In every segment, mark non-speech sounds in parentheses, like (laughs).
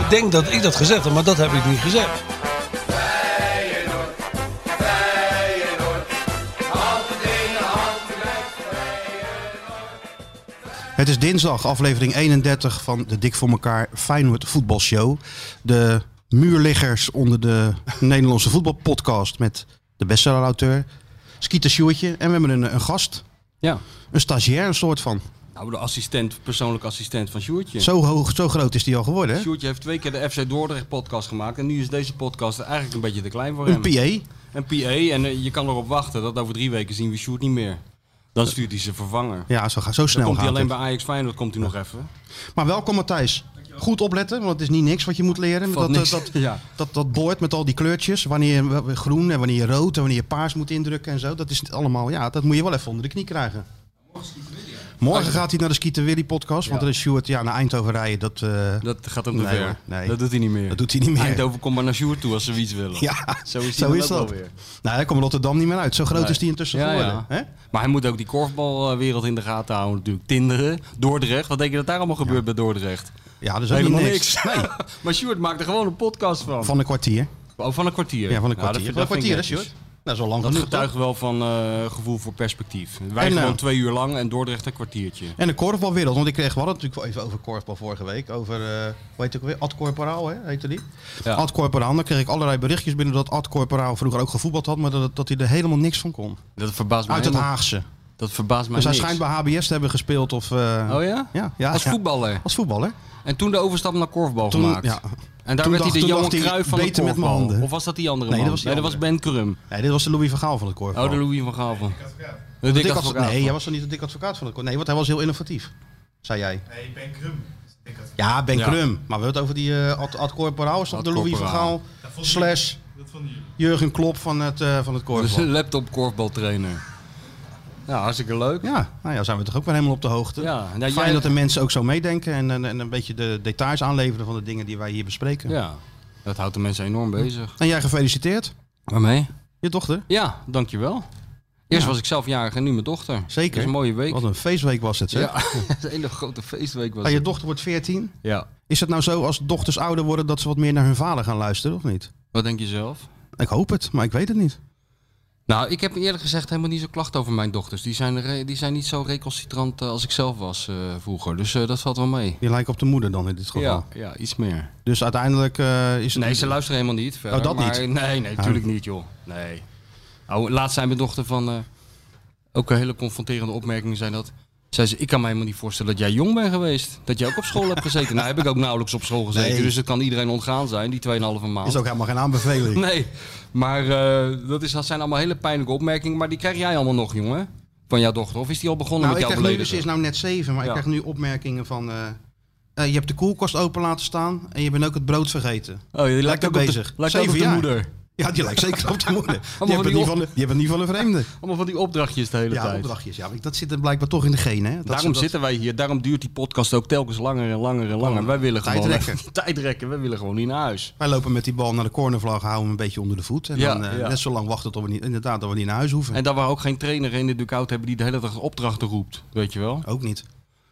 Ik denk dat ik dat gezegd heb, maar dat heb ik niet gezegd. Het is dinsdag, aflevering 31 van de Dik voor elkaar Feyenoord voetbalshow. De muurliggers onder de (laughs) Nederlandse voetbalpodcast met de bestsellerauteur Skeeter Sjoertje. En we hebben een, een gast, Ja. een stagiair een soort van. Nou, de assistent, persoonlijke assistent van Sjoertje. Zo, hoog, zo groot is die al geworden. hè? Sjoertje heeft twee keer de FC Dordrecht podcast gemaakt. En nu is deze podcast eigenlijk een beetje te klein voor Een hem. PA. Een PA. En eh, je kan erop wachten dat over drie weken zien we Sjoerd niet meer. Dan stuurt hij zijn vervanger. Ja, zo, ga- zo Dan snel komt hij gaat alleen het. bij Ajax Feyenoord komt hij nog even. Maar welkom Matthijs. Goed opletten, want het is niet niks wat je moet leren. Valt Dat, niks. dat, (laughs) Ja. dat, dat bord met al die kleurtjes, wanneer je groen en wanneer je rood en wanneer je paars moet indrukken en zo. Dat is allemaal, ja, dat moet je wel even onder de knie krijgen. Morgen gaat hij naar de Skieten Willy podcast, want dan is Stuart ja, naar Eindhoven rijden. Dat, eh, Dat gaat hem te Nee, hoor. ver. Nee. Dat doet hij niet meer. dat doet hij niet meer. Eindhoven komt maar naar Sjoerd toe als ze iets willen. (laughs) Ja, (laughs) Zo is hij dan ook wel weer. Nou, hij komt Rotterdam niet meer uit. Zo groot Nee. is die intussen Ja, geworden. ja. Hè? Maar hij moet ook die korfbalwereld in de gaten houden natuurlijk. Tinderen, Dordrecht. Wat denk je dat daar allemaal gebeurt bij Dordrecht? ja, dat is ook Helemaal niet niks. (laughs) Nee, Maar Sjoerd maakt er gewoon een podcast van. van een kwartier. Oh, van een kwartier. Ja, van een Nou, kwartier. dat vind- van een dat vind ik kwartier, hè, netjes. Stuart? Nou, zo lang Dat genoeg. getuigt toch? wel van eh, gevoel voor perspectief. Wij En, gewoon eh, twee uur lang en Dordrecht een kwartiertje. En de korfbalwereld, want ik kreeg wel natuurlijk wel even over korfbal vorige week. Over, eh hoe heet het ook weer? Ad Corporaal, hè? Heette die? Ja. Ad Corporaal, dan kreeg ik allerlei berichtjes binnen dat Ad Corporaal vroeger ook gevoetbald had, maar dat, dat hij er helemaal niks van kon. Dat verbaast mij Uit het helemaal- Haagse. Dat verbaast mij Dus hij niks. schijnt bij HBS te hebben gespeeld of... eh, Oh ja? Ja, ja, Als ja. voetballer. Als voetballer. En toen de overstap naar korfbal Toen- gemaakt. ja. En daar Toen werd dacht- hij de toen Johan dacht hij, Cruijff van het beter met mijn korfbal. handen. Of was dat die andere Nee, man? dat was Oh. die dat was andere. Ben Krum. Nee, dit was de Louis van Gaal van het korfbal. Oh, de Louis van Gaal van. De De dik dik advocaat. Nee, hij was dan niet de dik advocaat van het korfbal. Nee, want hij was heel innovatief, zei jij. Nee, Ben Krum. Dus ik denk dat- Ja, Ben Ja. Krum. Maar we hebben het over die eh, Ad, Ad Corporaal. Is dat Ad de Louis van Corporaal. Gaal vonden slash Dat vonden jullie. Jurgen Klopp van het, eh, van het Dus korfbal? een (laughs) laptop korfbaltrainer. Ja, hartstikke leuk. Ja, nou ja, zijn we toch ook weer helemaal op de hoogte. Ja, nou, Fijn jij- dat de mensen ook zo meedenken en, en, en een beetje de details aanleveren van de dingen die wij hier bespreken. Ja. Dat houdt de mensen enorm bezig. En jij gefeliciteerd, Waarmee? je dochter. Ja, dankjewel. Eerst was ik zelf jarig en nu mijn dochter. Zeker. Dat is een mooie week. Wat een feestweek was het, zeg. (laughs) Ja, (laughs) een hele grote feestweek was Ah, je het. dochter wordt 14. Ja. Is het nou zo als dochters ouder worden dat ze wat meer naar hun vader gaan luisteren, of niet? Wat denk je zelf? Ik hoop het, maar ik weet het niet. Nou, ik heb eerlijk gezegd helemaal niet zo klacht over mijn dochters. Die zijn, re- die zijn niet zo recalcitrant eh, als ik zelf was eh, vroeger. Dus eh, dat valt wel mee. Je lijkt op de moeder dan in dit geval. Ja, ja, iets meer. Dus uiteindelijk eh, is het... Nee, ze luisteren helemaal niet verder. Oh, dat maar, niet? Ah. Nee, nee, natuurlijk niet, joh. Nee. Oh, laatst zei mijn dochter van... eh, ook een hele confronterende opmerking zijn dat... Zei ze, ik kan me helemaal niet voorstellen dat jij jong bent geweest. Dat jij ook op school hebt gezeten. Nou, heb ik ook nauwelijks op school gezeten. Nee. Dus het kan iedereen ontgaan zijn, die 2,5 maand. is ook helemaal geen aanbeveling. (laughs) Nee, maar eh, dat, is, dat zijn allemaal hele pijnlijke opmerkingen. Maar die krijg jij allemaal nog, jongen. Van jouw dochter. Of is die al begonnen Nou, ik met krijg jouw nu, dus, beledigen? ze is nou net zeven, maar Ja. ik krijg nu opmerkingen van... eh, eh, je hebt de koelkast open laten staan en je bent ook het brood vergeten. Oh, die Lijkt lijkt ook ook bezig. Op de, lijkt ook Zeven op de jaar. moeder. Ja, die lijkt zeker op de moeder. (laughs) van Die hebben die niet op- van de- die hebben niet van een vreemde. Allemaal van die opdrachtjes (laughs) de hele Ja, tijd. opdrachtjes. Ja, maar dat zit er blijkbaar toch in de genen. Hè? Dat ze daarom dat- zitten wij hier. Daarom duurt die podcast ook telkens langer en langer en langer. wij willen tijd gewoon (laughs) rekken. tijd rekken. Wij willen gewoon niet naar huis. Wij lopen met die bal naar de cornervlag, houden hem een beetje onder de voet. En Ja, dan eh, ja. net zo lang wachten tot we niet, inderdaad, dat we niet naar huis hoeven. En dat we ook geen trainer in de dugout hebben die de hele dag opdrachten roept. Weet je wel? Ook niet.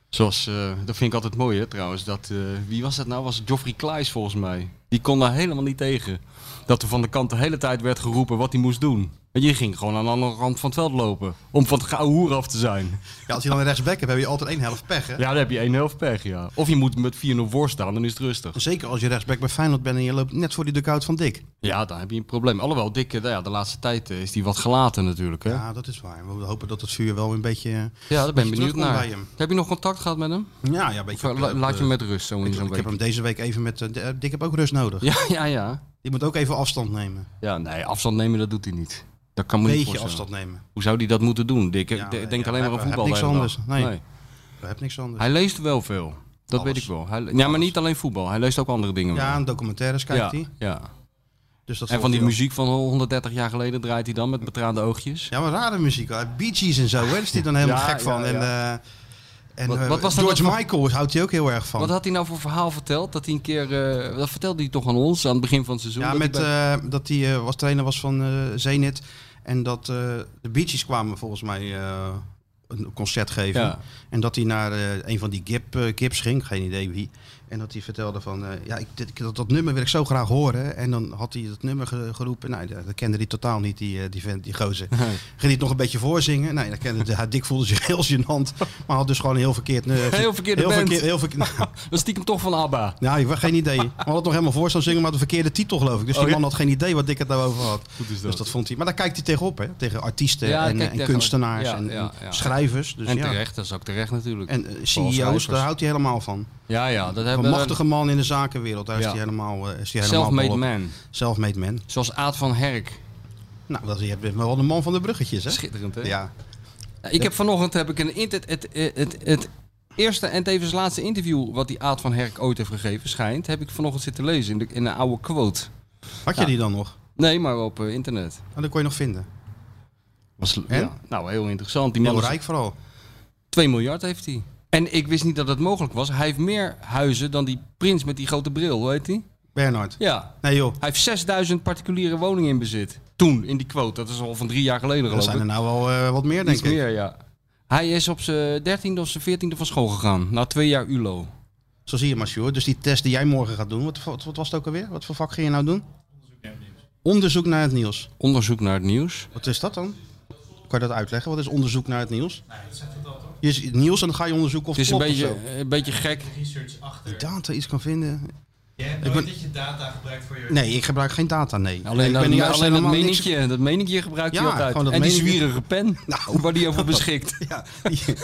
Zoals, eh, dat vind ik altijd mooi hè, trouwens. Dat, eh, wie was dat nou? Was het Geoffrey Kleis volgens mij. Die kon daar helemaal niet tegen. Dat er van de kant de hele tijd werd geroepen wat hij moest doen. En je ging gewoon aan de andere kant van het veld lopen. Om van het gouden hoer af te zijn. Ja, als je dan een rechtsback hebt, heb je altijd één helft pech. Hè? Ja, dan heb je één helft pech, ja. Of je moet met 4-0 voor staan, dan is het rustig. Zeker als je rechtsback bij Feyenoord bent en je loopt net voor die dugout van Dick. Ja, dan heb je een probleem. Alhoewel, Dick, eh, nou ja, de laatste tijd eh, is die wat gelaten natuurlijk, hè. Ja, Ja, dat is waar. We hopen dat het vuur wel een beetje... eh, daar ben ik je benieuwd terugkomt naar. bij hem. Heb je nog contact gehad met hem? Ja, ja, een Of beetje... la- op- op, laat je eh, hem met rust zo in Ik, zo'n ik week? heb hem deze week even met... eh, eh, Dick heb ook rust nodig. Ja, ja, (laughs) ja. Die moet ook even afstand nemen. Ja, nee, afstand nemen, dat doet hij niet. Dat kan me Een niet beetje voorstellen. afstand nemen. Hoe zou die dat moeten doen, Dick? Ik Ja, de- nee, denk ja, alleen maar hij- aan hij voetbal. heeft de hele niks dag. anders. Nee. We hebben niks anders. Hij leest wel veel. Dat Alles. weet ik wel. Hij, ja, maar niet alleen voetbal. Hij leest ook andere dingen. Ja, wel. en documentaires kijkt hij. ja, ja. Dus dat En volgt van die hij ook. muziek van 130 jaar geleden draait hij dan met betraande oogjes. Ja, maar rare muziek. hè. Bee Gees en zo, hè. daar is hij dan helemaal Ja, gek van. ja, En, eh, en Wat- eh, wat was dat George ook van- Michael houdt hij ook heel erg van. Wat had hij nou voor verhaal verteld? Dat hij een keer. eh, dat vertelde hij toch aan ons aan het begin van het seizoen? ja, dat hij met bij- eh, dat hij eh, was trainer was van eh Zenit. En dat eh, de Bee Gees kwamen volgens mij eh, een concert geven. Ja. En dat hij naar eh, een van die Gip, eh, Gips ging, geen idee wie. En dat hij vertelde van, eh, ja, ik, dit- dat, dat nummer wil ik zo graag horen. En dan had hij dat nummer ge- geroepen. Nou, dat, dat kende hij totaal niet, die, eh, die vent, die gozer. Ging hij het nog een beetje voorzingen? Nee, dat kende (laughs) hij. Dick voelde zich heel gênant. Maar had dus gewoon een heel verkeerd... eh, Heel verkeerde heel band. verkeer- heel verkeer- nou, (laughs) Dat is stiekem toch van Abba. nou, ik had geen idee. We hadden het nog helemaal voor staan zingen, maar de verkeerde titel geloof ik. Dus Oh, die ja. man had geen idee wat ik het nou over had. Goed is dat. Dus dat vond hij. Maar daar kijkt hij tegenop, hè? Tegen artiesten Ja, en, kijk, en tegen- kunstenaars ja, en, en ja, ja. schrijvers. Dus en ja. terecht, dat is ook terecht natuurlijk. En eh, Vooral CEO's, schrijvers. daar houdt hij helemaal van. Ja, ja, dat Een hebben we. machtige man in de zakenwereld, daar is Ja. hij helemaal, eh, is hij helemaal Self-made dol op. man. Self-made man. Zoals Aad van Herk. Nou, dat, je bent wel de man van de bruggetjes, hè? Schitterend, hè? Ja. Ik heb vanochtend heb ik een int- het, het, het, het, eerste en tevens laatste interview wat die Aad van Herk ooit heeft gegeven, schijnt, heb ik vanochtend zitten lezen in, de, in een oude quote. Had je die dan nog? Nee, maar op eh, internet. Nou, dat kon je nog vinden. Was, En? ja, nou, heel interessant. Die man Heel is- rijk vooral. 2 miljard heeft hij. En ik wist niet dat dat mogelijk was. Hij heeft meer huizen dan die prins met die grote bril, weet hij? Bernhard. Ja. Nee joh, Hij heeft 6000 particuliere woningen in bezit. Toen, in die quote. Dat is al van drie jaar geleden dat geloof zijn er ik. nou wel eh, wat meer, denk Iets ik. meer, ja. Hij is op zijn 13e of zijn 14e van school gegaan. Na twee jaar ULO. Zo zie je maar, Sjoerd. Dus die test die jij morgen gaat doen, wat, wat, wat was het ook alweer? Wat voor vak ging je nou doen? Onderzoek naar het nieuws. Onderzoek naar het nieuws. Wat is dat dan? Kan je dat uitleggen? Wat is onderzoek naar het nieuws? Nee, dat zegt het al toch? Je ziet nieuws en dan ga je onderzoeken of Het is een klopt beetje, of zo. een beetje gek. Research achter. Die data iets kan vinden. Je hebt Ik nooit ben- dat je data gebruikt voor je... Nee, ik gebruik geen data, nee. Alleen, ik dat, juist alleen dat helemaal niks- meningje. Dat meningje gebruikt Ja, hij altijd. gewoon dat En die meningje. zwierige pen. Nou. Waar die over beschikt. (laughs) Ja, (laughs) die, (laughs) Die Die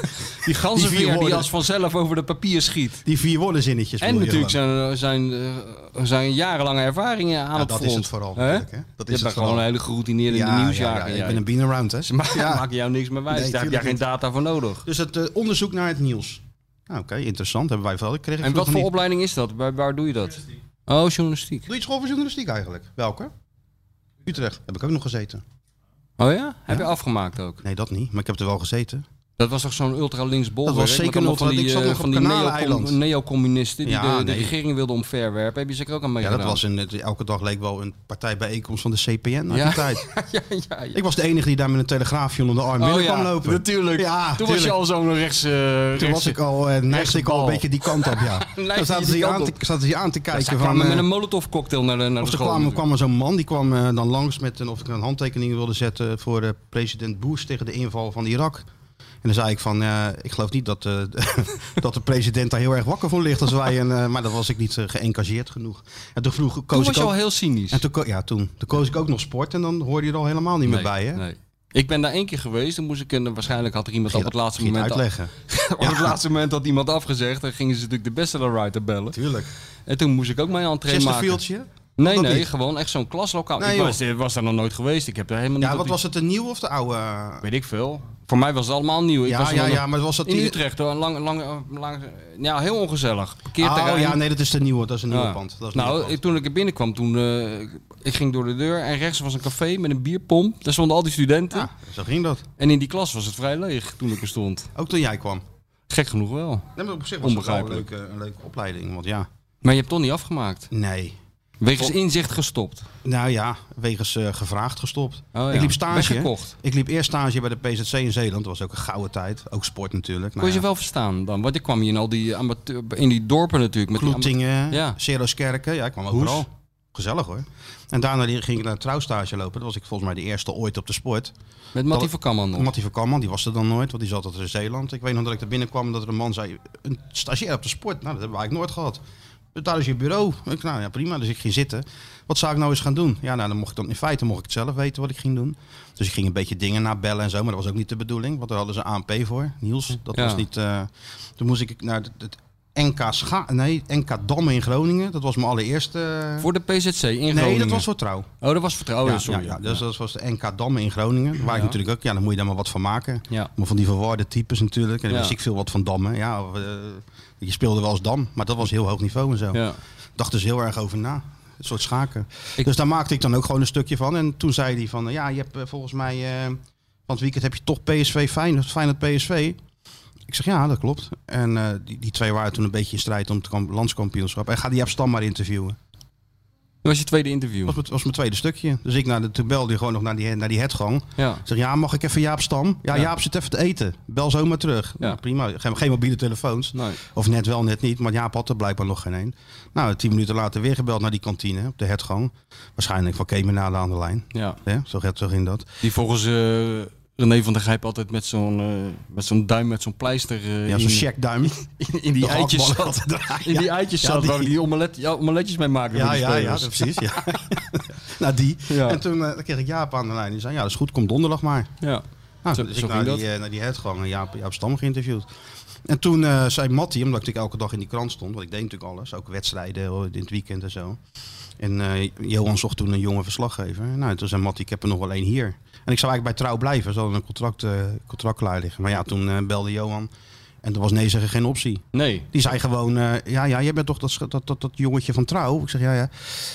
vier ganzenveer die woorden. als vanzelf over de papier schiet. die vier woorden zinnetjes. En bedoel je natuurlijk gewoon. zijn, zijn, eh, zijn jarenlange ervaringen aan Ja, het dat front. is het vooral Hè? natuurlijk, hè? Dat je is bent het gewoon vooral. een hele geroutineerde Ja, nieuwsjager. ja, ja, ik jij. ben een (laughs) bean around, hè? Ze ma- Ja. maken jou niks meer wijs. Nee, Daar heb jij geen tuurlijk data voor nodig. Dus het eh, onderzoek naar het nieuws. Nou, Oké, interessant. Hebben wij vooral. Kreeg ik En wat vroeger voor niet. opleiding is dat? Waar, waar doe je dat? Oh, journalistiek. Doe je iets school voor journalistiek eigenlijk? Welke? Utrecht. Heb ik ook nog gezeten. Oh ja? Heb je afgemaakt ook? Nee, dat niet. Maar ik heb er wel gezeten. Dat was toch zo'n ultra-links bol? Dat was zeker een ultra- van die, ik zat eh, nog van op die Kanaleneiland. neocom- neocommunisten die Ja, de, de nee. regering wilden omverwerpen. Heb je zeker ook aan Ja, meegedaan? dat was een, het- elke dag leek wel een partijbijeenkomst van de CPN uit Ja. die tijd. (laughs) ja, ja, ja. Ik was de enige die daar met een telegraafje onder de arm binnen kwam lopen. Oh natuurlijk. Ja, Toen was tuurlijk. je al zo'n rechts... eh, Toen was rechtse- ik al, eh, neigde ik al bal. een beetje die kant op, (laughs) ja. je Dan zaten die ze, hier kant aan te, op? zaten ze hier aan te Ja, kijken zij van... kwamen met eh, een molotov cocktail naar de, naar de Of er school. kwam, natuurlijk. kwam er zo'n man, die kwam eh, dan langs met een, of ik een handtekening wilde zetten voor eh, president Bush tegen de inval van Irak. En dan zei ik van, eh, ik geloof niet dat, eh, (laughs) dat de president daar heel erg wakker voor ligt als wij. En, eh, maar dat was ik niet eh, geëngageerd genoeg. En toen vroeg, koos Toen was ik je ook, al heel cynisch. en toen, ko- ja, toen, toen koos ik ook nog sport en dan hoorde je er al helemaal niet meer bij. Hè? Nee. Ik ben daar één keer geweest. Dan moest ik een, waarschijnlijk had er iemand op het laatste Ging je moment... het uitleggen. (laughs) Op het laatste moment had iemand afgezegd. Dan gingen ze natuurlijk de bestsellerwriter bellen. Tuurlijk. En toen moest ik ook mijn entree maken. Chesterfieldje? Nee, Dat nee, niet? gewoon echt zo'n klaslokaal. Nee, ik joh. was, eh, was daar nog nooit geweest. Ik heb daar helemaal niet... Ja, op wat die- was het, de nieuwe of de oude? Weet ik veel. Voor mij was het allemaal nieuw. Ik Ja, was ja, nog- ja, maar was dat In die... Utrecht, hoor. Lang, lang, eh, lang, ja, heel ongezellig. Parkeerterrein. Oh ja, nee, dat is de nieuwe, dat is een nieuwe Ja. pand. Dat is een nou, nieuwe pand. ik- toen ik er binnenkwam, toen, eh, ik ging door de deur en rechts was een café met een bierpomp. Daar stonden al die studenten. Ja, zo ging dat. En in die klas was het vrij leeg toen ik er stond. Ook toen jij kwam. Gek genoeg wel. Nee, maar op zich was het wel een Onbegrijpelijk. leuke, een leuke opleiding. Want ja, Maar je hebt toch niet afgemaakt. nee. Wegens inzicht gestopt. Nou ja, wegens eh, gevraagd gestopt. Oh ja. Ik liep stage. Weggekocht. Ik liep eerst stage bij de PZC in Zeeland. Dat was ook een gouden tijd. Ook sport natuurlijk. Nou Kon je ja, ze wel verstaan dan? Want ik kwam hier in al die amateur... In die dorpen natuurlijk. Met die Kloetingen, Ja. Seroskerken. Ja, ik kwam overal. Gezellig hoor. En daarna ging ik naar een trouwstage lopen. Dat was ik volgens mij de eerste ooit op de sport. ama- met Mattie van Kamman nog. Mattie van Kamman, die was er dan nooit, want die zat altijd in Zeeland. Ik weet nog dat ik er binnenkwam en dat er een man zei, een stagiair op de sport. Nou, dat hebben we eigenlijk nooit gehad. Daar is je bureau. Ik, nou ja, prima. Dus ik ging zitten. Wat zou ik nou eens gaan doen? Ja, nou, dan mocht ik dan in feite mocht ik het zelf weten wat ik ging doen. Dus ik ging een beetje dingen nabellen en zo, maar dat was ook niet de bedoeling, want daar hadden ze ANP voor. Niels, dat Ja. was niet. eh, toen moest ik naar het, het NK, Scha nee, NK Damme in Groningen. Dat was mijn allereerste. eh, Voor de PZC in Groningen. nee, dat was voor trouw. Oh, dat was vertrouwen, ja, sorry. ja, ja. Dus dat was de NK Damme in Groningen. Waar ik natuurlijk ook, ja, dan moet je daar maar wat van maken. Ja. Maar van die verwarde types natuurlijk. En dan Ja. wist ik veel wat van Damme. Ja, of, eh, je speelde wel als Dam, maar dat was heel hoog niveau en zo. Ja. Dacht dus heel erg over na. Een soort schaken. Ik- Dus daar maakte ik dan ook gewoon een stukje van. En toen zei hij van, eh, ja, je hebt eh, volgens mij... eh, want weekend heb je toch PSV Feyenoord, Feyenoord PSV. Ik zeg, ja, dat klopt. En eh, die, die twee waren toen een beetje in strijd om het kamp- landskampioenschap. En ga die Jaap Stam maar interviewen. Dat was je tweede interview. Dat was mijn, was mijn tweede stukje. Dus ik naar de, toen belde hij gewoon nog naar die, naar die headgang. Ja. Ik zeg, ja, mag ik even Jaap Stam? Ja, Ja. Jaap zit even te eten. Bel zomaar terug. Ja. Nou, prima. Geen, geen mobiele telefoons. Nee. Of net wel, net niet. Maar Jaap had er blijkbaar nog geen een. Nou, tien minuten later weer gebeld naar die kantine op de headgang. Waarschijnlijk van Kemenade aan de lijn. Ja. Hè? Zo gaat zo ging dat. Die volgens eh, René van der Gijp altijd met zo'n eh, met zo'n duim, met zo'n pleister eh, Ja, in, zo'n checkduim. (laughs) in, in die De eitjes gehaktballen zat. had het. In die eitjes Ja, zat die- waar we die omelet, ja, omeletjes mee maken. Ja, voor de ja, ja, spelers. dat- precies. Ja. (laughs) nou, die. Ja. En toen eh, dan kreeg ik Jaap aan de lijn. Die zei, ja, dat is goed. Kom donderdag maar. Ja. Nou, Zo- dus zo ik naar ging die, eh, naar die headgang en Jaap, Jaap Stam geïnterviewd. En toen eh, zei Matty, omdat ik natuurlijk elke dag in die krant stond, want ik deed natuurlijk alles, ook wedstrijden hoor, in het weekend en zo. En eh, Johan zocht toen een jonge verslaggever. Nou, en toen zei Matty, ik heb er nog wel één hier. En ik zou eigenlijk bij trouw blijven, ze hadden een contract, eh, contract klaar liggen. Maar ja, toen eh, belde Johan en er was nee zeggen geen optie. Nee. Die zei gewoon, eh, ja, ja, jij bent toch dat, sch- dat, dat, dat jongetje van trouw? Ik zeg, ja, ja.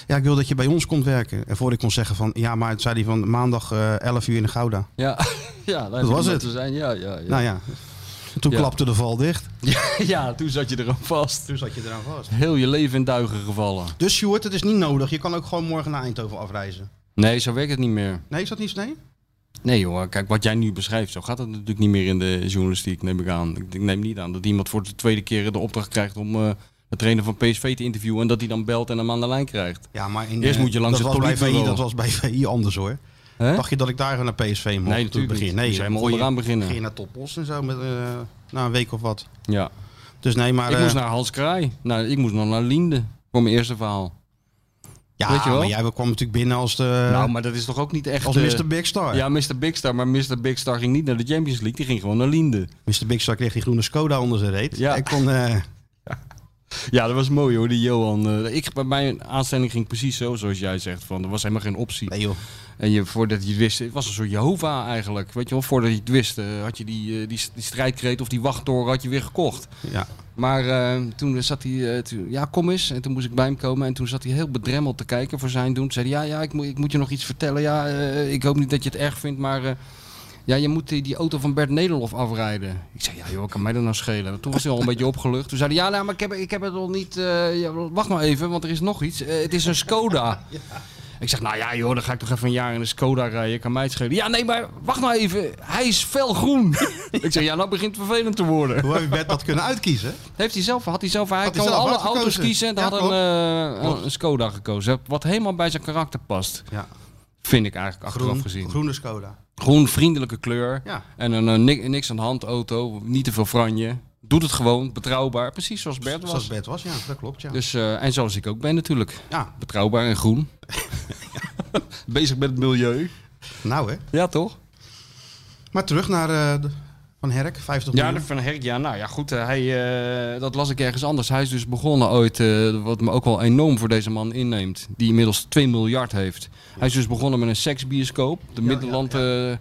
Ja, ik wil dat je bij ons komt werken. En voor ik kon zeggen van, ja, maar het zei hij van maandag eh 11 uur in de Gouda. Ja. (laughs) ja daar Dat was om het. Te zijn. Ja, ja, ja. Nou ja, toen Ja. klapte de val dicht. (laughs) ja, toen zat je er aan vast. Toen zat je eraan vast. Heel je leven in duigen gevallen. Dus Sjoerd, het is niet nodig. Je kan ook gewoon morgen naar Eindhoven afreizen. Nee, zo werkt het niet meer. Nee, is dat niet? Nee? Nee joh, kijk wat jij nu beschrijft, zo gaat het natuurlijk niet meer in de journalistiek, neem ik aan. Ik ik neem niet aan dat iemand voor de tweede keer de opdracht krijgt om eh, de trainer van PSV te interviewen en dat hij dan belt en hem aan de lijn krijgt. Ja, maar in, Eerst eh, moet je langs dat het was bij VI, politbureau. Dat was bij VI anders hoor. Hè? Dacht je dat ik daar gewoon naar PSV mocht? Nee, toen natuurlijk begin? niet. Nee, Moest je helemaal dan onderaan beginnen. Ging je naar Topos en zo met, eh, na een week of wat. Ja. Dus nee, maar... ik eh, moest naar Hans Kraai, nou, ik moest nog naar Linde voor mijn eerste verhaal. ja, weet je wel. maar jij kwam natuurlijk binnen als, de, nou, maar dat is toch ook niet echt... Eh, als eh, Mr. Big Star. Ja, Mr. Big Star, maar Mr. Big Star ging niet naar de Champions League, die ging gewoon naar Linde. Mr. Big Star kreeg die groene Skoda onder zijn reet. Ja. En kon, eh, Ja, dat was mooi hoor, die Johan. eh, ik, bij mijn aanstelling ging precies zo, zoals jij zegt, van, er was helemaal geen optie. nee joh. En je, voordat je het wist, het was een soort Jehovah eigenlijk. Weet je wel, voordat je het wist, eh, had je die, eh, die, die strijdkreet of die wachttoren had je weer gekocht. Ja. Maar eh, toen zat hij, eh, toen- ja kom eens. En toen moest ik bij hem komen en toen zat hij heel bedremmeld te kijken voor zijn doen. Toen zei hij, ja, ja, ik, moet ik moet je nog iets vertellen. Ja, eh, ik hoop niet dat je het erg vindt, maar... eh, ja, je moet die, die auto van Bert Nederlof afrijden. Ik zei, ja joh, kan mij dat nou schelen? Toen was hij al een beetje opgelucht. Toen zei hij, ja nou, maar ik heb, ik heb het nog niet... eh, ja, wacht maar even, want er is nog iets. Eh, het is een Skoda. Ik zeg, nou ja joh, dan ga ik toch even een jaar in de Skoda rijden. Kan mij het schelen. Ja, nee, maar wacht nou even. Hij is felgroen. (laughs) ik zeg, ja, nou begint het vervelend te worden. Hoe heb je Bert dat kunnen (laughs) uitkiezen? Heeft hij zelf, had hij zelf, hij Had hij kon zelf alle uitgekozen. auto's kiezen en Ja, had een, eh, een, een Skoda gekozen. Wat helemaal bij zijn karakter past, Ja. vind ik eigenlijk achteraf Groen, gezien. groene Skoda. Groen, vriendelijke kleur Ja. en een eh, ni- niks aan de hand auto, niet te veel franje. Doet het gewoon, betrouwbaar, precies zoals Bert was. Zoals Bert was, ja. Dat klopt, ja. Dus, eh, en zoals ik ook ben natuurlijk. Ja, Betrouwbaar en (laughs) groen. Bezig met het milieu. nou hè. Ja, toch? Maar terug naar eh, de- Van Herk, 50 Ja, miljoen. de Van Herk, ja, nou ja, goed. eh, hij, eh, dat las ik ergens anders. Hij is dus begonnen ooit, eh, wat me ook wel enorm voor deze man inneemt. Die inmiddels 2 miljard heeft. Hij is dus begonnen met een seksbioscoop. De Middelland eh,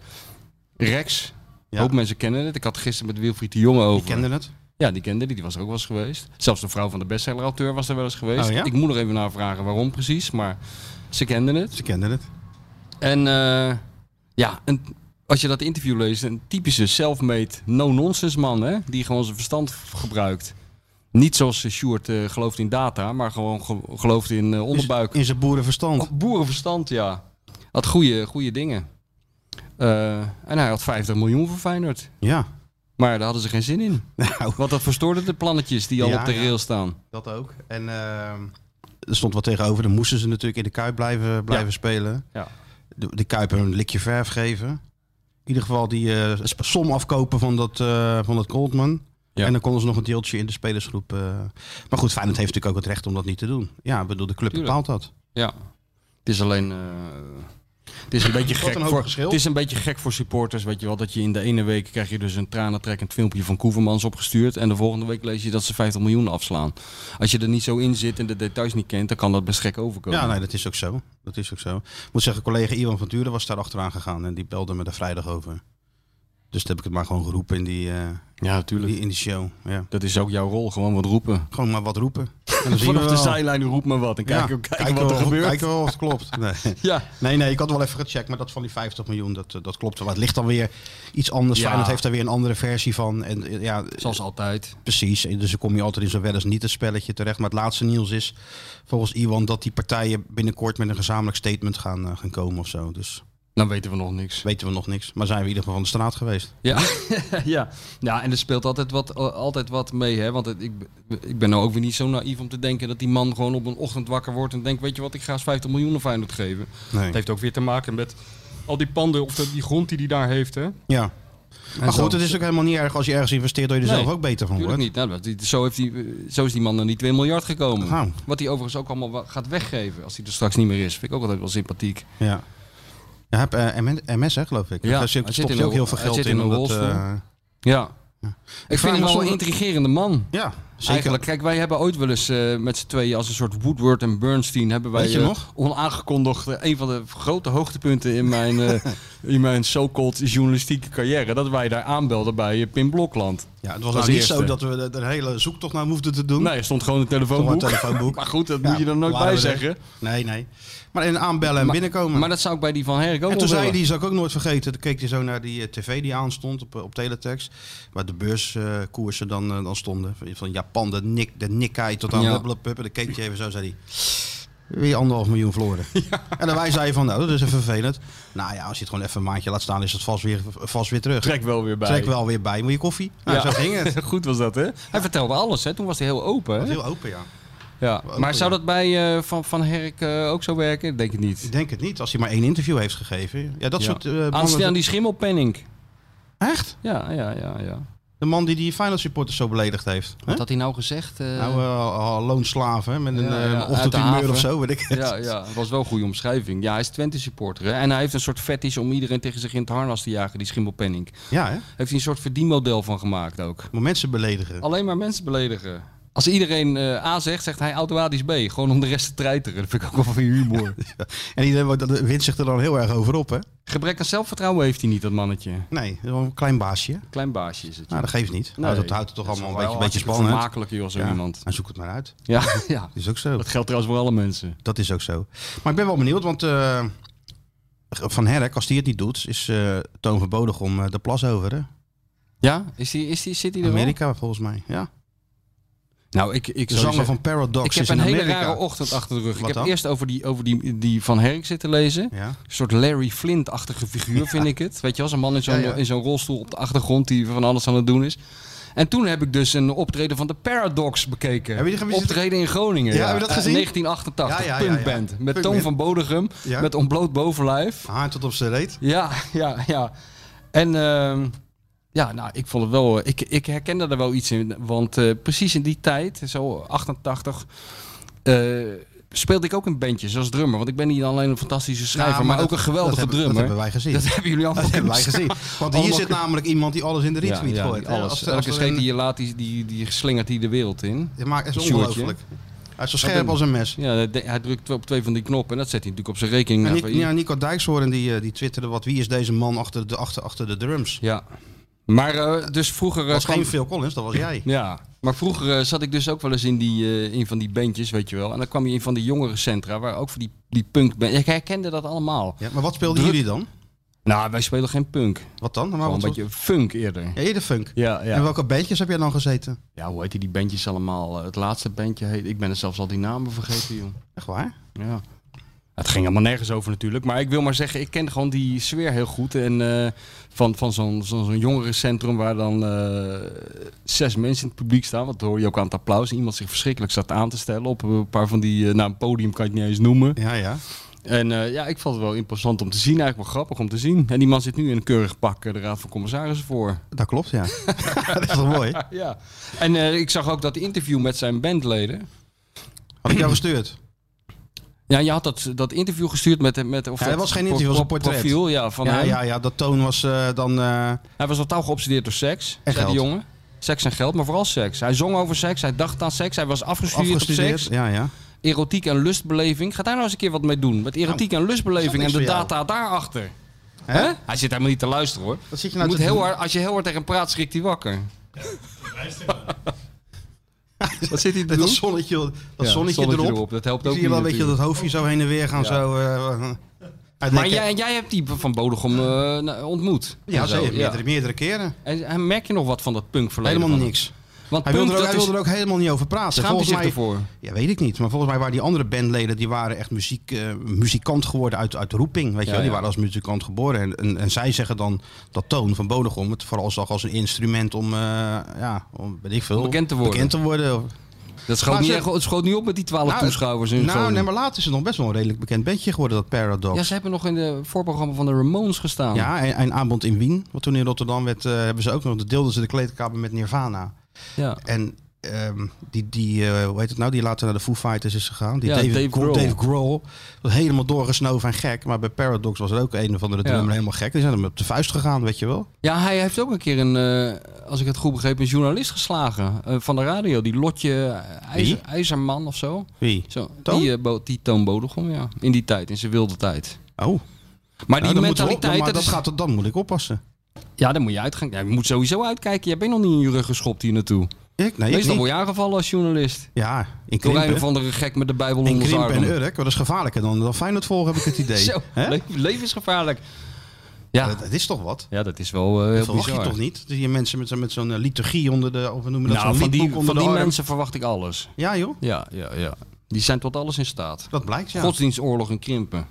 Rex. Ja. Ook mensen kennen het. Ik had gisteren met Wilfried de Jonge over. Die kende het. Ja, die kende die. Die was er ook wel eens geweest. Zelfs de vrouw van de bestseller-auteur was er wel eens geweest. Oh, ja? Ik moet er even naar vragen waarom precies, maar ze kenden het. Ze kenden het. En eh, ja, een, als je dat interview leest, een typische self-made, no-nonsense man, hè? Die gewoon zijn verstand v- gebruikt. Niet zoals eh, Sjoerd eh, gelooft in data, maar gewoon ge- gelooft in eh, onderbuik. In zijn boerenverstand. Oh, boerenverstand, ja. Had goede, goede dingen. Eh, en hij had 50 miljoen voor Feyenoord. Ja. Maar daar hadden ze geen zin (laughs) in. Nou, Want dat verstoorde de plannetjes die al Ja, op de ja. rail staan. dat ook. En ehm, er stond wat tegenover. Dan moesten ze natuurlijk in de Kuip blijven, blijven spelen. Ja. De, de Kuip een likje verf geven. In ieder geval die eh, sp- som afkopen van dat, eh van dat Goldman. Ja. En dan konden ze nog een deeltje in de spelersgroep. eh. Maar goed, Feyenoord heeft natuurlijk ook het recht om dat niet te doen. Ja, ik bedoel, de club Tuurlijk. bepaalt dat. Ja. Het is alleen... eh, Het is een beetje Wat gek een hoop voor, verschil. het is een beetje gek voor supporters, weet je wel, dat je in de ene week krijg je dus een tranentrekkend filmpje van Koevermans opgestuurd en de volgende week lees je dat ze 50 miljoen afslaan. Als je er niet zo in zit en de details niet kent, dan kan dat best gek overkomen. Ja, nee, dat is ook zo. Dat is ook zo. Ik moet zeggen, collega Iwan van Turen was daar achteraan gegaan en die belde me daar vrijdag over. Dus toen heb ik het maar gewoon geroepen in die, eh, ja, natuurlijk. die, in die show. Ja. Dat is ook jouw rol, gewoon wat roepen. Gewoon maar wat (laughs) roepen. En dan zien we Vanaf de wel. zijlijn roep maar wat en eh, Ja, kijk, kijken wat we er wel- gebeurt. Kijken we wel of het (laughs) klopt. Nee. Ja. nee, nee, ik had wel even gecheckt, maar dat van die 50 miljoen, dat, eh, dat klopt wel. Maar het ligt dan weer iets anders. Ja. Feyenoord heeft daar weer een andere versie van. En, eh, ja, Zoals altijd. Precies, en dus dan kom je altijd in zo'n wel eens niet het spelletje terecht. Maar het laatste nieuws is volgens Iwan dat die partijen binnenkort met een gezamenlijk statement gaan, eh, gaan komen of zo. Dus Dan weten we nog niks. weten we nog niks. Maar zijn we in ieder geval van de straat geweest. Ja. (laughs) ja. ja, en er speelt altijd wat, altijd wat mee. Hè? Want het- ik, ik ben nou ook weer niet zo naïef om te denken dat die man gewoon op een ochtend wakker wordt en denkt, weet je wat, ik ga eens 50 miljoen of Feyenoord geven. Nee. Het heeft ook weer te maken met al die panden of die grond die hij daar heeft. Hè? Ja. Maar goed, het is ook helemaal niet erg als je ergens investeert dat je er Nee, zelf ook beter van Natuurlijk wordt. niet. Nou, dat- die- zo, heeft die, zo is die man naar die 2 miljard gekomen. Nou. Wat hij overigens ook allemaal wa- gaat weggeven als hij er straks niet meer is. Vind ik ook altijd wel sympathiek. Ja. Ja, heb eh, MN MS hè, geloof ik. Ja, Daar zit, hij stopt zit hij in ook een- heel veel hij geld zit in. in een omdat, rolstoel. eh, Ja. Ik vraag vind hem me wel een soms- intrigerende man. ja, zeker. Eigenlijk, kijk, wij hebben ooit wel eens eh, met z'n tweeën als een soort Woodward en Bernstein hebben wij Weet je eh, nog? onaangekondigd eh, een van de grote hoogtepunten in mijn, eh, (laughs) in mijn so-called journalistieke carrière dat wij daar aanbelden bij eh, Pim Blokland. Ja, het was Als nou niet eerste. zo dat we er een hele zoektocht naar hoefden te doen. Nee, er stond gewoon een Gewoon Hm. een telefoonboek. telefoonboek. (laughs) maar goed, dat Ja, moet je er nooit laten bij we er- zeggen. Nee, nee. Maar in aanbellen en binnenkomen. Maar dat zou ik bij die van Herk ook En wel toen zei willen. hij, die zou ik ook nooit vergeten. Toen keek hij zo naar die eh, tv die aanstond op, eh, op teletext. Waar de beurskoersen dan, eh, dan stonden. Van- Van Japan, de, Nik, de Nikkei tot aan Ja. blubblubblub. En dan keek hij even zo, zei hij... Weer anderhalf miljoen (laughs) verloren. En dan wij zeiden van, nou, dat is even vervelend. Nou ja, als je het gewoon even een maandje laat staan, is het vast weer, vast weer terug. Trek wel weer bij. Trek wel weer bij. Moet je koffie? Nou, Ja. zo ging (laughs) het. Het Goed was dat, hè? Hij vertelde alles, hè? Toen was hij heel open, was hè? heel open, ja. Ja. Maar zou dat bij eh, Van, van Herk eh, ook zo werken? Ik Denk het niet. Ik denk het niet, als hij maar één interview heeft gegeven. Ja, dat Ja. soort... eh, mannen- Aanstel aan die schimmelpenning. Echt? Ja, ja, ja, ja. De man die die finance supporters zo beledigd heeft. hè? Wat had hij nou gezegd? Eh, Nou, eh, al- loonslaven hè, met een ja, eh, ja, uit de ochtendhumeur haven. of zo, weet ik het. (laughs) ja, ja, het was wel een goede omschrijving. Ja, hij is Twente supporter. Hè? En hij heeft een soort fetish om iedereen tegen zich in het harnas te jagen, die schimmelpenning. (laughs) Ja, hè? Heeft hij een soort verdienmodel van gemaakt ook. Maar mensen beledigen. Alleen maar mensen beledigen. Als iedereen eh, A zegt, zegt hij automatisch B. Gewoon om de rest te treiteren. Dat vind ik ook wel van (laughs) (laughs) humor. En iedereen wordt- dat eh, wint zich er dan heel erg over op, hè? Gebrek aan zelfvertrouwen heeft hij niet, dat mannetje. Nee, wel een klein baasje. Klein baasje is het. Nou, dat geeft niet. Nou, dat houdt het toch allemaal een beetje, beetje spannend. Makkelijk joh, zo Ja, iemand. Maar zoek het maar uit. Ja, (laughs) ja, Dat is ook zo. dat geldt trouwens voor alle mensen. Dat is ook zo. Maar ik ben wel benieuwd, want eh, Van Herk, als die het niet doet, is eh, Toon verbodig om eh, de plas over, hè? Ja, is die, is die, zit hij er al? Amerika, volgens mij. Ja. Nou, ik, ik De zou zanger zeggen- van Paradox Ik heb is in een hele Amerika. rare ochtend achter de rug. Wat ik heb dan? eerst over die, over die, die Van Herk zitten lezen. Ja. Een soort Larry Flint-achtige figuur vind ik het. Weet je, als een man in zo'n Ja, ja. in zo'n rolstoel op de achtergrond die van alles aan het doen is. En toen heb ik dus een optreden van de Paradox bekeken. Heb je die gezien? optreden in Groningen. Ja, heb je dat Eh, gezien? 1988, Ja, ja, ja, ja. punkband. Met Punkband. Toon van Bodegum, Ja. met ontbloot bovenlijf. Haar tot op zijn reet. Ja, (laughs) ja, ja. En ehm, ja, nou, ik vond het wel. eh, Ik, ik herkende er wel iets in. Want eh, precies in die tijd, zo 88, eh, speelde ik ook in bandjes als drummer. Want ik ben niet alleen een fantastische schrijver, Ja, maar, dat- ook een geweldige dat hebben- drummer. Dat hebben wij gezien. Dat (laughs) hebben jullie allemaal Dat hebben wij (laughs) kunnen gezien. Want hier Allemaal zit kun- namelijk iemand die alles in de Ja, retweet ja, gooit. hè? alles. Als- als Elke er scheet een- die je laat, die, die, die slingert die de wereld in. Ja, maar het is Sjoerdje. ongelooflijk. Hij is zo scherp denk als een mes. Ja, de- hij drukt op twee van die knoppen en dat zet hij natuurlijk op zijn rekening. En Ja, Nico, van- ja, Nico Dijkshoorn die, eh, die twitterde wat wie is deze man achter de, achter, achter de drums. ja. Maar eh, dus vroeger eh, Dat was kwam- geen Phil Collins, dat was jij. Ja, maar vroeger eh, zat ik dus ook wel eens in, die, eh, in van die bandjes, weet je wel. En dan kwam je in van die jongerencentra, waar ook voor die, die punkband... Ik herkende dat allemaal. Ja, maar wat speelden Druk. jullie dan? Nou, wij spelen geen punk. Wat dan? Maar Gewoon Ah, wat een beetje funk eerder. Ja, eerder funk. Ja, En ja. welke bandjes heb jij dan gezeten? ja, hoe heette die bandjes allemaal? Eh, Het laatste bandje heet... Ik ben er zelfs al die namen vergeten, joh. Echt waar? Ja. Het ging helemaal nergens over natuurlijk. Maar ik wil maar zeggen, ik ken gewoon die sfeer heel goed. En eh, van, van zo'n zo'n zo'n jongerencentrum waar dan eh, zes mensen in het publiek staan. Want dat hoor je ook aan het applaus. Iemand zich verschrikkelijk staat aan te stellen op een paar van die... eh, nou, een podium kan je het niet eens noemen. Ja, ja. En eh, ja, ik vond het wel imposant om te zien. Eigenlijk wel grappig om te zien. En die man zit nu in een keurig pak eh, de Raad van Commissarissen voor. Dat klopt, (laughs) ja. dat is toch mooi? Ja. En eh, ik zag ook dat interview met zijn bandleden. Had ik jou gestuurd? Ja, je had dat, dat interview gestuurd met... met of Ja, dat was geen interview, dat was een portret. Profiel, ja, van ja, hem. ja, ja, dat toon was eh, dan... eh, Hij was al touw geobsedeerd door seks, En zei die geld. jongen. Seks en geld, maar vooral seks. Hij zong over seks, hij dacht aan seks, hij was afgestudeerd, op afgestudeerd. seks. Ja, ja. Erotiek en lustbeleving. Ga daar nou eens een keer wat mee doen. Met erotiek en lustbeleving dat en is de voor jou. data daarachter. Hè? Hè? Hij zit helemaal niet te luisteren hoor. Dat zit je Je nou moet te heel doen. hard, als je heel hard tegen hem praat, schrikt hij (laughs) wakker. Wat zit hij te Dat doen? zonnetje, dat Ja, zonnetje, zonnetje erop. erop, dat helpt Ik ook zie je wel niet een beetje dat natuurlijk. hoofdje zo heen en weer gaan. Zo, eh, uit Maar lekker- jij, jij hebt die van Bodegom eh, nou, ontmoet. Ja, En zo, zeker. ja. Meerdere, meerdere keren. En, en merk je nog wat van dat punkverleden? Helemaal van niks. hem? Want Hij punk, wilde, er ook, dat hij is- wilde er ook helemaal niet over praten. schaamt hij Volgens zich mij, ervoor? ja, weet ik niet. Maar volgens mij waren die andere bandleden die waren echt muziek, eh, muzikant geworden uit, uit roeping. Weet je Ja, wel? Die ja. waren als muzikant geboren. En, en, en zij zeggen dan dat toon van Bodegom het vooral zag als een instrument om, eh, ja, om, weet ik veel, Om bekend te worden. Bekend te worden. Dat schoot, Maar niet, ze- echt- het schoot niet op met die twaalf toeschouwers. En zo. nou nee, maar later is het nog best wel een redelijk bekend bandje geworden, dat Paradox. Ja, ze hebben nog in de voorprogramma van de Ramones gestaan. Ja, en, en aanbod in Wien, wat toen in Rotterdam werd, eh, hebben ze ook nog. Deelden ze de kleedkamer met Nirvana. ja. En ehm, die, die eh, hoe heet het nou, die later naar de Foo Fighters is gegaan. Die Ja, Dave, Dave Grohl. Dave Grohl was helemaal doorgesnoven en gek. Maar bij Paradox was er ook een van de drummer helemaal gek. Die zijn hem op de vuist gegaan, weet je wel. Ja, hij heeft ook een keer een, eh, als ik het goed begreep, een journalist geslagen eh, van de radio. Die Lotje eh, IJzer- Wie? IJzerman of zo. Wie? zo Toon? Die, eh, Bo- die Toon Bodegom, ja. In die tijd, in zijn wilde tijd. Oh, Maar nou, die dan moeten we op, mentaliteit, maar dat dat is- gaat, er- dan moet ik oppassen. ja, daar moet je uitgaan. Ja, je moet sowieso uitkijken. Jij bent nog niet in je rug geschopt hier naartoe. Ik? Nee, ik Meestal niet. word je aangevallen als journalist. Ja, in Door een Krimpen. of andere gek met de Bijbel In onder zijn Krimpen arm. en Urk, dat is gevaarlijker dan, dan Feyenoord volgen, (laughs) heb ik het idee. Zo, Hè? le- leven is gevaarlijk. Ja, Dat, dat is toch wat? ja dat is wel eh, Dat heel verwacht bizar. je toch niet? Dat je mensen met, zo- met zo'n eh, liturgie onder de, of we noemen dat Nou, zo'n van die, liedboek onder van die de arm. mensen verwacht ik alles. Ja joh, Ja, ja, ja. Die zijn tot alles in staat. dat blijkt ja. Godsdienstoorlog en krimpen.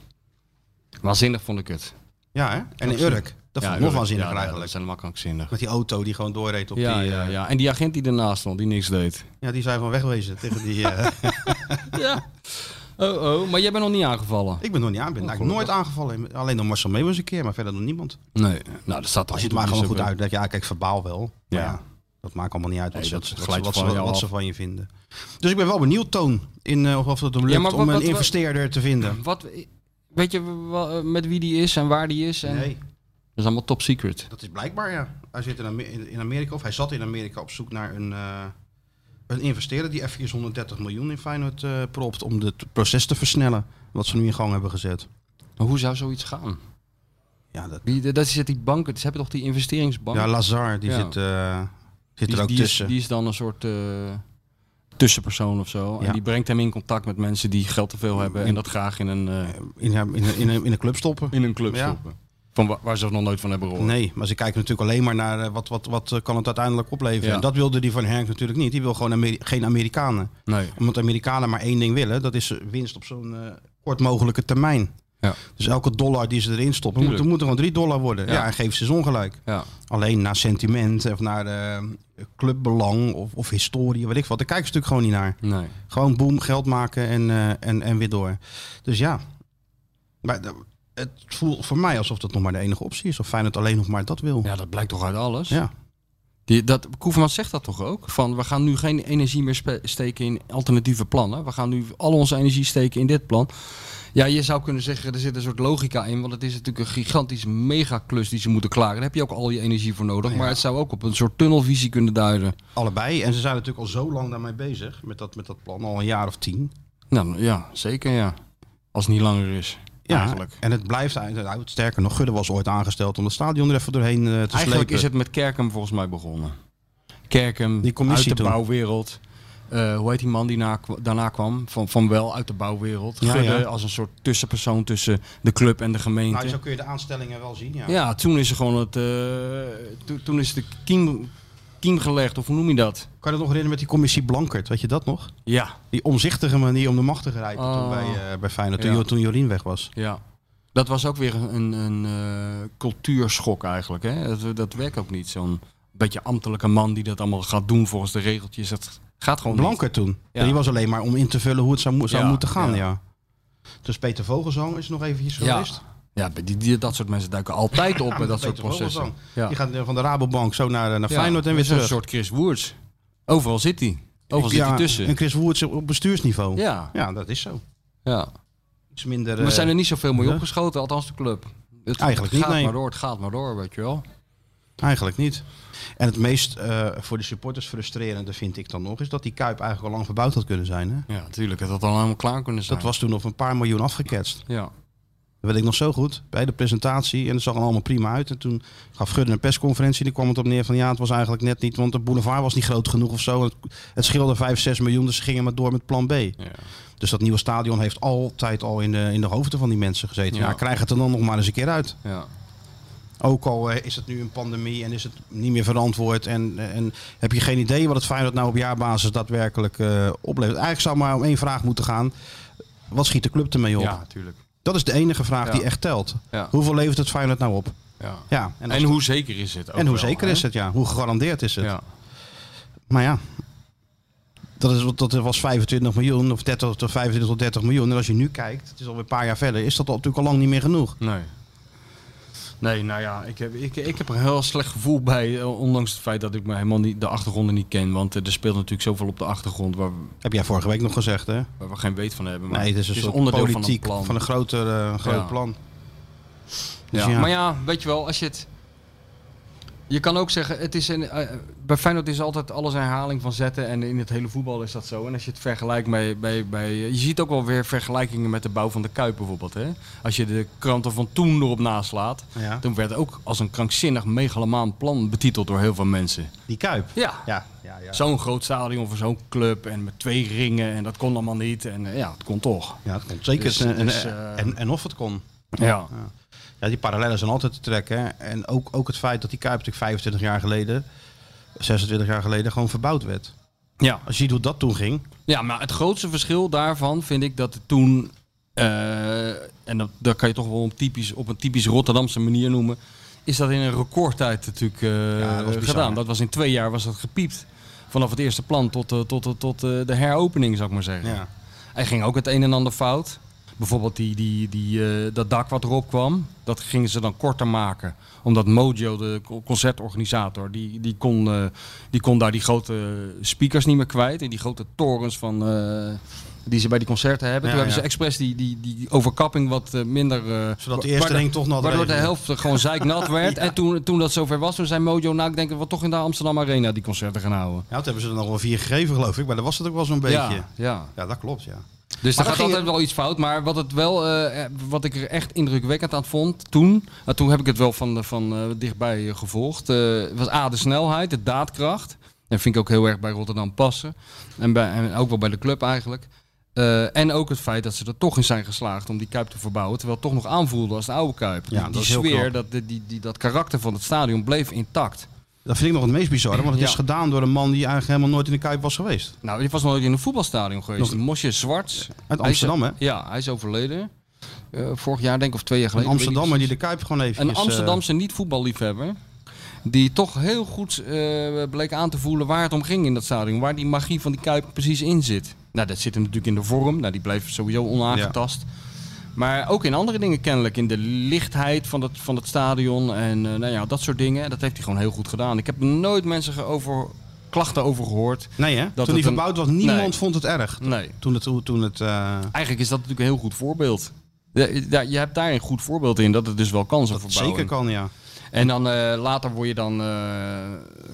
Waanzinnig vond ik het. Ja hè? En in Urk, dat vond ik nog waanzinniger eigenlijk. Dat zijn makkelijkzinnig. Met die auto die gewoon doorreed op Ja, die... ja, eh, ja. En die agent die ernaast stond, die niks deed. ja, die zijn gewoon wegwezen tegen die... eh, (laughs) ja. Oh, oh. Maar jij bent nog niet aangevallen. ik ben nog niet aan, ben eigenlijk nooit aangevallen. Alleen door Marcel Meeuwis een keer, maar verder door niemand. Nee. Nou, dat staat Als je het maar gewoon goed uitlegt. Ja, kijk, verbaal wel. Maar Ja. ja, dat maakt allemaal niet uit wat, Nee, ze- dat wat, ze- glijdt wat ze, van jou wat af. ze van je vinden. Dus ik ben wel benieuwd, Toon, in, eh, of- of het hem lukt Ja, maar wat- om een wat- wat- investeerder te vinden. Wat, weet je wa- eh, met wie die is en waar die is? En... Nee, Dat is allemaal top secret. dat is blijkbaar, ja. Hij zit in, Amer- in- in Amerika, of hij zat in Amerika op zoek naar een... eh, een investeerder die even 130 miljoen in Feyenoord eh, propt om het proces te versnellen. Wat ze nu in gang hebben gezet. Maar hoe zou zoiets gaan? Ja, dat, Wie, dat zit die banken. Ze hebben toch die investeringsbank? Ja, Lazar, die Ja. zit, eh, zit Die, er ook die tussen. Is, die is dan een soort eh, tussenpersoon of zo. Ja. En die brengt hem in contact met mensen die geld te veel hebben en dat graag in een, eh, in, haar- in, in, in een club stoppen. in een club Ja. stoppen. Van wa- waar ze nog nooit van hebben gehoord. Nee, maar ze kijken natuurlijk alleen maar naar eh, wat, wat, wat eh, kan het uiteindelijk opleveren. Ja. En dat wilde die van Henk natuurlijk niet. Die wil gewoon Ameri- geen Amerikanen. Nee. Omdat Amerikanen maar één ding willen. Dat is winst op zo'n eh, kort mogelijke termijn. Ja. Dus elke dollar die ze erin stoppen, moet, Tuurlijk. moet er gewoon 3 dollar worden. Ja, Ja. en geven ze ze ongelijk. Ja. Alleen naar sentiment of naar eh, clubbelang of, of historie, weet ik wat. Daar kijken ze natuurlijk gewoon niet naar. Nee. Gewoon boem, geld maken en, eh, en, en weer door. Dus ja. Maar de- het voelt voor mij alsof dat nog maar de enige optie is. Of Feyenoord alleen nog maar dat wil. Ja. Ja, dat blijkt toch uit alles. Die, dat, Koeverman zegt dat toch ook? Van we gaan nu geen energie meer spe- steken in alternatieve plannen. We gaan nu al onze energie steken in dit plan. Ja, je zou kunnen zeggen, er zit een soort logica in. Want het is natuurlijk een gigantisch megaclus die ze moeten klaren. Daar heb je ook al je energie voor nodig. Maar het zou ook op een soort tunnelvisie kunnen duiden. Allebei. En ze zijn natuurlijk al zo lang daarmee bezig. Met dat, met dat plan. Al een jaar of tien. Nou ja, zeker ja. Als het niet langer is. eigenlijk. En het blijft eigenlijk. nou, Sterker nog, Gudde was ooit aangesteld om het stadion er even doorheen eh, te Eigenlijk slepen. is het met Kerkem volgens mij begonnen. Kerkem, Die commissie uit de toen. bouwwereld. Eh, hoe heet die man die na- daarna kwam? Van, van wel uit de bouwwereld. Ja, Gudde ja. als een soort tussenpersoon tussen de club en de gemeente. Nou, zo kun je de aanstellingen wel zien. Ja. ja, toen is er gewoon het. eh, to- toen is de kiem, kiem gelegd, of hoe noem je dat? Kan je dat nog herinneren met die commissie Blankert? Weet je dat nog? Ja. Die omzichtige manier om de macht te grijpen toen Oh. bij, eh, bij Feyenoord. Toen, Ja. Jo- toen Jorien weg was. ja. Dat was ook weer een, een eh, cultuurschok eigenlijk. Hè? Dat, dat werkt ook niet. Zo'n beetje ambtelijke man die dat allemaal gaat doen volgens de regeltjes. Dat gaat gewoon niet. Blankert toen. Ja. Die was alleen maar om in te vullen hoe het zou, mo- zou Ja, moeten gaan, ja. ja. Dus Peter Vogelzang is nog eventjes geweest. Ja, die, die- dat soort mensen duiken (laughs) altijd op met dat soort Peter processen. Vogelzang. Ja. Die gaat eh, van de Rabobank zo naar, eh, naar Ja, Feyenoord en weer dat is terug. Een soort Chris Woerts. Overal zit hij. Overal Ja, zit hij tussen. En Chris Woerts op bestuursniveau. Ja. ja, dat is zo. Ja. iets minder... Maar eh, er zijn er niet zoveel mee ja. opgeschoten, althans de club. Het, Eigenlijk het niet, gaat nee. maar door, het gaat maar door, weet je wel. Eigenlijk niet. En het meest eh, voor de supporters frustrerende vind ik dan nog... is dat die Kuip eigenlijk al lang verbouwd had kunnen zijn. Hè? Ja, natuurlijk. Het had al helemaal klaar kunnen zijn. Dat was toen op een paar miljoen afgeketst. Ja. Dat weet ik nog zo goed. Bij de presentatie. En het zag er allemaal prima uit. En toen gaf Gudde een persconferentie. Die kwam het op neer van ja, het was eigenlijk net niet. Want de boulevard was niet groot genoeg of zo. Het, het scheelde 5, 6 miljoen. Dus ze gingen maar door met plan B. ja. Dus dat nieuwe stadion heeft altijd al in de, in de hoofden van die mensen gezeten. Ja, Ja. krijg het er dan nog maar eens een keer uit. ja. Ook al eh, is het nu een pandemie en is het niet meer verantwoord. En, en heb je geen idee wat het Feyenoord nou op jaarbasis daadwerkelijk eh, oplevert. Eigenlijk zou maar om één vraag moeten gaan. Wat schiet de club ermee op? Ja, natuurlijk. Dat is de enige vraag Ja. die echt telt. Ja. Hoeveel levert het Feyenoord nou op? Ja. Ja, en, En, als- hoe zeker is het? ook en hoe wel, zeker hè? is het? Ja, hoe gegarandeerd is het? Ja. Maar ja, dat, is, wat- dat was 25 miljoen of 30 tot 25 tot 30 miljoen. En als je nu kijkt, het is alweer een paar jaar verder, is dat al, natuurlijk al lang niet meer genoeg. Nee. Nee, nou ja, ik heb, ik, ik heb er een heel slecht gevoel bij. eh, Ondanks het feit dat ik me helemaal niet, de achtergronden niet ken. Want eh, er speelt natuurlijk zoveel op de achtergrond waar, Heb jij vorige week nog gezegd, hè? waar we geen weet van hebben. Maar Nee, het is een soort onderdeel politiek van een plan. groter, eh, groot Ja. plan. Dus ja. Maar ja, weet je wel, als je het... Je kan ook zeggen, het is een, eh, bij Feyenoord is altijd alles een herhaling van zetten. En in het hele voetbal is dat zo. En als je het vergelijkt met... Bij, bij, eh, je ziet ook wel weer vergelijkingen met de bouw van de Kuip bijvoorbeeld. Hè? Als je de kranten van toen erop naslaat. Ja. Toen werd ook als een krankzinnig megalomaan plan betiteld door heel veel mensen. Die Kuip. Ja. Ja, ja, ja. Zo'n groot stadion voor zo'n club en met twee ringen en dat kon allemaal niet. En eh, ja, het kon toch. ja het kon zeker. Dus- en, en- dus, en, eh, en, of het kon. Ja. Ja, die parallellen zijn altijd te trekken. hè. En ook, ook het feit dat die Kuip natuurlijk 25 jaar geleden, 26 jaar geleden, gewoon verbouwd werd. Ja. Als je ziet hoe dat toen ging. ja, maar het grootste verschil daarvan vind ik dat het toen... eh, en dat, dat kan je toch wel op, typisch, op een typisch Rotterdamse manier noemen... Is dat in een recordtijd natuurlijk eh, Ja, dat was bizar, hè? gedaan. Dat was in twee jaar was dat gepiept. Vanaf het eerste plan tot, eh, tot, tot, tot eh, de heropening, zou ik maar zeggen. Ja. Hij ging ook het een en ander fout. Bijvoorbeeld die, die, die, eh, dat dak wat erop kwam, dat gingen ze dan korter maken. Omdat Mojo, de co- concertorganisator, die, die, kon, eh, die kon daar die grote speakers niet meer kwijt. En die grote torens van, eh, die ze bij die concerten hebben. Ja, Toen hebben ja. ze expres die, die, die overkapping wat eh, minder... eh, Zodat de eerste waardoor- ring toch nat Waardoor de regende. helft gewoon zeiknat (laughs) werd. En toen, toen dat zover was, toen zei Mojo, nou ik denk dat we toch in de Amsterdam Arena die concerten gaan houden. Ja, dat hebben ze er nog wel vier gegeven, geloof ik. Maar dat was het ook wel zo'n beetje. Ja, ja. Ja, dat klopt, ja. Dus Maar er gaat dan ging altijd wel iets fout. Maar wat, het wel, eh, eh, wat ik er echt indrukwekkend aan vond toen... nou, toen heb ik het wel van, de- van eh, dichtbij eh, gevolgd. eh, was A, de snelheid, de daadkracht. Dat vind ik ook heel erg bij Rotterdam passen. En, bij, en ook wel bij de club eigenlijk. Eh, en ook het feit dat ze er toch in zijn geslaagd om die Kuip te verbouwen. Terwijl het toch nog aanvoelde als de oude Kuip. Ja, die dat is heel knap. sfeer, dat, die, die, die- dat karakter van het stadion bleef intact. Dat vind ik nog het meest bizarre, want het is Ja. gedaan door een man die eigenlijk helemaal nooit in de Kuip was geweest. Nou, die was nooit in een voetbalstadion geweest. Mosje Zwarts. Uit Hij is- Amsterdam, hè? Ja, hij is overleden. Eh, vorig jaar, denk ik, of twee jaar Een geleden. Amsterdammer die weet eh, ik de Kuip gewoon niet. even. Een Amsterdamse niet-voetballiefhebber. Die toch heel goed eh, bleek aan te voelen waar het om ging in dat stadion. Waar die magie van die Kuip precies in zit. Nou, dat zit hem natuurlijk in de vorm. Nou, die blijft sowieso onaangetast. Maar ook in andere dingen kennelijk. In de lichtheid van het, van het stadion. En eh, nou ja, dat soort dingen. Dat heeft hij gewoon heel goed gedaan. Ik heb nooit mensen ge- over, klachten over gehoord. nee, hè? Toen het die een- verbouwd was, niemand Nee. vond het erg. Nee. Toen het. Toen het eh, Eigenlijk is dat natuurlijk een heel goed voorbeeld. Ja, ja, Je hebt daar een goed voorbeeld in dat het dus wel kan zijn voor Zeker Bouwen. kan, ja. En dan eh, later word je dan. eh,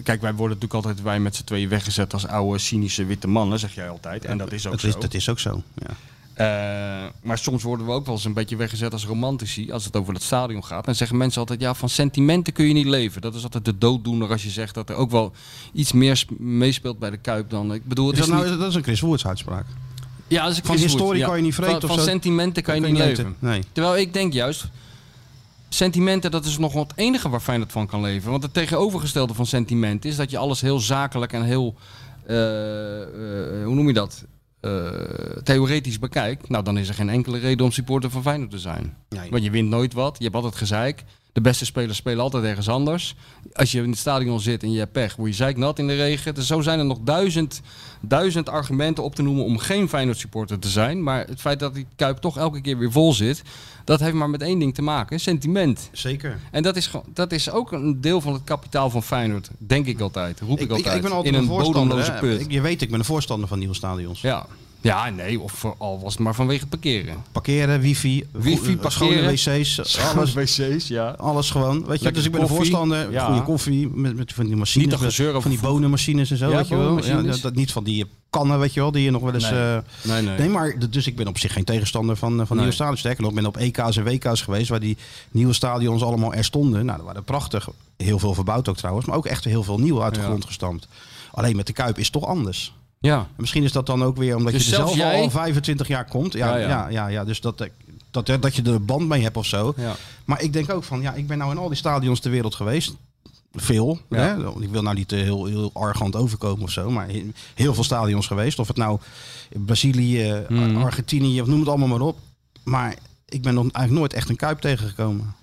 kijk, wij worden natuurlijk altijd wij met z'n tweeën weggezet als oude cynische witte mannen, zeg jij altijd. En dat is ook Dat zo. is, dat is ook zo. Ja. Eh, maar soms worden we ook wel eens een beetje weggezet als romantici als het over het stadion gaat. Dan zeggen mensen altijd, ja, van sentimenten kun je niet leven. Dat is altijd de dooddoener als je zegt dat er ook wel iets meer sp- meespeelt bij de Kuip dan... Ik bedoel, het Is dat, is nou, niet- dat is een Chris Woerts uitspraak. ja, dus ik Van is historie goed, ja. kan je niet vreten Van, of van zo. sentimenten kan je Kan niet je niet leven. weten, nee. Terwijl ik denk juist... Sentimenten, dat is nog wel het enige waar Feyenoord van kan leven. Want het tegenovergestelde van sentiment is dat je alles heel zakelijk en heel... eh, eh, hoe noem je dat? Eh, theoretisch bekijkt. Nou, dan is er geen enkele reden om supporter van Feyenoord te zijn. Nee. Want je wint nooit wat. Je hebt altijd gezeik. De beste spelers spelen altijd ergens anders. Als je in het stadion zit en je hebt pech, word je zeiknat in de regen. Dus zo zijn er nog duizend, duizend argumenten op te noemen om geen Feyenoord supporter te zijn. Maar het feit dat die Kuip toch elke keer weer vol zit, dat heeft maar met één ding te maken. Sentiment. Zeker. En dat is, gewoon- dat is ook een deel van het kapitaal van Feyenoord. Denk ik altijd. Roep ik, Ik, ik, altijd. ik ben altijd in een een voorstander. bodemloze hè. put. Ik- Je weet, ik ben een voorstander van nieuwe stadions. Ja. Ja, nee, of voor- al was het maar vanwege het parkeren. Parkeren, wifi, Wifi, goe- eh, schone wc's, alles, wc's, ja. alles gewoon. Weet je, Lekkere dus ik ben een koffie, voorstander, ja. goede koffie, met, met van die machines, Niet dat met- gezeur over van die voet- bonenmachines en zo, Ja, weet je wel. Ja, bonenmachines. dat, niet van die kannen, weet je wel, die je nog wel eens... Nee. eh, Nee, nee. Nee, maar d- dus ik ben op zich geen tegenstander van, eh, van nieuwe Nee. stadions. Sterker nog, ik ben op EK's en WK's geweest waar die nieuwe stadions allemaal er stonden. Nou, dat waren prachtig. Heel veel verbouwd ook trouwens, maar ook echt heel veel nieuw uit de Ja. grond gestampt. Alleen met de Kuip is het toch anders. Ja. En Misschien is dat dan ook weer omdat Dus je er zelf zelfs jij- al 25 jaar komt. Ja, ja, Ja, ja. ja. ja, Dus dat, eh, dat, dat je er een band mee hebt of zo. Ja. Maar ik denk ook van, ja, ik ben nou in al die stadions ter wereld geweest. Veel. Ja. Hè? Ik wil nou niet eh, heel, heel arrogant overkomen of zo. Maar he- heel veel stadions geweest. Of het nou Brazilië, Ar- Mhm. Argentinië, of noem het allemaal maar op. Maar ik ben nog eigenlijk nooit echt een kuip tegengekomen.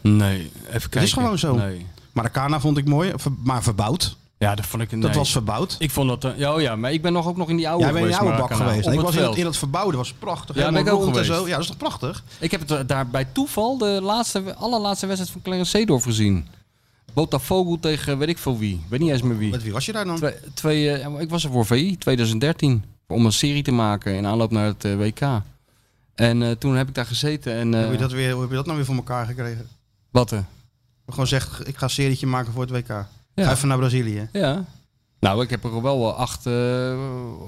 Nee, even kijken. Het is gewoon zo. Nee. Maracana vond ik mooi, ver- maar verbouwd. Ja, dat vond ik... Dat was verbouwd. Ik vond dat... eh, Ja, oh ja, maar ik ben nog ook nog in die oude Jij bent in geweest. jouw bak Maracana, geweest. nou. op Ik het was in, dat- veld. in dat verbouwde, was prachtig. Ja, ben Helemaal ik ook rond en geweest. Zo. Ja, dat is toch prachtig? Ik heb het eh, daar bij toeval de laatste, allerlaatste wedstrijd van Clarence Seedorf gezien. Botafogo tegen weet ik veel wie. Weet niet eens meer wie. Met wie was je daar dan? Twee, twee, eh, ik was er voor VI 2013. Om een serie te maken in aanloop naar het eh, WK. En eh, toen heb ik daar gezeten. En, eh, Hoe heb, je dat weer, hoe heb je dat nou weer voor elkaar gekregen? Wat eh, Gewoon zeg, ik ga een serietje maken voor het WK. Ja. Ga even naar Brazilië. Ja. Nou, ik heb er wel wel acht eh,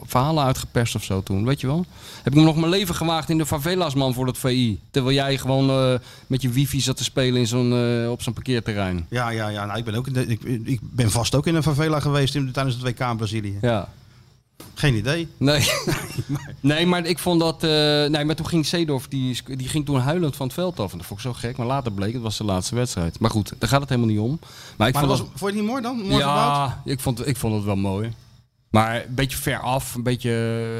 verhalen uitgeperst of zo toen, weet je wel. Heb ik me nog mijn leven gewaagd in de favelas, man, voor dat VI. Terwijl jij gewoon eh, met je wifi zat te spelen in zo'n, eh, op zo'n parkeerterrein. Ja, ja, ja. Nou, ik, ben ook in de- ik, ik ben vast ook in een favela geweest in, tijdens het WK in Brazilië. Ja. Geen idee. Nee. (laughs) nee, maar ik vond dat... eh, nee, maar toen ging Seedorf, die, sc- die ging toen huilend van het veld af. En dat vond ik zo gek. Maar later bleek, het was de laatste wedstrijd. Maar goed, daar gaat het helemaal niet om. Maar ik Maar vond was, dat- vond je het niet mooi dan? Mooi verbouwd? ja, ik vond, ik vond het wel mooi. Maar een beetje ver af, een beetje,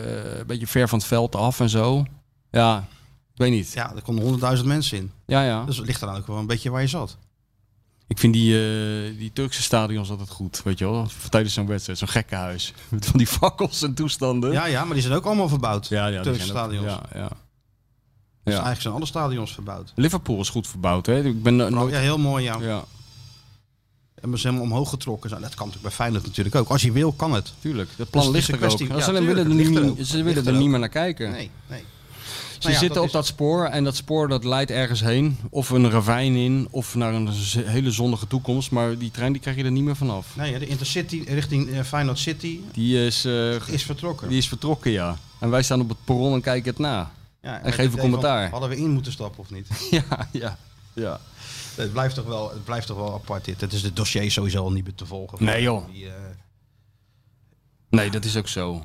eh, een beetje ver van het veld af en zo. Ja, ik weet niet. Ja, er konden honderdduizend mensen in. Ja, ja. Dus het ligt eraan ook wel een beetje waar je zat. Ik vind die, eh, die Turkse stadions altijd goed, weet je wel. Tijdens zo'n wedstrijd, zo'n gekkenhuis. (laughs) Met van die fakkels en toestanden. Ja, ja, maar die zijn ook allemaal verbouwd. ja, ja die Turkse zijn ook- stadions. Ja, ja. Dus Ja. eigenlijk zijn alle stadions verbouwd. Liverpool is goed verbouwd, hè. Ik ben eh, nooit... Ja, heel mooi, Oh, ja. Ja, En we zijn helemaal omhoog getrokken. zijn. Dat kan natuurlijk bij Feyenoord natuurlijk ook. Als je wil, kan het. tuurlijk. Dat Dus plan het is ligt een er kwestie- ook. ja, ze tuurlijk, willen er, het niet, ligt er meer- ook. Het ze ligt willen er er niet ook. meer naar kijken. Nee, nee. Ze Nou ja, zitten dat op dat spoor en dat spoor dat leidt ergens heen. Of een ravijn in, of naar een z- hele zonnige toekomst. Maar die trein die krijg je er niet meer vanaf. Nee, de Intercity richting eh, Feyenoord City Die is, eh, g- is vertrokken. die is vertrokken, ja. En wij staan op het perron en kijken het na. (laughs) Ja, En met geef het een idee commentaar. van, hadden we in moeten stappen of niet? (laughs) ja, ja, ja. het, blijft toch wel, het blijft toch wel apart dit. Het is het dossier sowieso al niet meer te volgen. Nee, joh. Die, eh, Nee, dat is ook zo.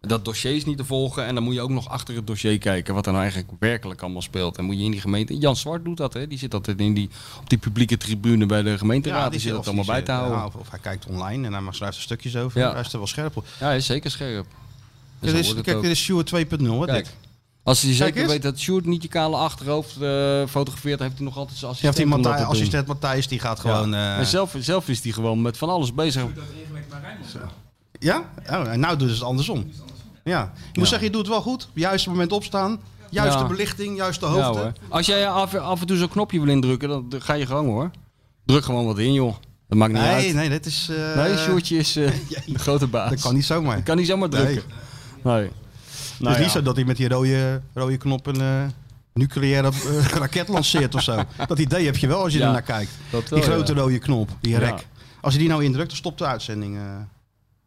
Dat dossier is niet te volgen en dan moet je ook nog achter het dossier kijken wat er nou eigenlijk werkelijk allemaal speelt. En moet je in die gemeente... Jan Zwart doet dat, hè. Die zit altijd in die, op die publieke tribune bij de gemeenteraad. die, zit dat of allemaal die Nou. bij zit- eh, te houden. ja, of, of hij kijkt online en hij mag schrijft er stukjes over. Ja. Hij is er wel scherp op. Ja, hij is zeker scherp. Dus Dit zo is, wordt het kijk, ook. dit is Sjoerd 2.0. hè, Kijk, dit. als hij zeker eens. weet dat Sjoerd niet je kale achterhoofd eh, fotografeert, heeft hij nog altijd zijn Je hebt assistent. die om dat Matthijs, te doen. assistent Matthijs, die gaat Ja. gewoon... eh, En zelf, zelf is hij gewoon met van alles bezig. Dat regel ik bij Rijnmond. Ja? Oh, en nou doen ze het andersom. Ja. Ik moet Ja. zeggen, je doet het wel goed. Op het juiste moment opstaan. Juiste Ja. belichting, juiste Ja, hoogte. hoor. Als jij af, af en toe zo'n knopje wil indrukken, dan dan ga je gang hoor. Druk gewoon wat in, joh. Dat maakt niet nee, uit. nee, dit is... eh, Nee, Sjoerdje is eh, (laughs) (laughs) de grote baas. Dat kan niet zomaar. Dat kan niet zomaar Nee. drukken. Nee. Het Nou is niet ja. zo dat hij met die rode, rode knop een eh, nucleaire eh, (laughs) raket lanceert of zo. Dat idee heb je wel als je Ja, ernaar kijkt. dat wel, die grote ja. rode knop, die Ja. rek. Als je die nou indrukt, dan stopt de uitzending. eh.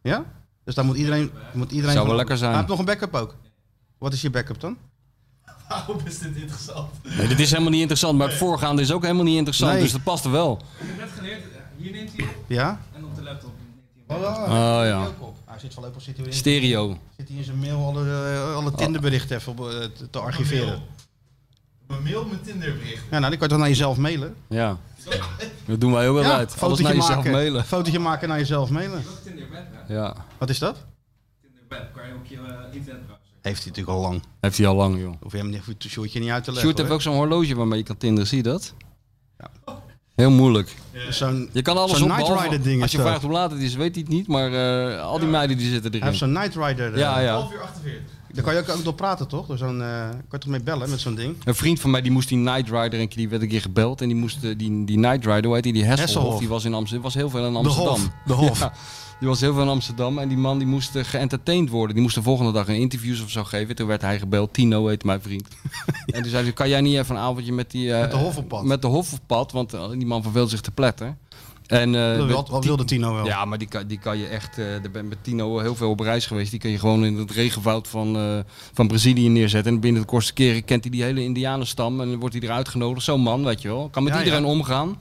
ja? Dus daar moet iedereen, moet iedereen Zou wel van- lekker zijn. Hij heeft nog een backup ook. Wat is je backup dan? Waarom is dit interessant? Ik Nee, dit is helemaal niet interessant, maar het voorgaande is ook helemaal niet interessant, Nee. dus dat past er wel. heb net geleerd, hier neemt hij op Ja? en op de laptop neemt hij op. Oh Ah, ja. Hij zit voorlopig zit hij, weer in, Stereo. zit hij in zijn mail alle, eh, Ah. alle Tinderberichten even op, eh, te- te archiveren. Mijn mail, mijn Tinderbericht. Ja, nou, die kan je toch naar jezelf mailen? Ja. Dat doen wij ook wel ja, uit. Alles naar jezelf maken. mailen. Fotootje maken en naar jezelf mailen. Ook Tinderbed, hè? Ja. Wat is dat? Tinderbed kan je op je eh, internetbrowser. Heeft hij natuurlijk al lang. Heeft hij al lang, joh. Hoef je hem niet, hoef je Sjoerdje niet uit te leggen. Sjoerd heeft hoor. ook zo'n horloge waarmee je kan tinderen, zie je dat? Heel moeilijk. zo'n, Je kan alles zo'n op Knight behalve- Rider ding. Als je is dat. vraagt hoe laat het is, weet hij het niet, maar eh, al die meiden die zitten Hij heeft erin. zo'n Knight Rider. eh, Ja, ja. Half uur 48. Daar kan je ook, ook door praten, toch? Door zo'n, eh, kan je toch mee bellen met zo'n ding? Een vriend van mij die moest die Night Rider, en die werd een keer gebeld. En die moest eh, die, die Night Rider, hoe heet die, die Hasselhoff, Hasselhoff. die was in Amsterdam. was heel veel in Amsterdam. De Hof. Ja, die was heel veel in Amsterdam en die man die moest eh, geëntertaind worden. Die moest de volgende dag een interviews of zo geven. Toen werd hij gebeld, Tino heet mijn (laughs) vriend. En toen zei hij, kan jij niet even een avondje met die... eh, Met de Hof op pad. Met de Hof op pad, want eh, die man verveelt zich te pletten. En, eh, Dat met wil- wat Ti- wilde Tino wel? Ja, maar die kan, die kan je echt... eh daar ben ik met Tino heel veel op reis geweest. Die kan je gewoon in het regenwoud van, eh, van Brazilië neerzetten. En binnen de kortste keren kent hij die hele indianenstam. En dan wordt hij eruit genodigd. Zo'n man, weet je wel. Kan met Ja, iedereen omgaan.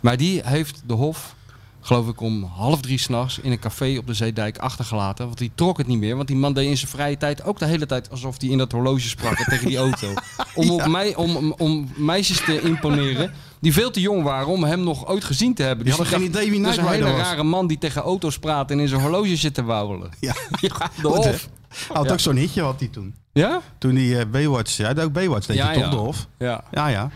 Maar die heeft de Hof, geloof ik, om half drie s'nachts in een café op de Zeedijk achtergelaten. Want die trok het niet meer. Want die man deed in zijn vrije tijd ook de hele tijd alsof hij in dat horloge sprak en tegen die (laughs) auto. Om, op mij, om, om, om meisjes te imponeren die veel te jong waren om hem nog ooit gezien te hebben. Die hadden geen idee wie dat is Dus een Knight hele Rider was. rare man die tegen auto's praat en in zijn horloge zit te wauwelen. Ja. (laughs) Ja, de Goed, hè? Hof. Hij had Ja. ook zo'n hitje had hij toen. Ja? Toen die eh, Baywatch, hij deed ook Baywatch, deed Ja, hij toch, ja. de Hof? Ja. Ja, ja.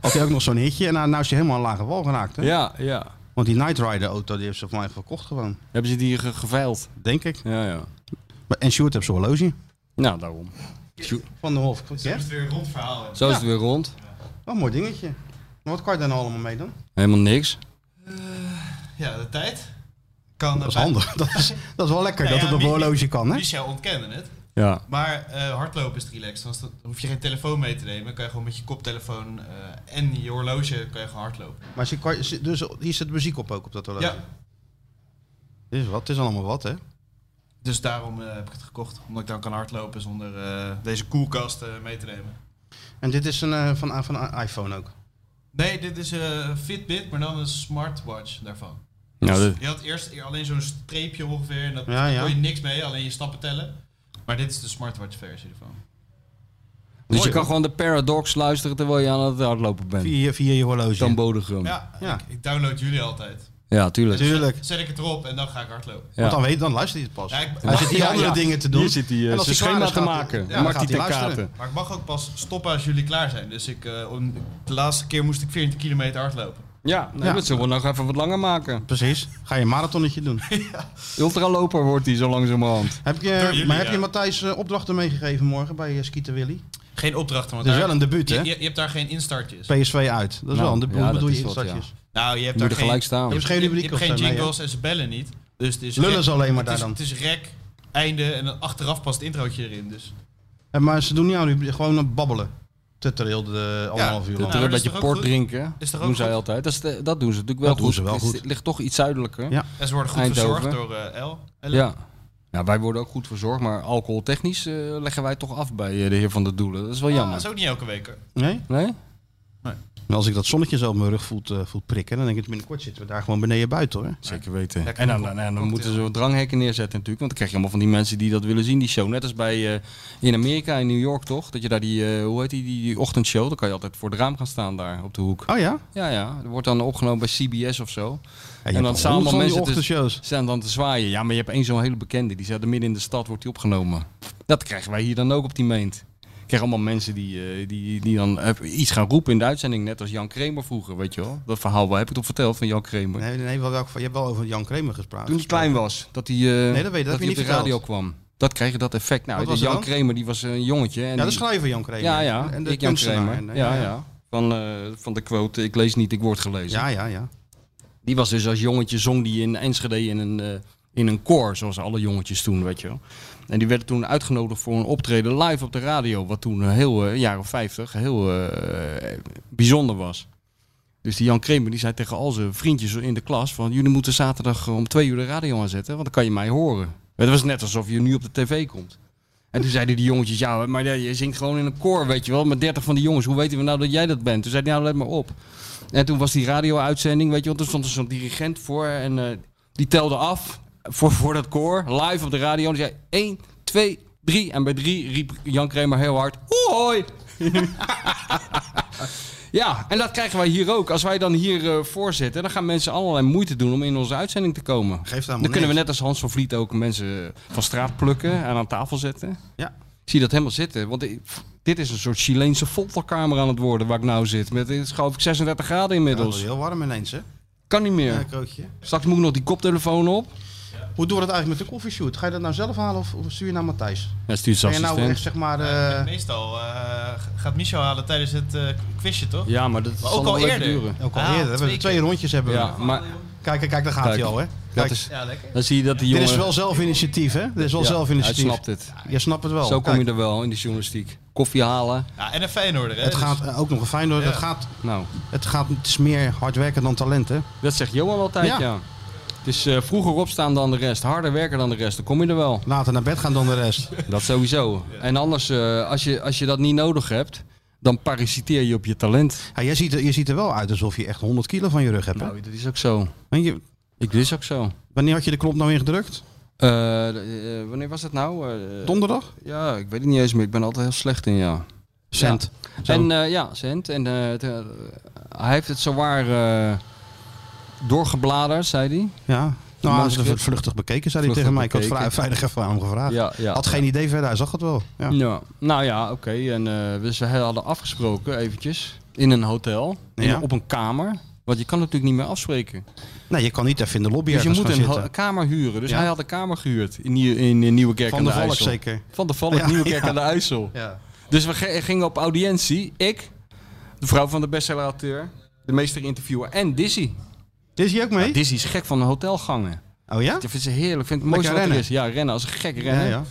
Had hij ook nog zo'n hitje en nou, nou is hij helemaal aan lage wal geraakt. Hè? Ja, ja. Want die Night Rider auto, die heeft ze van mij verkocht gewoon, Hebben ze die ge- geveild? denk ik. Ja, ja. Maar- En Sjoerd heeft zo'n horloge Nou, daarom. van de Hof. Zo Ja? is het weer een rond verhaal. hè. Zo is het weer rond. Wat een mooi dingetje. Maar wat kan je daar nou allemaal mee dan? Helemaal niks. Ja, de tijd. Kan Dat is handig. Dat is, dat is wel lekker Ja, dat ja, het op een wie- horloge kan, hè? Michel ontkende het. Ja. Maar eh, hardlopen is het relaxed. want dan hoef je geen telefoon mee te nemen. Dan kan je gewoon met je koptelefoon eh, en je horloge kan je gewoon hardlopen. Maar ze kan, ze- dus, hier zit muziek op ook op dat horloge. Ja. Dit is wat, het is allemaal wat, hè? Dus daarom eh, heb ik het gekocht. Omdat ik dan kan hardlopen zonder eh, deze koelkast eh, mee te nemen. En dit is een, eh, van, van een iPhone ook. Nee, dit is eh Fitbit, maar dan een smartwatch daarvan. Nou, dat- Je had eerst e- alleen zo'n streepje ongeveer en dat Ja, ja. kon je niks mee, alleen je stappen tellen. Maar dit is de smartwatch versie ervan. dus je hoor. kan gewoon de Paradox luisteren terwijl je aan het hardlopen bent. Via, via je horloge. Dan bodegrum. Ja. Ja, Ja. Ik, ik download jullie altijd. tuurlijk. Tuurlijk. Zet, zet ik het erop en dan ga ik hardlopen. Ja. Want dan, weet, dan luistert hij het pas. Ja, ik- Hij zit hier Ja, andere ja. dingen te doen. Hier zit hij eh, En als zijn hij klaar schema is, te gaat hij- maken. ja, Ja, dan gaat Maakt hij hij te luisteren. katen. Maar ik mag ook pas stoppen als jullie klaar zijn. Dus ik, eh, om- de laatste keer moest ik 14 kilometer hardlopen. Ja, nee, Ja. dat zullen we nog even wat langer maken. Precies. Ga je een marathonnetje (laughs) doen. Ultraloper wordt hij zo langzamerhand. heb je, Door jullie, maar heb ja. je Matthijs eh, opdrachten meegegeven morgen bij eh, Skeeter Willy? Geen opdrachten, want Dat is daar- wel een debuut, je, hè? je, je hebt daar geen instartjes. PSV uit. Dat is Nou, wel een debuut. ja, Hoe dat bedoel is je wat, ja. instartjes? Nou, je hebt Moet daar er geen, gelijk staan. Je hebt, Er is geen je hebt- je rubriek hebt of geen zo, nee, jingles en ze bellen niet. Dus het is Lullen ze alleen maar het daar is- dan. Het is rek, einde en dan achteraf past het introotje erin. Dus. Eh, Maar ze doen niet aan, die- gewoon een babbelen. Tutter heel de anderhalf uur Dat lang. er een dat is beetje toch ook port goed? drinken. Is toch ook doen zij goed? altijd. Dat, is de- dat doen ze natuurlijk wel Dat goed. doen ze wel Het is- goed. Het ligt toch iets zuidelijker. Ja. En ze worden goed Eindhoven. verzorgd door eh L. L. Ja. Ja, wij worden ook goed verzorgd, maar alcoholtechnisch eh, leggen wij toch af bij eh, de heer van de Doelen. Dat is wel Ah, jammer. dat is ook niet elke week hoor. Nee? Nee? En als ik dat zonnetje zo op mijn rug voelt, eh, voelt prikken, dan denk ik binnenkort zitten we daar gewoon beneden buiten hoor. Oh Zeker weten. Lekker en dan, cocktail. en dan moeten ze wat dranghekken neerzetten natuurlijk. Want dan krijg je allemaal van die mensen die dat willen zien, die show. Net als bij eh, in Amerika, in New York toch? Dat je daar die, eh, hoe heet die, die, die ochtendshow, dan kan je altijd voor het raam gaan staan daar op de hoek. Oh ja? Ja, ja. Dat wordt dan opgenomen bij CBS of zo. ja je en hebt dan al staan honderd allemaal van mensen dus- die te, ochtendshows. staan dan te zwaaien. Ja, maar je hebt één zo'n hele bekende. Die staat er midden in de stad, wordt die opgenomen. Dat krijgen wij hier dan ook op die meent. Ik krijg allemaal mensen die, eh, die, die dan eh, iets gaan roepen in de uitzending. Net als Jan Kramer vroeger, weet je wel. Dat verhaal waar heb ik toch verteld van Jan Kramer. Nee, nee, wel welk, je hebt wel over Jan Kramer gesproken. Toen hij klein was. Dat hij, eh, dat weet ik, dat heb je hij niet op de verteld. radio kwam. Dat kreeg je dat effect. Nou, Wat die was er Jan dan? Kramer die was eh, een jongetje. En Ja, de die- schrijver Jan Kramer. Ja, ja. En de ik Jan kunstenaar. Kramer. En, eh, ja, ja. Van, eh, van de quote, ik lees niet, ik word gelezen. Ja, ja, ja. Die was dus als jongetje, zong die in Enschede in een, eh, in een koor, zoals alle jongetjes toen, weet je wel. En die werden toen uitgenodigd voor een optreden live op de radio, wat toen een heel, eh, jaren 50, heel eh, bijzonder was. Dus die Jan Kramer die zei tegen al zijn vriendjes in de klas van... jullie moeten zaterdag om twee uur de radio aanzetten, want dan kan je mij horen. Het was net alsof je nu op de tv komt. En toen zeiden die jongetjes, ja, maar je zingt gewoon in een koor, weet je wel. Met dertig van die jongens, hoe weten we nou dat jij dat bent? Toen zei hij, nou, let maar op. En toen was die radio-uitzending, weet je wel, toen stond er zo'n dirigent voor en eh, die telde af voor, voor dat koor, live op de radio. En die zei 1, 2, 3. En bij 3 riep Jan Kramer heel hard, hoi! (laughs) ja, en dat krijgen wij hier ook. Als wij dan hier eh, voor zitten, dan gaan mensen allerlei moeite doen om in onze uitzending te komen. Geeft Dan helemaal kunnen we niks. net als Hans van Vliet ook mensen eh, van straat plukken en aan tafel zetten. Ja. Ik zie dat helemaal zitten. Want ik- pff, dit is een soort Chileense folterkamer aan het worden waar ik nou zit. Met, het is geloof ik 36 graden Ja, dat is inmiddels. heel warm ineens, hè? Kan niet meer. Ja, krootje. Straks moet ik nog die koptelefoon op. Hoe doen we dat eigenlijk met de koffieshoot? Ga je dat nou zelf halen of, of stuur je naar Matthijs? Hij stuurt Ben zijn je nou assistent. echt zeg maar... eh, Meestal eh, gaat Michel halen tijdens het eh, quizje, toch? Ja, maar dat zal Maar ook nog al wel even eerder. duren. Ook al Ah, eerder. Twee, twee twee keer. rondjes hebben we. Ja, maar Kijk, kijk, kijk, daar gaat Kijk, hij al, hè? Kijk, dat is, Ja, lekker. dan zie je dat die dit jongen... is wel zelfinitiatief, hè? Dit is wel Ja, zelfinitiatief. Hij snapt het. Je snapt het wel. Zo kom Oh, Kijk, je er wel in de journalistiek. Koffie halen. Ja, en een Feyenoorder, hè? Het dus- gaat eh, ook nog een fijn door. Ja. Het, gaat, Nou, het, gaat, het is meer hard werken dan talent, hè? dat zegt Johan altijd, Ja. ja. Het is eh, vroeger opstaan dan de rest. Harder werken dan de rest. Dan kom je er wel. Later naar bed gaan dan de (laughs) rest. Dat sowieso. En anders, eh, als, je, als je dat niet nodig hebt, dan parasiteer je op je talent. Ja, jij ziet er, je ziet er wel uit alsof je echt 100 kilo van je rug hebt. hè? Nou, dat is ook zo. En je, Ik dat is ook zo. wanneer had je de knop nou ingedrukt? Eh, eh, wanneer was dat nou? Eh, Donderdag? ja, ik weet het niet eens meer. Ik ben er altijd heel slecht in, ja. Cent. Zo. En eh, ja, Cent. En eh, het, eh, hij heeft het zowaar eh doorgebladerd, zei hij. Ja. Nou, hij is manuscript. er vluchtig bekeken, zei hij tegen Vluchtig mij. Ik had bekeken. vra- vrijdag even aan hem gevraagd. Ja, ja. Had geen idee verder, hij zag het wel. Ja. Ja, nou ja, oké. En eh, dus we hadden afgesproken eventjes in een hotel, in- Ja. op een kamer. Want je kan natuurlijk niet meer afspreken. Nee, je kan niet even in de lobby dus je ergens moet gaan een ho- zitten. kamer huren. Dus Ja. hij had een kamer gehuurd in, Nieuw- in, in Nieuwekerk Van aan de de Valk IJssel. zeker. Van de Valk, Ja, Nieuwekerk ja. aan de IJssel. Ja. Dus we ge- gingen op audiëntie. Ik, de vrouw van de bestseller-auteur, de meester-interviewer en Dizzy. Dit is hij ook mee? Dizzy is gek van hotelgangen. Oh ja? Dat vindt ze heerlijk. Vindt het Lekker mooiste wat er rennen. is. Ja, rennen als een gek Ja, rennen. ja.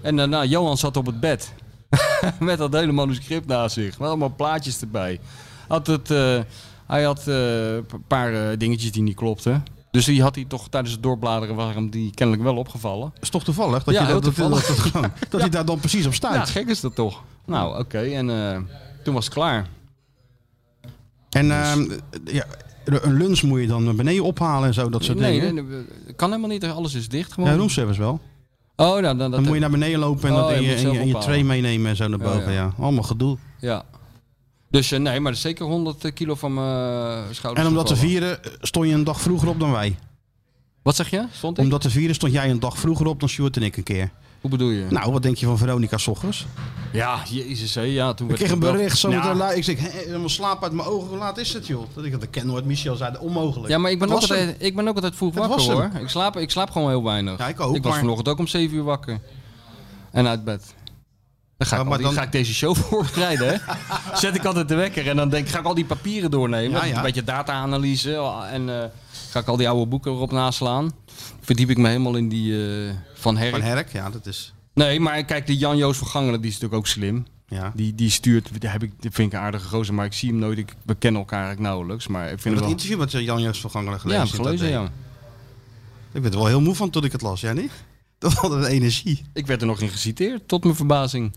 En eh, nou, Johan zat op het bed. (laughs) Met dat hele manuscript naast zich. Met allemaal plaatjes erbij. Had het, eh, hij had eh, een paar eh, dingetjes die niet klopten. Dus die had hij toch tijdens het doorbladeren was hem die kennelijk wel opgevallen. is toch toevallig dat, Ja, je heel dat, dat, toevallig. dat- dat- dat- (laughs) dat hij daar dan precies op Ja, staat. gek is dat toch? Nou, oké. En eh, toen was het klaar. En ehm, Dus- ja, een lunch moet je dan naar beneden ophalen en zo, dat soort nee, dingen. nee, nee, kan helemaal niet. Alles is dicht gewoon. Ja, roomservice wel. oh, nou, dan, dat, Dan moet je naar beneden lopen en, Oh, dat je en je, moet en zelf je, en je ophalen. tray meenemen en zo naar Ja, boven. Ja, ja. Allemaal gedoe. Ja. Dus eh, nee, maar dat is zeker 100 kilo van mijn eh, schouders En om dat te gevallen. vieren eh, stond je een dag vroeger op dan wij. Wat zeg je? Stond ik? Om dat te vieren stond jij een dag vroeger op dan Stuart en ik een keer. Hoe bedoel je? Nou, wat denk je van Veronica Sochers? ja, jezus hé. Ja, toen Ik kreeg een bericht zo Ja. meteen laat. Ik zeg, hè, helemaal slaap uit mijn ogen. Hoe laat is het, joh? Dat ik dat ik ken nooit. Michel zei, onmogelijk. Ja, maar ik ben, Dat ook was hem. altijd, ik ben ook altijd vroeg Het wakker was hem. hoor. Ik slaap, ik slaap gewoon heel weinig. Ja, ik ook, Ik was maar- vanochtend ook om 7 uur wakker. En uit bed. Dan ga, Ja, ik, al maar die- dan- ga ik deze show (laughs) voorbereiden. hè. Zet ik altijd de wekker en dan denk ik, ga ik al die papieren doornemen. Ja, ja. Een beetje data-analyse. En eh, ga ik al die oude boeken erop naslaan. Verdiep ik me helemaal in die eh, Van Herk. Van Herk, ja, dat is... Nee, maar kijk, die Jan-Joos van Gangelen, die is natuurlijk ook slim. Ja. Die, die stuurt, die heb ik, die vind ik een aardige gozer, maar ik zie hem nooit. Ik, we kennen elkaar eigenlijk nauwelijks, maar ik vind Dat hem wel... interview met eh, Jan Joost van Gangelen Ja, gelezen. heb ik dat gelezen, deed. ja. Ik werd er wel heel moe van toen ik het las, jij niet? (laughs) Dat had een energie. Ik werd er nog in geciteerd, tot mijn verbazing.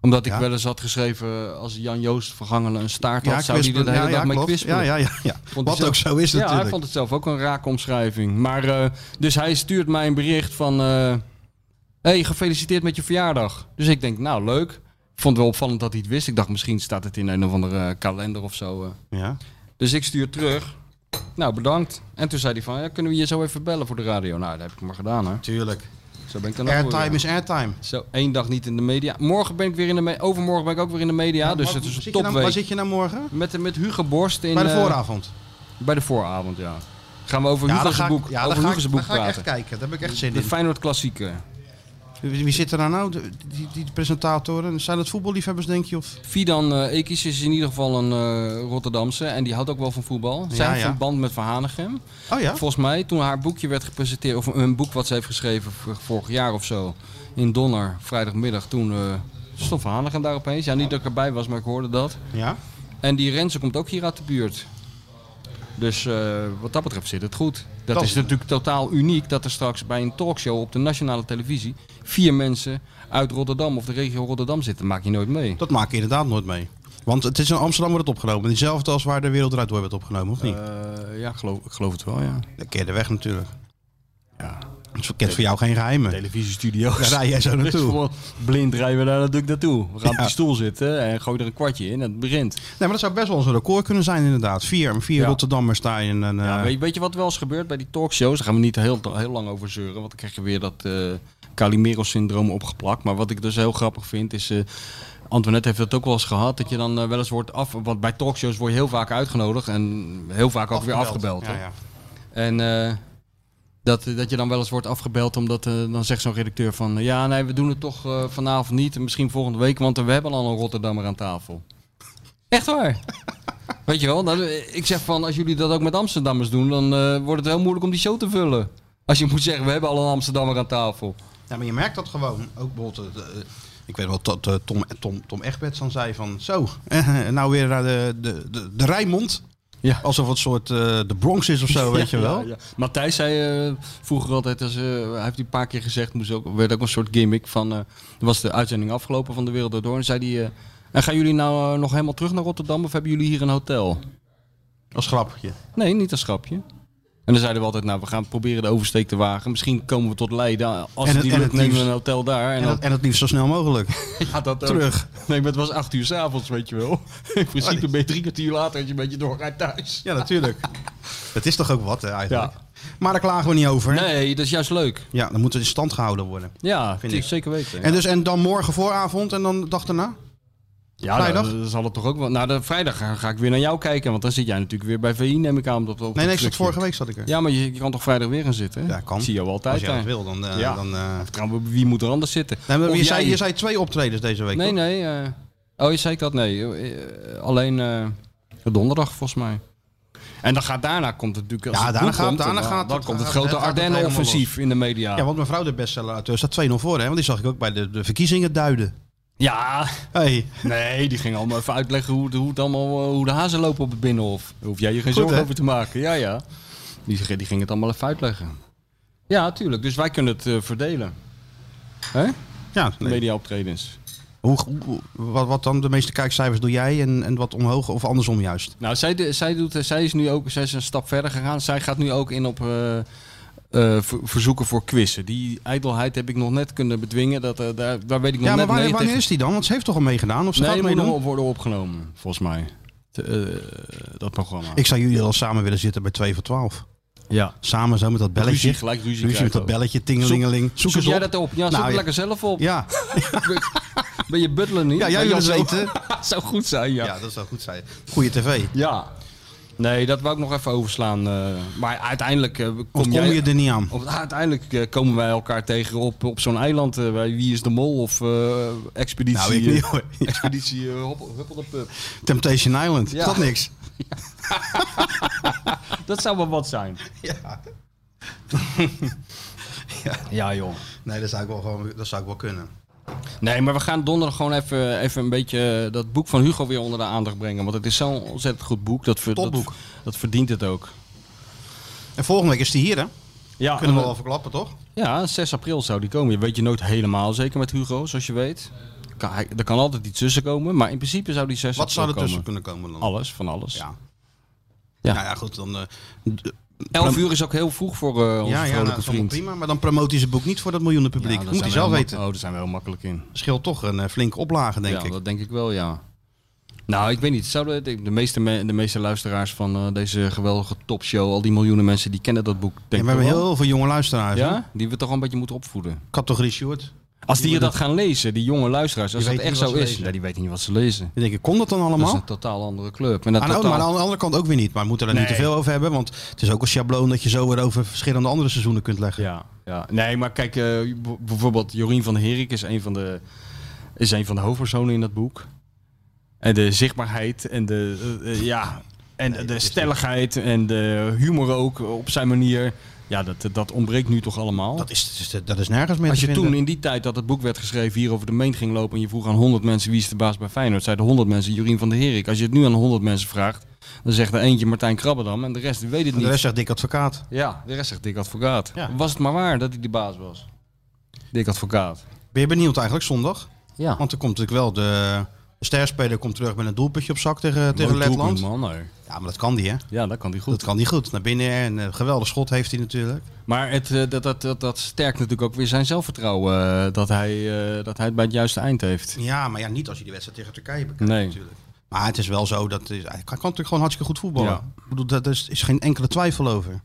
Omdat ik Ja. wel eens had geschreven, eh, als Jan Joost van Gangelen een staart had, zou hij kwispelen. er de hele ja, dag mee klopt. kwispelen. Ja, ja, ja. ja. Vond hij Wat ook zo is Ja, natuurlijk. hij vond het zelf ook een rake omschrijving. Maar, eh, dus hij stuurt mij een bericht van... eh hey, gefeliciteerd met je verjaardag. Dus ik denk, nou leuk. Ik vond het wel opvallend dat hij het wist. Ik dacht, misschien staat het in een of andere eh, kalender of zo. eh. Ja. Dus ik stuur terug. Nou, bedankt. En toen zei hij van, ja, kunnen we je zo even bellen voor de radio? Nou, dat heb ik maar gedaan, hè. Tuurlijk. Zo ben ik dan ook weer, Airtime ja. is airtime. Zo, één dag niet in de media. Morgen ben ik weer in de media. Overmorgen ben ik ook weer in de media. dus Wat- het is zit een je nou- Waar topweek. zit je nou morgen? Met, de- met Hugo Borst in... Bij de eh, vooravond. bij de vooravond, ja. Gaan we over ja, dan Hugo's ga ik- boek, ja, dan over ga ik- Hugo's boek dan ga ik praten. echt kijken. Daar heb ik echt zin De in. Feyenoord klassieker. Wie wie zit er nou nou? De- Die, die presentatoren? Zijn dat voetballiefhebbers, denk je? Of? Fidan eh Ekis is in ieder geval een eh, Rotterdamse. En die houdt ook wel van voetbal. Zij Ja, heeft ja. een band met Van Hanegem. Oh ja? Volgens mij, toen haar boekje werd gepresenteerd... of een boek wat ze heeft geschreven v- vorig jaar of zo... in Donner, vrijdagmiddag, toen... eh stond Van Hanegem daar opeens. Ja, niet dat ik erbij was, maar ik hoorde dat. Ja? En die Renze komt ook hier uit de buurt. Dus eh, wat dat betreft zit het goed. Dat, Dat- is natuurlijk totaal uniek dat er straks bij een talkshow op de nationale televisie vier mensen uit Rotterdam of de regio Rotterdam zitten. Maak je nooit mee. Dat maak je inderdaad nooit mee. Want het is in Amsterdam wordt het opgenomen. Diezelfde als waar de wereld eruit door werd opgenomen, of niet? Eh, ja, ik geloof, ik geloof het wel, ja. Dan keer de weg natuurlijk. Ja. Het kent voor jou geen geheimen. Daar Televisiestudio's. rij (laughs) jij zo naartoe. blind rijden we daar natuurlijk naartoe. We gaan op Ja. die stoel zitten en gooi er een kwartje in en het begint. Nee, maar dat zou best wel eens een record kunnen zijn inderdaad. Vier, vier Ja. Rotterdammers daar in een... eh, Ja, weet, weet je wat wel eens gebeurt bij die talkshows? Daar gaan we niet heel, heel lang over zeuren, want dan krijg je weer dat eh Calimero-syndroom opgeplakt. Maar wat ik dus heel grappig vind is... eh, Antoinette heeft dat ook wel eens gehad, dat je dan eh, wel eens wordt af... Want bij talkshows word je heel vaak uitgenodigd en heel vaak ook weer afgebeld. Ja, hè? ja. En eh, Dat, eh, dat je dan wel eens wordt afgebeld omdat eh, dan zegt zo'n redacteur van... eh, ja, nee, we doen het toch eh, vanavond niet en misschien volgende week, want eh, we hebben al een Rotterdammer aan tafel. Echt waar. Weet je wel, nou, eh, ik zeg van als jullie dat ook met Amsterdammers doen, dan eh, wordt het heel moeilijk om die show te vullen. Als je moet zeggen, we hebben al een Amsterdammer aan tafel. Ja, maar je merkt dat gewoon. Ook bijvoorbeeld, eh, eh, ik weet wel dat eh, Tom, Tom, Tom Egberts dan zei van... Zo, eh, nou weer naar de, de, de, de Rijnmond. Ja. Alsof het soort eh, de Bronx is of zo, weet je wel. Ja, ja. Matthijs zei eh, vroeger altijd, als, eh, hij heeft die een paar keer gezegd, moest ook, werd ook een soort gimmick van, eh, er was de uitzending afgelopen van de Wereld Door Door en zei hij, eh, en gaan jullie nou eh, nog helemaal terug naar Rotterdam of hebben jullie hier een hotel? Als grapje. Nee, niet een grapje. En dan zeiden we altijd, nou we gaan proberen de oversteek te wagen, misschien komen we tot Leiden, eh, als En het het- niet en lukt het nemen we een liefst- hotel daar. En En, dan dat, en het liefst zo snel (laughs) mogelijk. gaat dat ook. Terug. Nee, maar het was acht uur s'avonds, weet je wel. (laughs) In principe ben je drie kwartier later als je een beetje doorrijdt thuis. Ja, (laughs) natuurlijk. dat is toch ook wat hè, eigenlijk. Ja. Maar daar klagen we niet over. hè? Nee, dat is juist leuk. Ja, dan moet het in stand gehouden worden. Ja, Vind vind ik ik. zeker weten. En, dus, en dan morgen vooravond en dan de dag daarna? Ja, Vrijdag? Dan, dan zal het toch ook wel. Nou, de vrijdag ga, ga ik weer naar jou kijken, want dan zit jij natuurlijk weer bij VI, neem ik aan. Op, op Nee, nee, ik het zat stukje. vorige week zat ik er. Ja, maar je, je kan toch vrijdag weer gaan zitten? hè? Ja, kan. Zie je wel Als altijd. jij dat daar. wil, dan... eh, Ja. dan eh, Trouwens, Wie moet er anders zitten? Nee, maar Of je, jij. zei, je zei twee optredens deze week. nee, toch? nee. eh, oh, je zei ik dat? Nee. eh, eh, alleen eh, donderdag volgens mij. En dan gaat daarna komt het natuurlijk. Als Ja, het daarna goed gaat- komt, daarna dan, gaat dan het- komt het gaat- grote gaat het Ardennen-offensief in de media. Ja, Ja, want mevrouw de bestseller staat 2-0 voor, hè? Want die zag ik ook bij de, de verkiezingen duiden. Hey. nee, die ging allemaal even uitleggen hoe, de- hoe, het allemaal, eh, hoe de hazen lopen op het binnenhof. Daar hoef jij je geen Goed, zorgen hè? over te maken. Ja, ja. Die, die ging het allemaal even uitleggen. Ja, tuurlijk. Dus wij kunnen het eh, verdelen. Hè? Ja, nee. Media optredens. Hoe, hoe- wat, wat dan? De meeste kijkcijfers doe jij en, en wat omhoog of andersom juist? Nou, zij, de- zij, doet, zij is nu ook zij is een stap verder gegaan. Zij gaat nu ook in op eh, eh, ver- verzoeken voor quizzen. Die ijdelheid heb ik nog net kunnen bedwingen. Dat, eh, daar, daar weet ik nog Ja, maar net waar, nee wanneer tegen- is die dan? Want ze heeft toch al meegedaan? Of ze Nee, gaat moet meedoen? nog worden opgenomen, volgens mij. Te- eh, dat programma. Ik zou jullie al samen willen zitten bij 2 voor 12. ja. Samen zo met dat belletje. Ruzie, gelijk ruzie Ruzie met krijgen dat belletje, tingelingeling. Zoek, Zoek, eens jij op. dat op? Ja, zoek Nou, het ja. lekker zelf op. Ja. (laughs) Ben je butler niet? Ja, jij wil wil het (laughs) zou goed zijn, ja. ja. ja. dat zou goed zijn. Goeie tv. Nee, dat wou ik nog even overslaan. eh, maar uiteindelijk eh, kom, Of kom jij- Oh, je er niet aan? Of, uiteindelijk eh, komen wij elkaar tegen op, op zo'n eiland eh, bij Wie is de Mol of eh, Expeditie... Nou, ik niet, eh, (laughs) hoor. Expeditie eh, Hoppel- Huppeldepup. Temptation Island. Ja. Is dat niks? Dat zou wel wat (laughs) zijn. Ja. ja. joh. Nee, dat zou ik wel, gewoon, dat zou ik wel kunnen. Nee, maar we gaan donderdag gewoon even, even een beetje eh, dat boek van Hugo weer onder de aandacht brengen. Want het is zo'n ontzettend goed boek. Dat, ver- dat, Topboek. dat verdient het ook. En volgende week is die hier, hè? Ja, Kunnen we wel verklappen, toch? ja, 6 april zou die komen. Je weet je nooit helemaal zeker met Hugo, zoals je weet. Kan, hij- er kan altijd iets tussen komen. Maar in principe zou die 6 Wat april zou er tussen komen. kunnen komen dan? Alles, van alles. Ja. Ja. Nou ja, goed, dan... eh, d- 11 uur is ook heel vroeg voor eh, onze ja, ja, nou, dat vrolijke is allemaal vriend. prima. Maar dan promoot hij zijn boek niet voor dat miljoenen Ja, publiek. daar Moet hij zijn we zelf heel weten. mak- Oh, daar zijn we heel makkelijk in. scheelt toch een eh, flinke oplage, denk ja, ik. dat denk ik wel, ja. Nou, ik weet niet. Zouden de, de, meeste, me- de meeste luisteraars van eh, deze geweldige topshow, al die miljoenen mensen, die kennen dat boek. En Denk we ik hebben wel. heel veel jonge luisteraars. hè? ja, die we toch wel een beetje moeten opvoeden. Categorie short. Als die je dat gaan lezen, die jonge luisteraars, als Die dat weten niet echt zo wat ze is, lezen. ja, die weten niet wat ze lezen. Ik denk, ik, kon dat dan allemaal? Dat is een totaal andere club. En dat Aan de- totaal... maar aan de andere kant ook weer niet. Maar we moeten er niet Nee. te veel over hebben. Want het is ook een schabloon dat je zo weer over verschillende andere seizoenen kunt leggen. Ja, ja. Nee, maar kijk, eh, b- bijvoorbeeld Jorien van Herik is een van de, is een van de hoofdpersonen in dat boek. En de zichtbaarheid en de, eh, eh, ja, en de stelligheid en de humor ook op zijn manier. Ja, dat, dat ontbreekt nu toch allemaal. Dat, is, dat is- dat is nergens meer Als te je vinden. toen in die tijd dat het boek werd geschreven hier over de meent ging lopen en je vroeg aan 100 mensen wie is de baas bij Feyenoord, zeiden 100 mensen Jorien van der Herik. Als je het nu aan 100 mensen vraagt, dan zegt er eentje Martijn Krabbedam en de rest weet het de niet. rest zegt dik advocaat. Ja, de rest zegt Dick Advocaat. Ja. Was het maar waar dat hij de baas was? Dick Advocaat. Ben je benieuwd eigenlijk zondag? Ja. Want er komt natuurlijk wel de... de sterspeler komt terug met een doelpuntje op zak tegen, tegen Letland. Man, hoor. Ja, maar dat kan die, hè? Ja, dat kan hij goed. Dat kan die goed. Naar binnen en een geweldig schot heeft hij natuurlijk. Maar het, eh, dat, dat, dat, dat sterkt natuurlijk ook weer zijn zelfvertrouwen. eh, dat, hij, eh, dat hij het bij het juiste eind heeft. Ja, maar ja, niet als je de wedstrijd tegen Turkije bekijkt Nee. natuurlijk. Mm. Maar het is wel zo dat eh, hij hij kan natuurlijk gewoon hartstikke goed voetballen. Ja. Ik bedoel, daar daar is, is geen enkele twijfel over.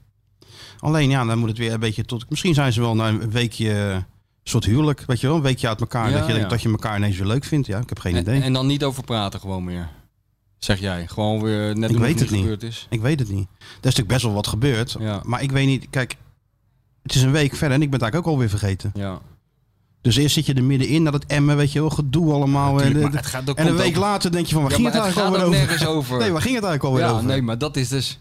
Alleen ja, dan moet het weer een beetje tot. Misschien zijn ze wel na een weekje eh, soort huwelijk, weet je wel, een weekje uit elkaar, Ja, dat je denkt ja. dat je elkaar ineens weer leuk vindt. Ja, ik heb geen En, idee. en dan niet over praten gewoon meer. Zeg jij. Gewoon weer net Ik doen of weet het niet. gebeurd is. Ik weet het niet. Er is natuurlijk best wel wat gebeurd, Ja. maar ik weet niet. Kijk, Het is een week verder en ik ben het eigenlijk ook alweer vergeten. Ja. Dus eerst zit je er middenin dat het emmen, weet je wel, gedoe allemaal. En, Tuurlijk, de- maar het gaat- dat en een komt week ook- later denk je van, waar Ja, ging maar het het eigenlijk gaat alweer ook over? nergens over. Nee, waar ging het eigenlijk alweer Ja, over? nee, maar dat is dus...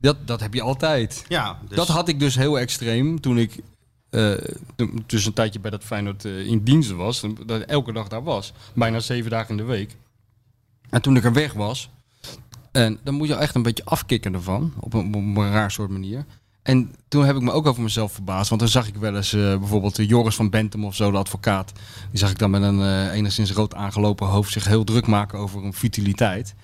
Dat, dat heb je altijd. Ja, dus- Dat had ik dus heel extreem toen ik eh, toen- dus een tijdje bij dat Feyenoord eh, in dienst was. en Dat ik elke dag daar was. Bijna zeven dagen in de week. En toen ik er weg was. En dan moet je echt een beetje afkikken ervan. Op een, op een raar soort manier. En toen heb ik me ook over mezelf verbaasd. Want dan zag ik wel eens eh, bijvoorbeeld eh, Joris van Bentum of zo, de advocaat. Die zag ik dan met een eh, enigszins rood aangelopen hoofd zich heel druk maken over een futiliteit.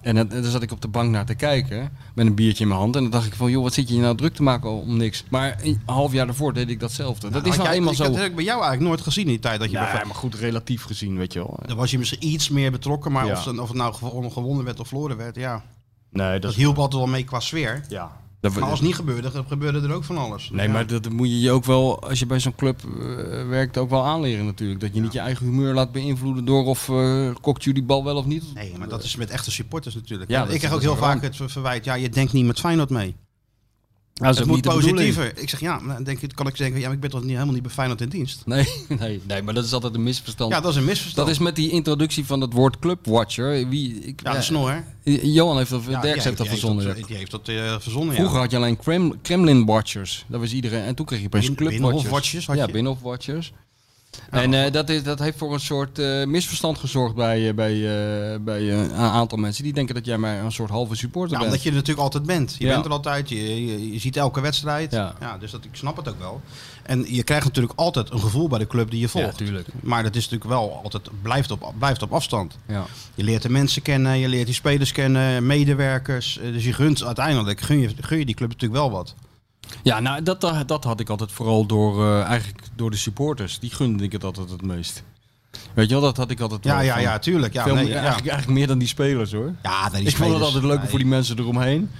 En dan, dan zat ik op de bank naar te kijken met een biertje in mijn hand. En dan dacht ik van, joh, wat zit je je nou druk te maken om niks? Maar een half jaar daarvoor deed ik datzelfde. dat is Had nou jij- eenmaal ik- zo. Dat heb ik bij jou eigenlijk nooit gezien in die tijd dat je bij Nee, maar goed, relatief gezien, weet je wel. Dan was je misschien iets meer betrokken, maar Ja. of, ze- of het nou gewo- gewonnen werd of verloren werd, ja. Nee, Dat hielp altijd wel mee qua sfeer. Ja. Maar als het niet gebeurde, dan gebeurde er ook van alles. Nee, Ja. maar dat moet je je ook wel, als je bij zo'n club eh, werkt, ook wel aanleren natuurlijk. Dat je niet je eigen humeur laat beïnvloeden door of eh kokt jullie bal wel of niet. Nee, maar dat is met echte supporters natuurlijk. Ja, Ja, dat ik is- krijg ook dat is heel wel vaak het ver- verwijt, ja, je denkt niet met Feyenoord mee. Ja, dat Nou, is Het ook moet niet de bedoeling. positiever. Ik zeg, ja, maar dan denk, je- kan ik zeggen, ja, maar ik ben toch niet, helemaal niet bij Feyenoord in dienst? Nee, (laughs) nee, nee, maar dat is altijd een misverstand. Ja, dat, dat is een misverstand. is met die introductie van het woord clubwatcher. Wie, ik, ja, ja, de snor. Ja, Johan heeft dat, die Derks heeft dat die verzonnen. heeft dat- Die heeft dat eh, verzonnen, Vroeger ja. had je alleen Krem- Kremlin Watchers. Dat was iedereen. En toen kreeg je opeens Bin- Club Binnenhof-watchers had ja, je. Nou, Binnenhof Watchers. En eh, dat, is, dat heeft voor een soort eh, misverstand gezorgd bij, eh, bij, eh, bij eh, een aantal mensen. Die denken dat jij maar een soort halve supporter Nou, bent. omdat je er natuurlijk altijd bent. Je Ja. bent er altijd, je, je, je ziet elke wedstrijd. Ja. Ja. dus dat, ik snap het ook wel. En je krijgt natuurlijk altijd een gevoel bij de club die je volgt. tuurlijk. Maar dat is natuurlijk wel altijd, blijft op, blijft op afstand. Ja. Je leert de mensen kennen, je leert die spelers kennen, medewerkers. Eh, Dus je gunt uiteindelijk, gun je, gun je die club natuurlijk wel wat. ja, nou dat, dat, dat had ik altijd vooral door, eh, eigenlijk door de supporters. Die gunde ik het altijd het meest. Weet je wel, dat had ik altijd Ja, wel ja, van- ja, tuurlijk. Ja, Veel nee, meer- ja. Eigenlijk, eigenlijk meer dan die spelers hoor. ja nee, die Ik vond het spelers. altijd leuker Nee. voor die mensen eromheen.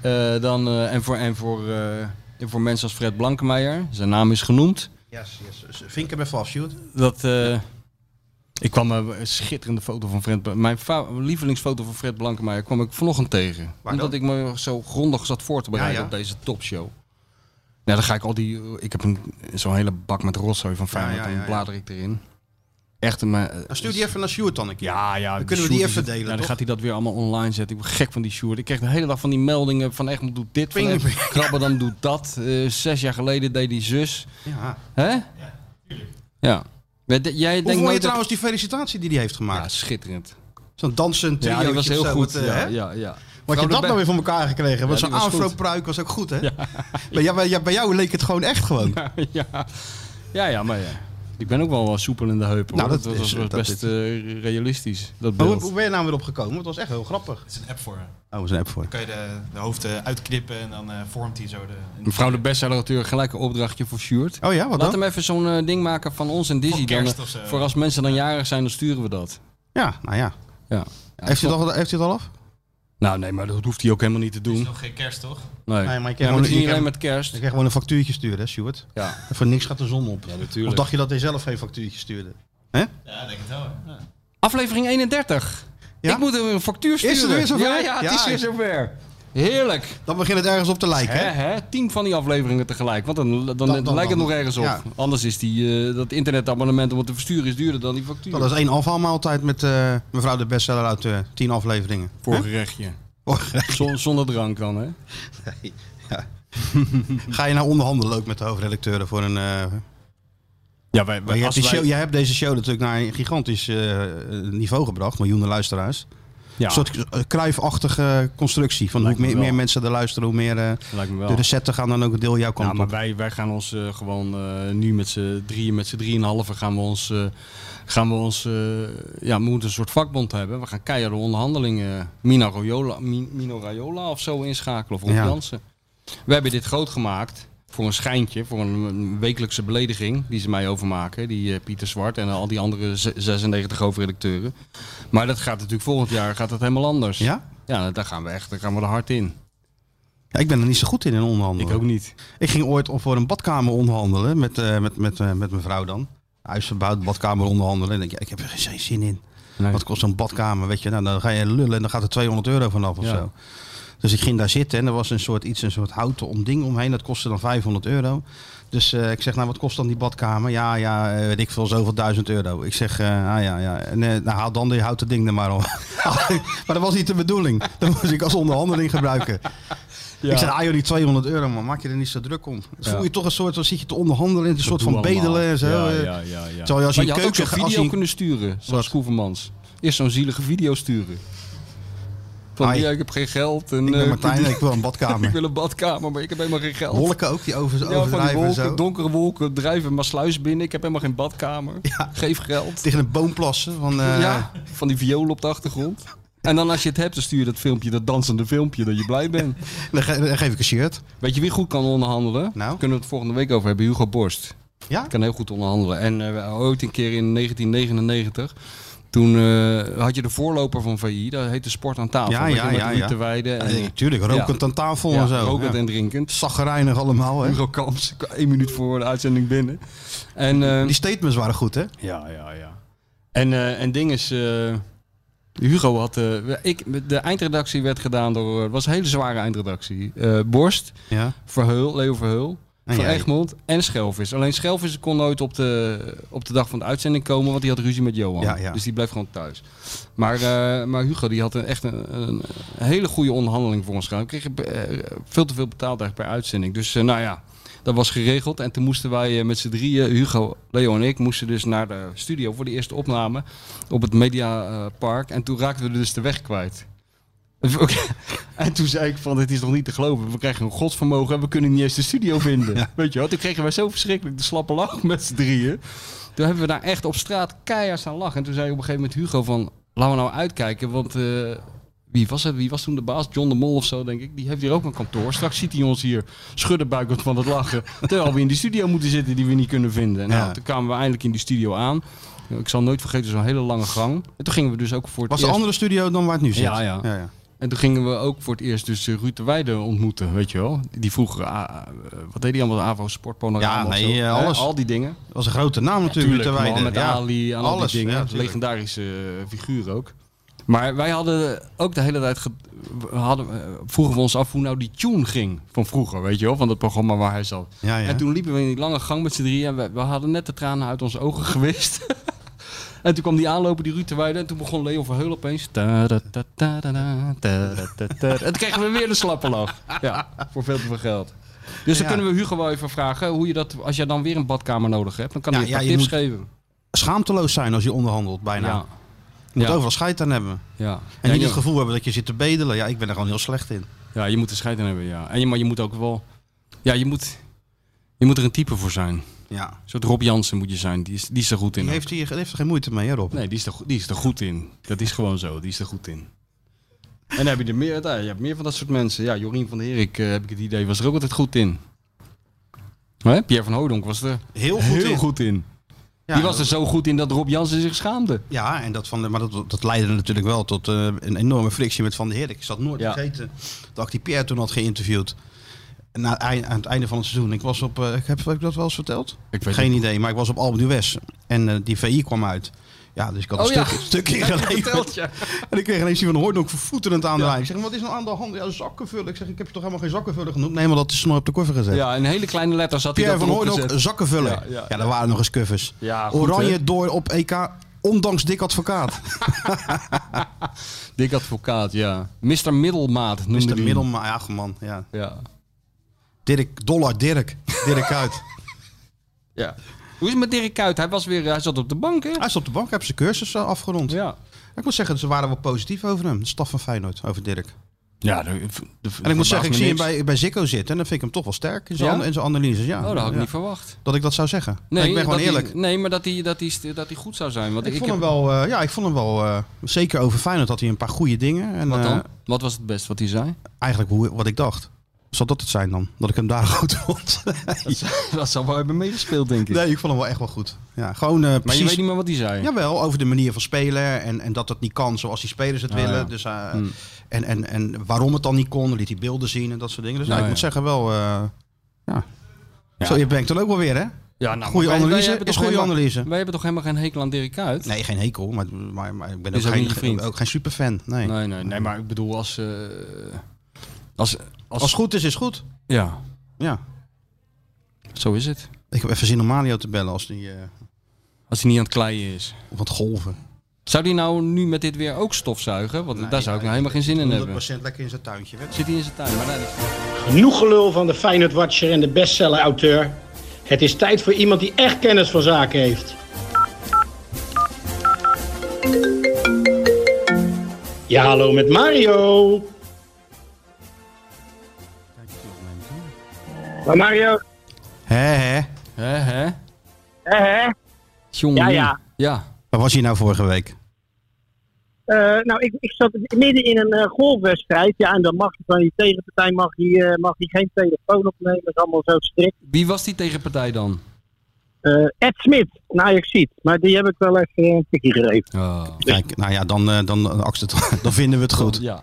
Eh, dan, eh, en voor, en voor, eh, en voor mensen als Fred Blankenmeijer, zijn naam is genoemd. Yes, yes, yes. Vinken bij vast, shoot. Dat, eh, ik kwam een schitterende foto van Fred. Bla- Mijn fa- lievelingsfoto van Fred Blankenmeijer kwam ik vanochtend tegen. Waar omdat dan? ik me zo grondig zat voor te bereiden Ja, ja. op deze topshow. Nou, dan ga ik al die. Ik heb een- zo'n hele bak met rotzooi van Feyenoord. ja, en ja, ja. blader ik erin. Echt een. eh, Dan stuur die even naar Sjoerd dan een keer. ja, ja. Dan kunnen we die Sjoerd even is het- delen, Nou, dan toch? gaat hij dat weer allemaal online zetten. Ik ben gek van die Sjoerd. Ik kreeg de hele dag van die meldingen van Egmond doet dit, Ping. van Egmond- Krabbe dan doet dat. Eh, zes jaar geleden deed die zus. Ja. Hè? Ja, Ja. Maar de- Jij Hoe denkt vond je nooit dat- trouwens die felicitatie die hij heeft Ja, gemaakt? schitterend. Zo'n dansend Ja, die triootje was of heel zo, goed. het, eh, ja, hè? ja, ja. Wat je Vrouw dat de nou Be- weer voor elkaar gekregen? Want Ja, zo'n die was goed. afro-pruik was ook goed, hè? (laughs) Bij, jou, bij jou- bij jou leek het gewoon echt gewoon. ja. ja, ja, maar ja. Ik ben ook wel eh, soepel in de heupen. Nou, hoor. dat was is- was dat is- best eh, realistisch, dat Maar hoe, beeld. hoe ben je nou weer opgekomen? Want Het was echt heel grappig. is een app voor. Oh, we zijn app voor. Dan kan je de, de hoofden uitknippen en dan eh, vormt hij zo de... een- Mevrouw de bestseller-auteur, gelijk een opdrachtje voor Sjoerd. Oh ja, wat Laat dan? hem even zo'n eh, ding maken van ons en Dizzy. Voor Dan, kerst eh, of zo. voor als mensen dan jarig zijn, dan sturen we dat. Ja, nou ja. Ja. Ja, Heeft hij, toch- het al, heeft hij het al af? Nou nee, maar dat hoeft hij ook helemaal niet te Het is doen. nog geen kerst, toch? Nee, Nee, maar maar ik ik ja, heb maar het is gewoon- niet ik alleen heb- met kerst. Ik ga gewoon een factuurtje sturen, hè, Stuart? Ja, En voor niks gaat de zon op. of natuurlijk. dacht je dat hij zelf geen factuurtje stuurde? Hè? Ja, ik denk het wel. hè. Ja. Aflevering 31. Ja? Ik moet hem een factuur sturen. het weer zover? Ja, ja, het is Ja. weer zover. Heerlijk. Dan begint het ergens op te lijken, Hè, hè? hè? Tien van die afleveringen tegelijk. Want dan, dan, dan- lijkt het dan- nog ergens op. ja. Anders is die, eh, dat internetabonnement om het te versturen is duurder dan die factuur. Dat is één afhaalmaaltijd met eh, mevrouw de bestseller uit eh, tien afleveringen. Voorgerechtje. Zon- zonder drank dan, hè? Ga je nou onderhandelen ook met de hoofdredacteuren voor een... eh, Ja, wij, Maar je hebt, die show, je hebt deze show natuurlijk naar een gigantisch eh, niveau gebracht, miljoenen luisteraars. ja, Een soort eh, kruifachtige constructie. Van hoe Lijkt me meer, meer wel. mensen er luisteren, hoe meer eh, lijkt me wel. de recepten gaan dan ook een deel jouw kant Ja, Nou, maar op. wij, wij gaan ons eh, gewoon eh, nu met z'n drieën, met z'n drieënhalven gaan we ons, eh, gaan we ons eh, ja, we moeten een soort vakbond hebben. We gaan keiharde onderhandelingen eh, Mino Raiola, Mi- Mino Raiola of zo inschakelen of op Ja. Jansen. We hebben dit groot gemaakt voor een schijntje, voor een, een wekelijkse belediging die ze mij overmaken. Die eh, Pieter Zwart en al die andere ze- 96 hoofdredacteuren. Maar dat gaat natuurlijk volgend jaar gaat dat helemaal anders. Ja? Ja, daar gaan we echt, daar gaan we er hard in. Ja, ik ben er niet zo goed in, in onderhandelen. Ik ook niet. Ik ging ooit op voor een badkamer onderhandelen met, eh, met, met, eh, met mijn vrouw dan. Huis verbouwd, badkamer onderhandelen. En ik, denk, ja, ik heb er geen zin in. Nee. Wat kost zo'n badkamer? Weet je, nou, dan ga je lullen en dan gaat er 200 euro vanaf of Ja. zo. Dus ik ging daar zitten en er was een soort, iets, een soort houten om ding omheen. Dat kostte dan 500 euro. Dus eh, ik zeg, nou wat kost dan die badkamer? Ja, ja, eh, weet ik veel, zoveel duizend euro. Ik zeg, eh, ah ja, ja. En, eh, nou haal dan die houten ding er maar (laughs) op. maar dat was niet de bedoeling. Dat moest ik als onderhandeling gebruiken. Ik zei, ah joh, die 200 euro man, maak je er niet zo druk om. Dan Ja. voel je toch een soort, dan zit je te onderhandelen, een soort Doe van allemaal. bedelen en zo. Ja, eh. ja, ja, ja. Terwijl je als je Maar een je had ook keuken zo'n gaat... als video je een- kunnen sturen, zoals Wat? Koevermans. Eerst zo'n zielige video sturen. Van, Hi. ja, ik heb geen geld. En, Ik eh, ben Martijn, ik wil een (laughs) ik badkamer. wil een badkamer, maar ik heb helemaal geen geld. Wolken ook, die over, Ja, van die overdrijven en wolken, zo. donkere wolken, drijven maar sluis binnen. Ik heb helemaal geen badkamer. Geef geld. Tegen een boom plassen. Van, eh, ja, van die viool op de achtergrond. En dan als je het hebt, dan stuur je dat filmpje, dat dansende filmpje, dat je blij bent. dan, ge- dan geef ik een shirt. Weet je wie goed kan onderhandelen? Nou? Daar Kunnen we het volgende week over hebben? Hugo Borst. Ja? Kan heel goed onderhandelen. En eh, ooit een keer in 1999, toen eh, had je de voorloper van VI, dat heette Sport aan tafel. Ja, Met ja, iemand ja, die ja. te wijden. En, Eh, tuurlijk, rokend aan tafel ja, en zo. Rokend ja. en drinkend. Zaggerijnig allemaal, hè. Hugo Kamps, één minuut voor de uitzending binnen. En, eh, Die statements waren goed, hè? Ja, ja, ja. En, eh, en ding is, eh, Hugo had, eh, ik, de eindredactie werd gedaan door, het was een hele zware eindredactie. Eh, Borst, Ja. Verheul, Leo Verheul, En Van jij. Egmond en Schelvis. Alleen Schelvis kon nooit op de, op de dag van de uitzending komen, want die had ruzie met Johan. Ja, ja. Dus die bleef gewoon thuis. Maar, eh, maar Hugo die had een, echt een, een hele goede onderhandeling voor ons gedaan. We kregen eh, veel te veel betaald eigenlijk per uitzending. Dus eh, nou ja, dat was geregeld. En toen moesten wij eh, met z'n drieën, Hugo, Leo en ik, moesten dus naar de studio voor de eerste opname op het Mediapark. En toen raakten we dus de weg kwijt. (laughs) Oké. En toen zei ik van, dit is nog niet te geloven. We krijgen een godsvermogen en we kunnen niet eens de studio (laughs) vinden. Weet je wel? Toen kregen wij zo verschrikkelijk de slappe lach met z'n drieën. Toen hebben we daar echt op straat keihard staan lachen. En toen zei ik op een gegeven moment Hugo van, laten we nou uitkijken. Want eh, wie was het? Wie was toen de baas? John de Mol of zo, denk ik. Die heeft hier ook een kantoor. Straks ziet hij ons hier schudden buikend van het (laughs) lachen. Terwijl we in die studio moeten zitten die we niet kunnen vinden. Nou, Ja. toen kwamen we eindelijk in die studio aan. Ik zal nooit vergeten, zo'n hele lange gang. En toen gingen we dus ook voor het Was een eerst- andere studio dan waar het nu zit? Ja, ja. en toen gingen we ook voor het eerst dus eh, Ruud de Weijden ontmoeten, weet je wel. Die vroeger, ah, eh, wat deed hij allemaal, AVO Sport, Panorama Ja, of nee, zo. eh, Hè, alles. Al die dingen. Dat was een grote naam natuurlijk. Tuurlijk, te wijden. Mohammed Ja. Ali en al Alles, die ja, dingen. tuurlijk. Legendarische eh, figuur ook. Maar wij hadden ook de hele tijd, ge- we hadden, eh, vroegen we ons af hoe nou die tune ging van vroeger, weet je wel, van dat programma waar hij zat. Ja, ja. En toen liepen we in die lange gang met z'n drieën en we, we hadden net de tranen uit onze ogen (laughs) gewist. en toen kwam die aanlopen, die Ruud te wijden. En toen begon Leo Verheul opeens. ta da da da da da, ta da da da. En toen kregen we weer de slappe lach. Ja, voor veel te veel geld. Dus dan Ja. kunnen we Hugo wel even vragen hoe je dat, als jij dan weer een badkamer nodig hebt, dan kan Ja, hij je een ja, paar je tips moet- geven. Schaamteloos zijn als je onderhandelt, bijna. Ja, Je moet Ja. overal scheid aan hebben. ja. En ja, niet je, het gevoel hebben dat je zit te bedelen. Ja, ik ben er gewoon heel slecht in. ja, je moet er scheid aan hebben, ja. En je, maar je moet ook wel, ja, je moet, je moet er een type voor zijn. Een Ja. soort Rob Jansen moet je zijn, die is, die is er goed in. Die ook. heeft, hier, die heeft er geen moeite mee, hè Rob? Nee, die is, er, go- die is er goed in. Dat is gewoon zo, die is er goed in. En dan heb je er meer, nou, je hebt meer van dat soort mensen. Ja, Jorien van der Herik, eh, heb ik het idee, was er ook altijd goed in. Hè? Pierre van Houdonk was er Heel goed heel in. goed in. Ja, die was er zo goed in dat Rob Jansen zich schaamde. Ja, en dat van de, maar dat, dat leidde natuurlijk wel tot eh, een enorme frictie met Van der Herik. Ik zat nooit Ja. vergeten dat ik die Pierre toen had geïnterviewd. En Na, ei- aan het einde van het seizoen. Ik was op, eh, ik heb, heb ik dat wel eens verteld? Ik weet Geen idee, maar ik was op Alpe d'Huez. En eh, die VI kwam uit. Ja, dus ik had een Oh (laughs) ja. stuk, stukje geleverd. En ik kreeg ineens die van Hoordonk vervoeterend aan de lijn. Ik zeg, wat is nou aan de hand? Ja, zakkenvullen. Ik zeg, ik heb je toch helemaal geen zakkenvullen genoemd? Nee, maar dat is snor op de koffer gezet. Ja, in hele kleine letters had hij Pierre dat van erop Hooydonk, gezet. zakkenvuller. Ja, Ja, ja, daar waren nog eens covers. Ja, goed, Oranje hè? door op EK, ondanks dik advocaat. Dik advocaat, ja. Mr. Middelmaat noemde Is de hij hem. middelma, ja, man. Ja. Ja. Dirk, dollar Dirk. Dirk (laughs) uit. ja. Hoe is het met Dirk Kuyt? Hij, was weer, hij zat op de bank, hè? Hij is op de bank, hij heeft zijn cursus eh, afgerond. Ja. Ik moet zeggen, ze waren wel positief over hem. De staf van Feyenoord, over Dirk. Ja, de, de- En ik moet verbaast zeggen, ik me zie hem niks. bij, bij Zikko zitten. En dan vind ik hem toch wel sterk in zijn, Ja? in zijn analyses. Ja. Oh, dat had ik Ja. niet verwacht. Dat ik dat zou zeggen. ik ben gewoon dat eerlijk. Hij, nee, maar dat hij, dat, hij, dat hij goed zou zijn. Want ik, ik, vond heb- hem wel, eh, ja, ik vond hem wel, eh, zeker over Feyenoord had hij een paar goede dingen. En, Wat dan? eh, wat was het best wat hij zei? eigenlijk hoe, wat ik dacht. Zal dat het zijn dan? Dat ik hem daar (laughs) goed vond? (laughs) Dat zou wel hebben meegespeeld, denk ik. nee, ik vond hem wel echt wel goed. Ja, gewoon eh, maar je precies. weet niet meer wat hij zei. Jawel, over de manier van spelen en, en dat het niet kan zoals die spelers het Ah, willen. ja. Dus, eh, Hmm. en, en, en waarom het dan niet kon, liet hij beelden zien en dat soort dingen. Dus nou, Nou, ik moet ja. zeggen wel, eh, ja. Ja. Zo, je brengt het ook wel weer hè? Ja, nou, Goeie maar wij- wij analyse hebben is toch goede helemaal- analyse. Wij hebben toch helemaal geen hekel aan Dirk Kuyt? Nee, geen hekel, maar, maar, maar ik ben Is ook ook geen, niet je vriend. ook geen superfan. Nee. Nee, nee, nee, maar ik bedoel als... eh, Als, Als als, het goed is, is goed. Ja, Ja. zo is het. Ik heb even zin om Mario te bellen als die eh Als hij niet aan het kleien is. op het golven. Zou die nou nu met dit weer ook stofzuigen? Want daar zou ik nou helemaal geen zin in hebben. 100% lekker in zijn tuintje. Hè? Zit hij in zijn tuin? Maar daar- Genoeg gelul van de Feyenoord-watcher en de bestseller-auteur. Het is tijd voor iemand die echt kennis van zaken heeft. Ja, hallo met Mario. Maar Mario, Hè, hè. Hè, hè? hè, hè? Jongen. Ja, ja. Ja. Waar was je nou vorige week? Eh, nou, ik, ik zat midden in een eh, golfwedstrijd. Ja, en dan mag je van je tegenpartij mag je, eh, mag je geen telefoon opnemen. Dat is allemaal zo strikt. Wie was die tegenpartij dan? Eh, Ed Smit, een Ajaxiet. Maar die heb ik wel even eh, een tikje gegeven. Oh. Kijk, nou ja, dan, eh, dan, eh, accept- (laughs) dan vinden we het goed. Ja.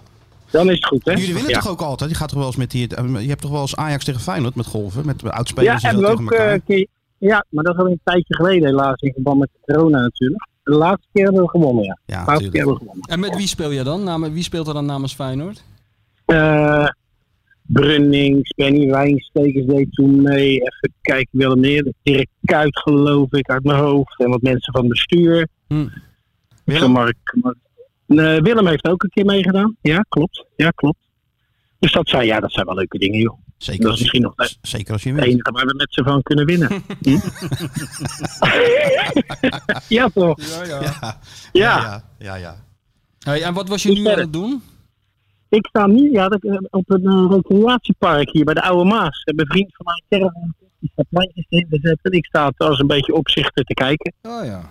Dan is het goed, hè? Jullie willen Ja. toch ook altijd? Je gaat toch wel eens met die. eh, Je hebt toch wel eens Ajax tegen Feyenoord met golven? Met uitspelers ja, en zo hebben we tegen ook, eh, elkaar? een keer, ja, maar dat is al een tijdje geleden helaas in verband met corona natuurlijk. De laatste keer hebben we gewonnen, ja. ja, De laatste keer natuurlijk. hebben we gewonnen. En met wie speel jij dan? Nam- Wie speelt er dan namens Feyenoord? Eh Brunnings, Benny Wijnstekers deed toen mee. Even kijken, Willem Neer, Dirk Kuit geloof ik uit mijn hoofd. En wat mensen van het bestuur. Hm. Willem? Mark, Mark- Nee, Willem heeft ook een keer meegedaan. Ja, klopt. Ja, klopt. Dus dat zijn, ja, dat zijn wel leuke dingen, joh. Zeker Dat is als, misschien nog het zeker als je wint. enige waar we met z'n van kunnen winnen. (laughs) Hm? (laughs) ja, toch? Ja, Ja, Ja. ja, ja. ja. Hey, en wat was je nu aan het doen? Ik sta nu ja, dat- eh, op een eh, recreatiepark hier bij de Oude Maas. En mijn vriend van mij, Caravan, die staat lijntjes in te zetten. En ik sta als een beetje opzichter te kijken. Oh ja.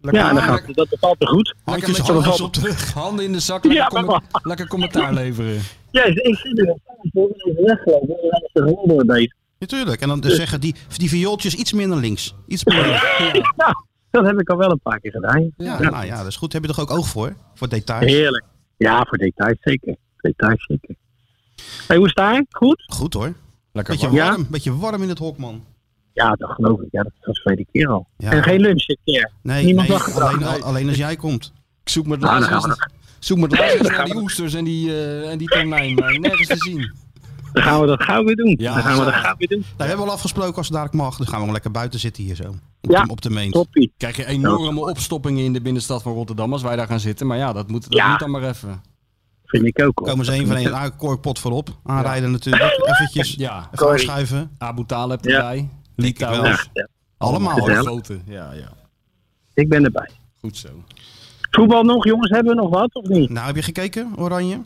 ja, en dan gaat, dat bevalt me goed. Handjes, met- handjes op de Handen in de zak, Ja, lekker, comment- maar- lekker commentaar leveren. Ja, dus ik zit er even weggelopen. En dan is de ronde bezig. Natuurlijk. En dan dus zeggen die, die viooltjes iets minder links. Iets minder links. (laughs) Ja, dat heb ik al wel een paar keer gedaan. Ja, Ja. nou ja, dat is goed. Heb je toch ook oog voor? Voor details? Heerlijk. Ja, voor details zeker. Details zeker. Hey, hoe sta je? Goed? Goed hoor. Lekker Beetje Ja? warm, beetje warm in het hok, man. Ja, dat geloof ik. Ja, dat was de tweede keer al. Ja. En geen lunch dit keer. Nee, Niemand nee lacht alleen, eraan. alleen als jij komt. Ik zoek met Nou, dan gaan we, laatst dat, zoek met laatst eens naar we die oesters en die, eh en die tonijn. Maar nergens te zien. dan gaan we dat gauw weer doen. Ja, dan gaan we dat gauw weer doen. Nou, we hebben al afgesproken als het dadelijk mag. Dan gaan we gewoon lekker buiten zitten hier zo. Op, Ja. de, op de meent. Toppie. Krijg je enorme opstoppingen in de binnenstad van Rotterdam als wij daar gaan zitten. Maar ja, dat moet, dat Ja. moet dan maar even. Vind ik ook hoor. Komen ze één van één aan, korkpot voorop. Aanrijden natuurlijk. Eventjes Ja, even aanschuiven. Abu Taleb Ja. erbij. Litouwers. Ja, ja. Allemaal. Alle Gezellig. grote. Ja, ja. Ik ben erbij. Goed zo. Voetbal nog, jongens, hebben we nog wat of niet? Nou, heb je gekeken, Oranje?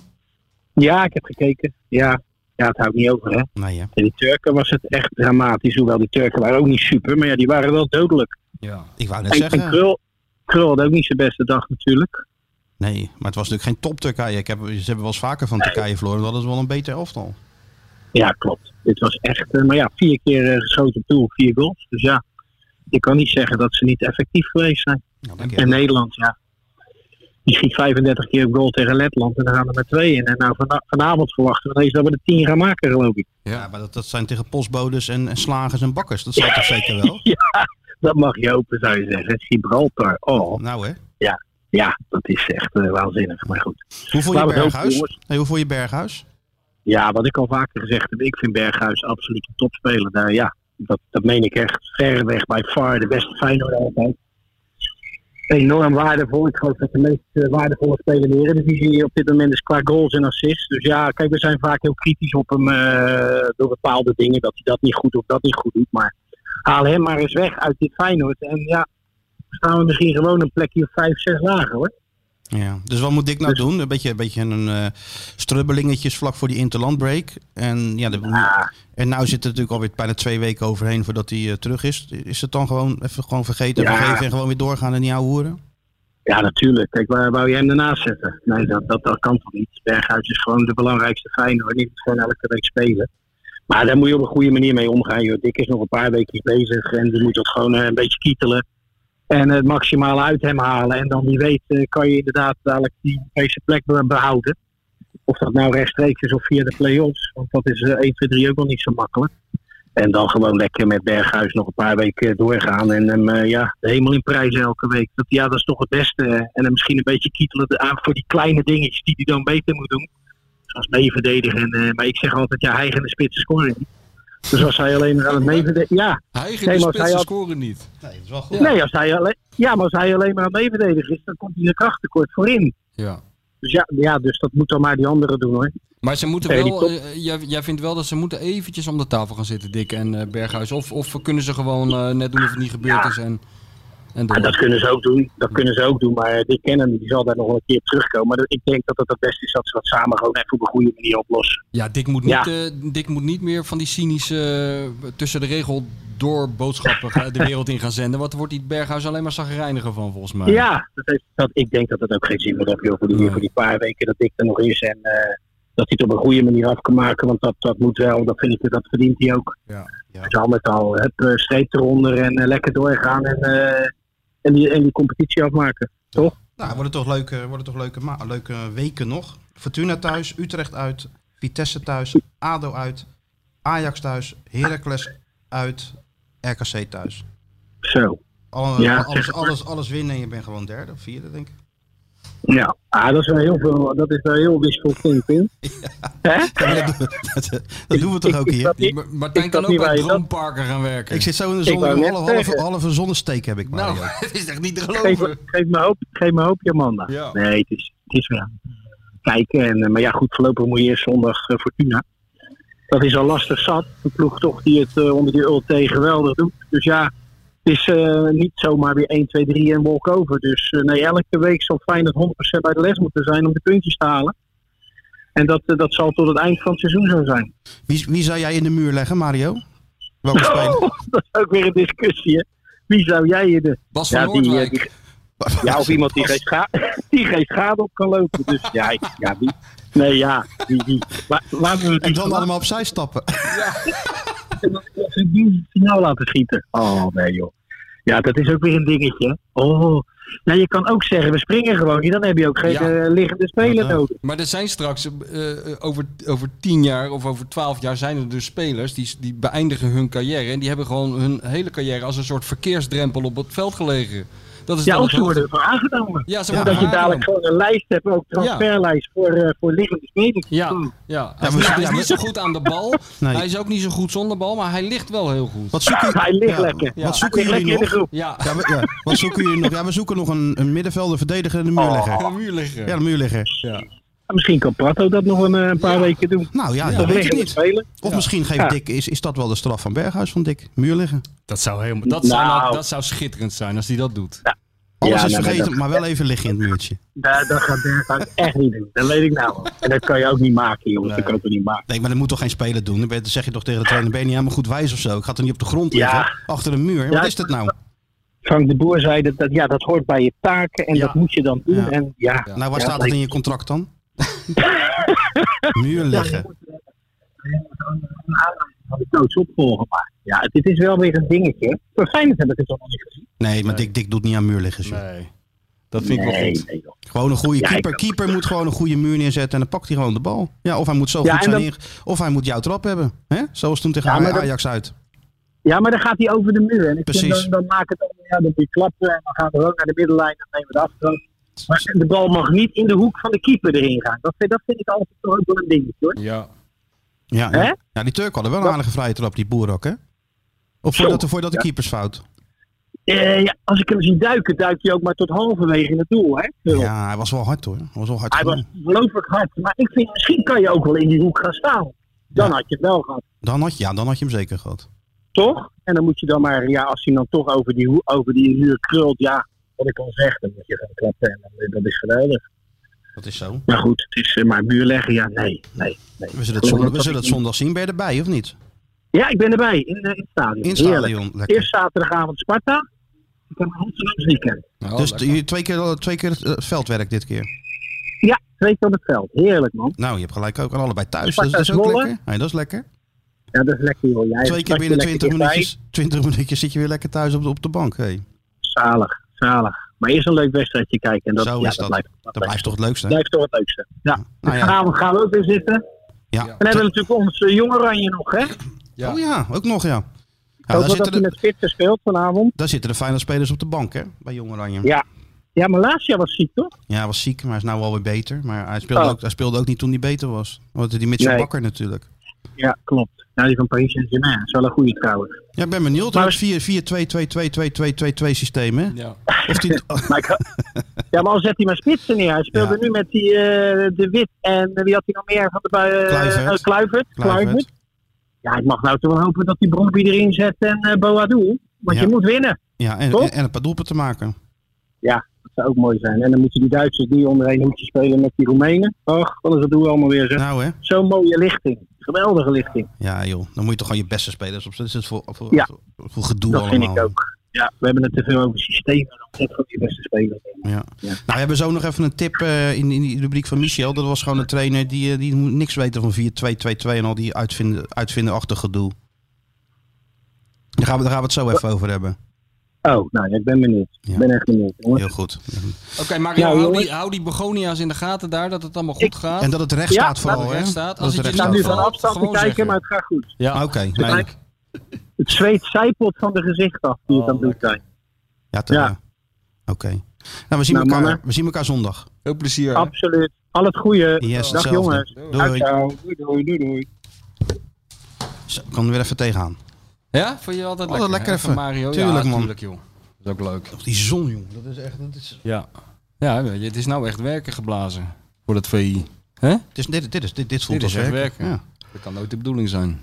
Ja, ik heb gekeken. Ja, ja het houdt niet over, hè. Nee, hè? En die Turken was het echt dramatisch. Hoewel die Turken waren ook niet super, maar ja, die waren wel dodelijk. Ja. Ik wou net En, en zeggen. Krul, Krul had ook niet zijn beste dag natuurlijk. Nee, maar het was natuurlijk geen top Turkije. Ik heb, ze hebben wel eens vaker van Turkije verloren. Dat is wel een beter elftal. Ja, klopt. Dit was echt, eh, maar ja, vier keer eh, geschoten op doel, vier goals. Dus ja, je kan niet zeggen dat ze niet effectief geweest zijn. Nou, dat En Nederland, ja. Die schiet 35 keer op goal tegen Letland en dan gaan er maar twee in. En nou, vana- vanavond verwachten we ineens dat we de tien gaan maken, geloof ik. Ja, maar dat, dat zijn tegen postbodes en, en slagers en bakkers. Dat zal toch zeker (laughs) wel? Dat mag je open, zou je zeggen. Gibraltar, oh. Nou hè. Ja, dat is echt eh, waanzinnig, maar goed. Hoe voel je Laten we het hopen, Berghuis? jongens. Nee, hoe voel je Berghuis? Ja, wat ik al vaker gezegd heb, ik vind Berghuis absoluut een topspeler. Daar, ja, dat, dat meen ik echt verreweg bij far de beste Feyenoord altijd. Enorm waardevol. Ik geloof dat de meest eh, waardevolle speler in de Eredivisie op dit moment is qua goals en assists. Dus ja, kijk, we zijn vaak heel kritisch op hem eh, door bepaalde dingen. Dat hij dat niet goed doet, dat niet goed doet. Maar haal hem maar eens weg uit dit Feyenoord. En ja, staan we misschien gewoon een plekje of vijf, zes lager hoor. Ja. Dus wat moet Dick nou Dus- doen? Een beetje, een beetje een eh strubbelingetjes vlak voor die interlandbreak. En ja, de, Ah. en nou zit er natuurlijk alweer bijna twee weken overheen voordat hij eh, terug is. Is het dan gewoon even gewoon vergeten, Ja. vergeven en gewoon weer doorgaan en niet ouwe hoeren? Ja, natuurlijk. Kijk, waar wou je hem daarnaast zetten? Nee, dat, dat, dat kan toch niet. Berghuis is gewoon de belangrijkste Feyenoord. Die moet gewoon elke week spelen. Maar daar moet je op een goede manier mee omgaan. Joh. Dick is nog een paar weken bezig en die moet dat gewoon eh, een beetje kietelen. En het maximale uit hem halen. En dan wie weet eh, kan je inderdaad dadelijk die Europese plek be- behouden. Of dat nou rechtstreeks is of via de play-offs. Want dat is eh, 1, 2, 3 ook wel niet zo makkelijk. En dan gewoon lekker met Berghuis nog een paar weken doorgaan. En hem eh, ja, de hemel in prijzen elke week. Dat, ja, dat is toch het beste. En hem misschien een beetje kietelen de- aan voor die kleine dingetjes die hij dan beter moet doen. als meeverdediger. En, eh, maar ik zeg altijd, ja, hij en de spitsen scoren niet. Dus als hij alleen maar aan het meeverdedigen... Ja, Hij ging Nee, de maar spitsen zij had- scoren niet. Nee, dat is wel goed. nee, als hij alleen, ja, maar als hij alleen maar aan het meeverdedigen is, dan komt hij een krachttekort voorin. Ja. Dus ja, ja, dus dat moet dan maar die anderen doen hoor. Maar ze moeten Nee, die wel, eh, jij, jij vindt wel dat ze moeten eventjes om de tafel gaan zitten, Dick en eh, Berghuis. Of, of kunnen ze gewoon eh, net doen of het niet gebeurd Ja. is en, en Ja, door. dat kunnen ze ook doen. Dat kunnen ze ook doen. Maar die kennen die zal daar nog wel een keer op terugkomen. Maar dat- ik denk dat het het beste is dat ze dat samen gewoon even op een goede manier oplossen. Ja, Dick moet, niet, Ja. eh, Dick moet niet meer van die cynische eh, tussen de regel door boodschappen ga- de wereld in gaan zenden. Want er wordt die Berghuis alleen maar zagrijniger van, volgens mij. Ja, dat heeft, dat, ik denk dat het ook geen zin meer heeft joh, voor, die, Nee. voor die paar weken dat ik er nog is. En eh, dat hij het op een goede manier af kan maken. Want dat, dat moet wel. Dat, vind ik, dat verdient hij ook. Ja, ja. Dus al met al. Heb eh, streep eronder en eh, lekker doorgaan. En, eh, en, die, en die competitie afmaken. Nou, worden toch leuke, worden toch leuke, ma- leuke weken nog. Fortuna thuis, Utrecht uit, Vitesse thuis, ADO uit, Ajax thuis, Heracles uit, RKC thuis. Zo. Alle- Ja, alles, zeg- alles, alles winnen en je bent gewoon derde of vierde, denk ik. Ja, ah, dat is wel heel veel. Dat is wel heel wishful thinking. Hè? Ja, dat, (laughs) dat- dat doen we toch ook Ik- ik hier? snap Die niet- Ma- Martijn ik kan dat ook bij niet waar je dat- Droomparken gaan werken. Ik zit zo in de Ik zon, wou een net halve, halve, zeggen. halve zonnesteek heb ik maar. nou, joh. het is echt niet te geef, geloven. geef me hoop, geef me hoop, Jamanda. Ja. Nee, het is, het is wel kijken. En, eh, maar ja, goed, voorlopig moet je eerst zondag eh, Fortuna. Dat is al lastig zat. De ploeg toch die het eh, onder die ulti geweldig doet. Dus ja, het is eh, niet zomaar weer 1, 2, 3 en walkover. Dus eh, nee, elke week zal Feyenoord 100% bij de les moeten zijn om de puntjes te halen. En dat, eh, dat zal tot het eind van het seizoen zo zijn. (laughs) Wie, wie zou jij in de muur leggen, Mario? Welke speler? dat is ook weer een discussie, hè. Wie zou jij in de... Bas van die, eh, Noordwijk. die- ja, of iemand die geen, scha- (laughs) die geen schade op kan lopen. Dus ja, ik- ja die... Nee, ja. Die, die. Waar, waar we En die (laughs) dan allemaal opzij stappen. een signaal laten schieten. Oh, nee, joh. Ja, dat is ook weer een dingetje. hè. Oh. Nou, je kan ook zeggen, we springen gewoon niet. Dan heb je ook geen Ja. eh, liggende speler nodig. Maar er zijn straks, eh, eh, over, over tien jaar of over twaalf jaar zijn er dus spelers die, die beëindigen hun carrière. En die hebben gewoon hun hele carrière als een soort verkeersdrempel op het veld gelegen. Dat is Ja, dan of het ze worden hoogte- ervoor aangenomen. Ja, ze Ja, worden Dat je dadelijk aangenomen. gewoon een lijst hebt, ook transferlijst, voor, eh, voor liggende spelers. Hmm. Ja, ja. Hij, maar- is, hij ja, is maar- niet zo goed aan de bal. Nee. Hij is ook niet zo goed zonder bal, maar hij ligt wel heel goed. Wat zoeken, Hij ligt Ja, lekker. Wat zoeken Hij ligt jullie lekker in de nog? groep. Ja, Ja, we, ja. Wat zoeken jullie nog? Ja, we zoeken nog een, een middenvelder, verdediger en een Oh. muurlegger. gaan muur liggen. Ja, de muurlegger. Misschien kan Prato dat nog een, eh, een paar weken doen. Nou ja, Of dat weet ik liggen niet. spelen. Of misschien geeft Ja. Dick, is, is dat wel de straf van Berghuis van Dick? Muurliggen. Dat, zou helemaal, dat, zou, Nou. dat zou schitterend zijn als hij dat doet. Alles Ja, is nee, maar vergeten, nou, dat- maar wel even liggen in het muurtje. Daar, dat gaat Berghuis echt niet doen. Dat weet ik nou al. En dat kan je ook niet maken, jongens. Nee. Dat kan je ook niet maken. Nee, maar dat moet toch geen speler doen? Dan ben- dan zeg je toch tegen de trainer, ben je niet helemaal goed wijs of zo? Ik ga er niet op de grond liggen, Ja. achter een muur. Wat Ja, is dat nou? Frank de Boer zei dat, dat, ja, dat hoort bij je taken en Ja. dat moet je dan doen. Ja. En ja, Nou, waar Ja, staat dat in je contract (laughs) dan? Muurleggen. een aanleiding van de coach opvolgen. Maar ja, het, het is wel weer een dingetje. Voor Feyenoord heb ik het allemaal niet gezien. Nee, maar Dick, Dick doet niet aan muurliggen. joh. Nee. Dat vind ik wel goed. nee, joh. Gewoon een goede Ja, ik keeper. ook. Keeper moet gewoon een goede muur neerzetten en dan pakt hij gewoon de bal. Ja, of hij moet zo Ja, goed en zijn dan- inge- Of hij moet jouw trap hebben. Hè? Zoals toen tegen Ja, maar dat- Ajax uit. Ja, maar dan gaat hij over de muur. En ik vind Precies. dan, dan maakt het allemaal, ja, dat die klappen en dan gaan we ook naar de middenlijn en nemen we de aftrap. Maar de bal mag niet in de hoek van de keeper erin gaan. Dat vind, dat vind ik altijd toch ook wel een dingetje hoor. Ja. Ja, Hè? ja. ja, die Turk hadden wel een aardige vrije trap, die Boerok, hè? Of Zo. vond je dat, vond je dat de keepersfout? Eh, ja, als ik hem zie duiken, duikt hij ook maar tot halverwege in het doel. Hè? Ja, hij was wel hard hoor. Hij was wel hard. Hij was gewonnen. belooflijk hard. Maar ik vind, misschien kan je ook wel in die hoek gaan staan. Dan had je het wel gehad, Dan, had, je- ja, dan had je hem zeker gehad. toch? En dan moet je dan maar, ja, als hij dan toch over die, hoe- over die muur krult, ja, wat ik al zeg, dan moet je gaan klappen. En dan, dat is geweldig. Dat is zo. Maar goed, het is eh, maar muur leggen, ja, nee, nee, nee. We zullen het zondag, we zullen het zondag zien. Ben je erbij of niet? Ja, ik ben erbij, in, eh, in het stadion. In het Heerlijk. stadion. Lekker. Eerst zaterdagavond Sparta. Ik heb een Amsterdamse weekend. Nou, Dus lekker. jullie twee keer, twee keer eh, veldwerk dit keer. Ja, twee keer op het veld. Heerlijk, man. Nou, je hebt gelijk ook aan allebei thuis. Dat Sparta is, dat is ook Zwolle. lekker. Nee, dat is lekker. Ja, dat is lekker, joh. Jij Twee keer start je binnen lekker 20 dichtbij. minuutjes, 20 minuutjes zit je weer lekker thuis op de, op de bank. Hey, Zalig, zalig. Maar eerst een leuk wedstrijdje kijken. En dat, Zo ja, is dat. Blijft, dat blijft toch het leukste. hè? blijft toch het leukste. Ja. Nou ja. Vanavond gaan we ook weer zitten. En Ja. dan hebben we natuurlijk ons eh, jong Oranje nog, hè? Ja. Oh ja, ook nog ja. Ja, ook daar wel dat zitten, hij de, met Spitsen speelt vanavond. daar zitten de fijne spelers op de bank hè, bij Jong Oranje. Ja. Ja, maar laatst jaar was ziek, toch? Ja, hij was ziek, maar hij is nu wel weer beter. Maar hij speelde, Oh. ook, hij speelde ook niet toen hij beter was. Want die Mitchell Nee. Bakker natuurlijk. Ja, klopt. Ja, die van Paris Saint-Germain. Dat is wel een goede trouwens. Ja, ik ben benieuwd. Maar- Maar... 4-2-2-2-2-2-2 systeem, hè? Ja. Of (laughs) die... Oh, Maar ik, (laughs) ja, maar al zet hij maar spitsen neer. Hij speelde Ja. nu met die eh, De Wit en eh, wie had hij nog meer? Van de, bui- eh, Kluivert. eh, Kluivert. Kluivert. Kluivert. Ja, ik mag nou toch wel hopen dat die Brompie erin zet en eh Boadou. Want Ja. je moet winnen. Ja, en, Toch? en, en een paar doelpunten maken. Dat zou ook mooi zijn. En dan moeten die Duitsers die onderheen moeten spelen met die Roemenen. Och, wat is dat doen we allemaal weer. zeg. Nou, hè? Zo'n mooie lichting. Geweldige lichting. Ja, joh. Dan moet je toch gewoon je beste spelers op. Dat is het voor, voor, Ja. voor, voor gedoe dat allemaal. vind ik ook. Ja, we hebben het te veel over systemen. Dan moet je van die beste spelers. Ja. Ja. Nou, we hebben zo nog even een tip eh, in, in die rubriek van Michel. Dat was gewoon een trainer die, eh, die moet niks weten van 4-2-2-2 en al die uitvinden, uitvinderachtig gedoe. Daar gaan, we, daar gaan we het zo even over hebben. Oh, nou ja, ik ben benieuwd. Ja. Ik ben echt benieuwd. jongens. Heel goed. Oké, Mario, Nou, hou, jongens. die, hou die begonia's in de gaten daar, dat het allemaal goed Ik- gaat. En dat het recht Ja, staat dat vooral, het hè? recht staat. Dat Als het het recht Ik sta je staat nu vooral. van van afstand te Gewoon kijken, zeggen. maar het gaat goed. ja, Oké. nee. Kijk. Het zweet zijpelt van de gezicht af Oh, die het aan het doen zijn. Ja, te- Ja. Oké. Nou, we zien, Nou, elkaar, mannen. we zien elkaar zondag. veel plezier. Absoluut. Al het goede. Yes, Dag hetzelfde. jongens. Ciao, Doei. ciao. Doei, doei, doei, doei. Zo, Ik kan er weer even tegenaan. Ja, vond je Altijd altijd, lekker, Oh, lekker hè, van even. Mario? Tuurlijk, ja, man. tuurlijk, joh. Dat is ook leuk. Of die zon, jongen. Dat is echt... Dat is, Ja. Ja, weet je, het is nou echt werken geblazen voor dat VI. hè? het is, dit, dit, is, dit, dit voelt Dit is als echt werk. werken. Dat kan nooit de bedoeling zijn.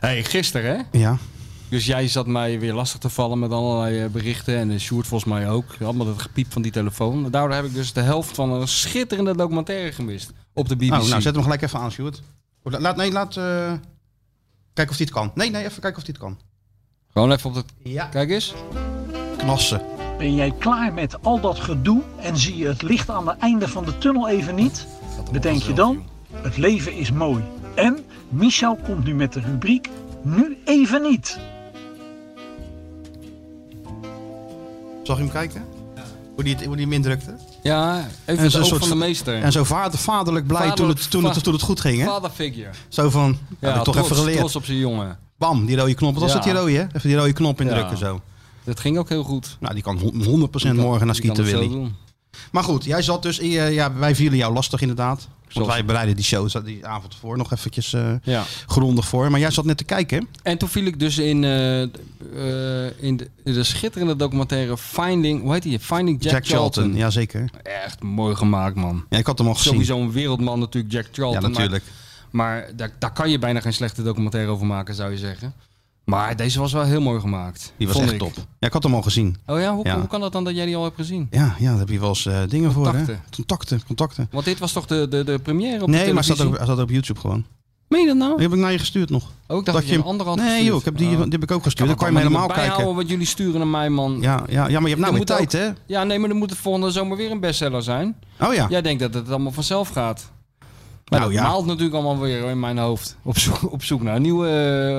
hey, gisteren hè? Ja. ja. Dus jij zat mij weer lastig te vallen met allerlei eh, berichten. En eh, Sjoerd volgens mij ook. Allemaal dat gepiep van die telefoon. Daardoor heb ik dus de helft van een schitterende documentaire gemist. Op de BBC. Oh, nou, zet hem gelijk even aan, Sjoerd. Of la- Laat, nee, laat... eh, kijken of dit kan. Nee, nee, even kijken of dit kan. Gewoon even op dat... Ja. Kijk eens. Knassen. Ben jij klaar met al dat gedoe en zie je het licht aan het einde van de tunnel even niet? Bedenk je dan, het leven is mooi. En Michel komt nu met de rubriek Nu even niet. Zag je hem kijken? Hoe die, het- hoe die hem indrukte? Ja, even En het zo'n oog soort van de va- meester. En zo vader, vaderlijk blij toen, Vaderlijk het, toen, het, va- toen het goed ging, hè? Father figure. Zo van, ja, heb ik toch trots, even geleerd. trots op zijn jongen. Bam, die rode knop. Wat was Ja. dat, die rode, hè? Even die rode knop indrukken Ja. zo. Dat ging ook heel goed. Nou, die kan hon- 100% morgen naar Die kan Skieten het zo Willy. doen. Maar goed, jij zat dus... in je- ja, wij vielen jou lastig inderdaad. Want Zoals- wij bereiden die show die avond voor nog eventjes eh, Ja. grondig voor. Maar jij zat net te kijken, hè? En toen viel ik dus in, eh, eh, in, de, in de schitterende documentaire Finding... Hoe heet die? Finding Jack, Jack Charlton. Charlton. Jazeker. Echt mooi gemaakt, man. Ja, ik had hem al gezien. Sowieso een wereldman natuurlijk, Jack Ja, Charlton. maar- natuurlijk. Maar daar, daar kan je bijna geen slechte documentaire over maken, zou je zeggen. Maar deze was wel heel mooi gemaakt. Die was vond echt ik. top. Ja, ik had hem al gezien. Oh ja? Hoe, Ja. hoe kan dat dan dat jij die al hebt gezien? Ja, ja daar heb je wel eens eh, dingen voor, Contacten. hè? Contacten. Contacten. Want dit was toch de, de, de première op de Nee, maar televisie? staat ook, staat ook op YouTube gewoon. Meen je dat nou? Die heb ik naar je gestuurd nog. Oh, ik dacht dat, je een andere had Nee, gestuurd. joh, ik heb die, Oh. die heb ik ook gestuurd. dat Dan kan je hem helemaal niet meer kijken. bijhouden wat jullie sturen naar mij, man. Ja, Ja, ja, ja, maar je hebt nou weer moet tijd, ook- hè? nee, maar dan moet het volgende zomer weer een bestseller zijn. Oh ja. Jij denkt dat het allemaal vanzelf gaat. Maar Nou, dat ja. maalt natuurlijk allemaal weer in mijn hoofd. Op zoek, op zoek naar nieuwe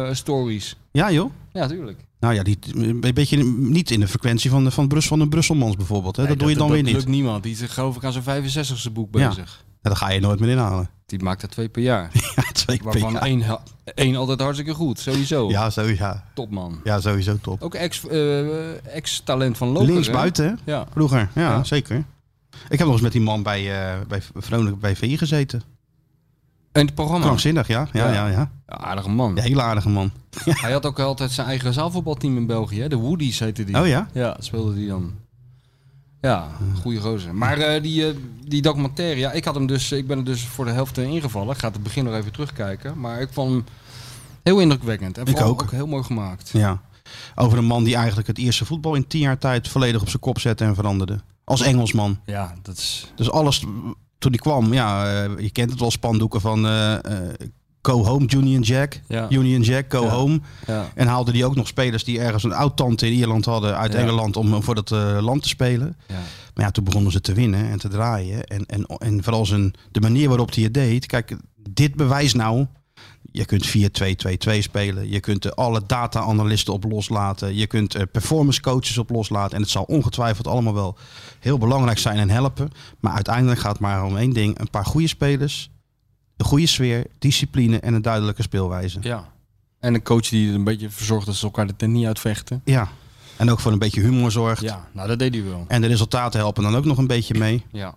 eh, stories. Ja, joh. Ja, tuurlijk. Nou ja, die, een beetje niet in de frequentie van, de, van, Brus, van een Brusselmans bijvoorbeeld. Hè? dat doe je dan weer Dat niet. lukt niemand. Die is geloof ik aan zijn 65ste boek Ja. bezig. Ja, dat ga je nooit meer (laughs) inhalen. Die maakt er twee per jaar. (laughs) Ja, twee Waarvan pk. één, ha- één altijd hartstikke goed. Sowieso. Ja, sowieso, Topman. ja, sowieso top. Ook ex, eh, ex-talent van Loper. Links hè? buiten, hè? Ja. Vroeger, ja, Ja. zeker. Ik heb nog eens met die man bij, eh, bij Vrolijk bij VI gezeten. En het programma. Krankzinnig, ja. Ja, ja, ja. Nou. Ja, aardige man. Ja, hele aardige man. Hij had ook altijd zijn eigen zaalvoetbalteam in België. Hè? De Woodies heette die. Oh ja? Ja, dat speelde die dan. Ja, goede gozer. Maar eh, die, eh, die documentaire, ja, ik, had hem dus, ik ben er dus voor de helft in ingevallen. Ik ga het begin nog even terugkijken. Maar ik vond hem heel indrukwekkend. En Ik vooral ook. heel mooi gemaakt. Ja. Over een man die eigenlijk het Ierse voetbal in tien jaar tijd volledig op zijn kop zette en veranderde. Als Engelsman. Ja, dat is... Dus alles mm, toen die kwam, ja, eh, je kent het wel, spandoeken van eh, eh, Go Home, Union Jack. Ja. Union Jack, Go Ja. Home. Ja. En haalde die ook nog spelers die ergens een oud-tante in Ierland hadden uit Ja. Engeland om eh, voor dat eh, land te spelen. Ja. Maar ja, toen begonnen ze te winnen en te draaien. En, en, en vooral zijn, de manier waarop hij het deed. Kijk, dit bewijst nou. Je kunt 4-2-2-2 spelen. Je kunt er alle data-analisten op loslaten. Je kunt er performance coaches op loslaten. En het zal ongetwijfeld allemaal wel heel belangrijk zijn en helpen. Maar uiteindelijk gaat het maar om één ding. Een paar goede spelers. Een goede sfeer, discipline en een duidelijke speelwijze. Ja. En een coach die er een beetje voor zorgt dat ze elkaar de tent niet uitvechten. Ja, En ook voor een beetje humor zorgt. Ja, nou dat deed hij wel. En de resultaten helpen dan ook nog een beetje mee. Ja.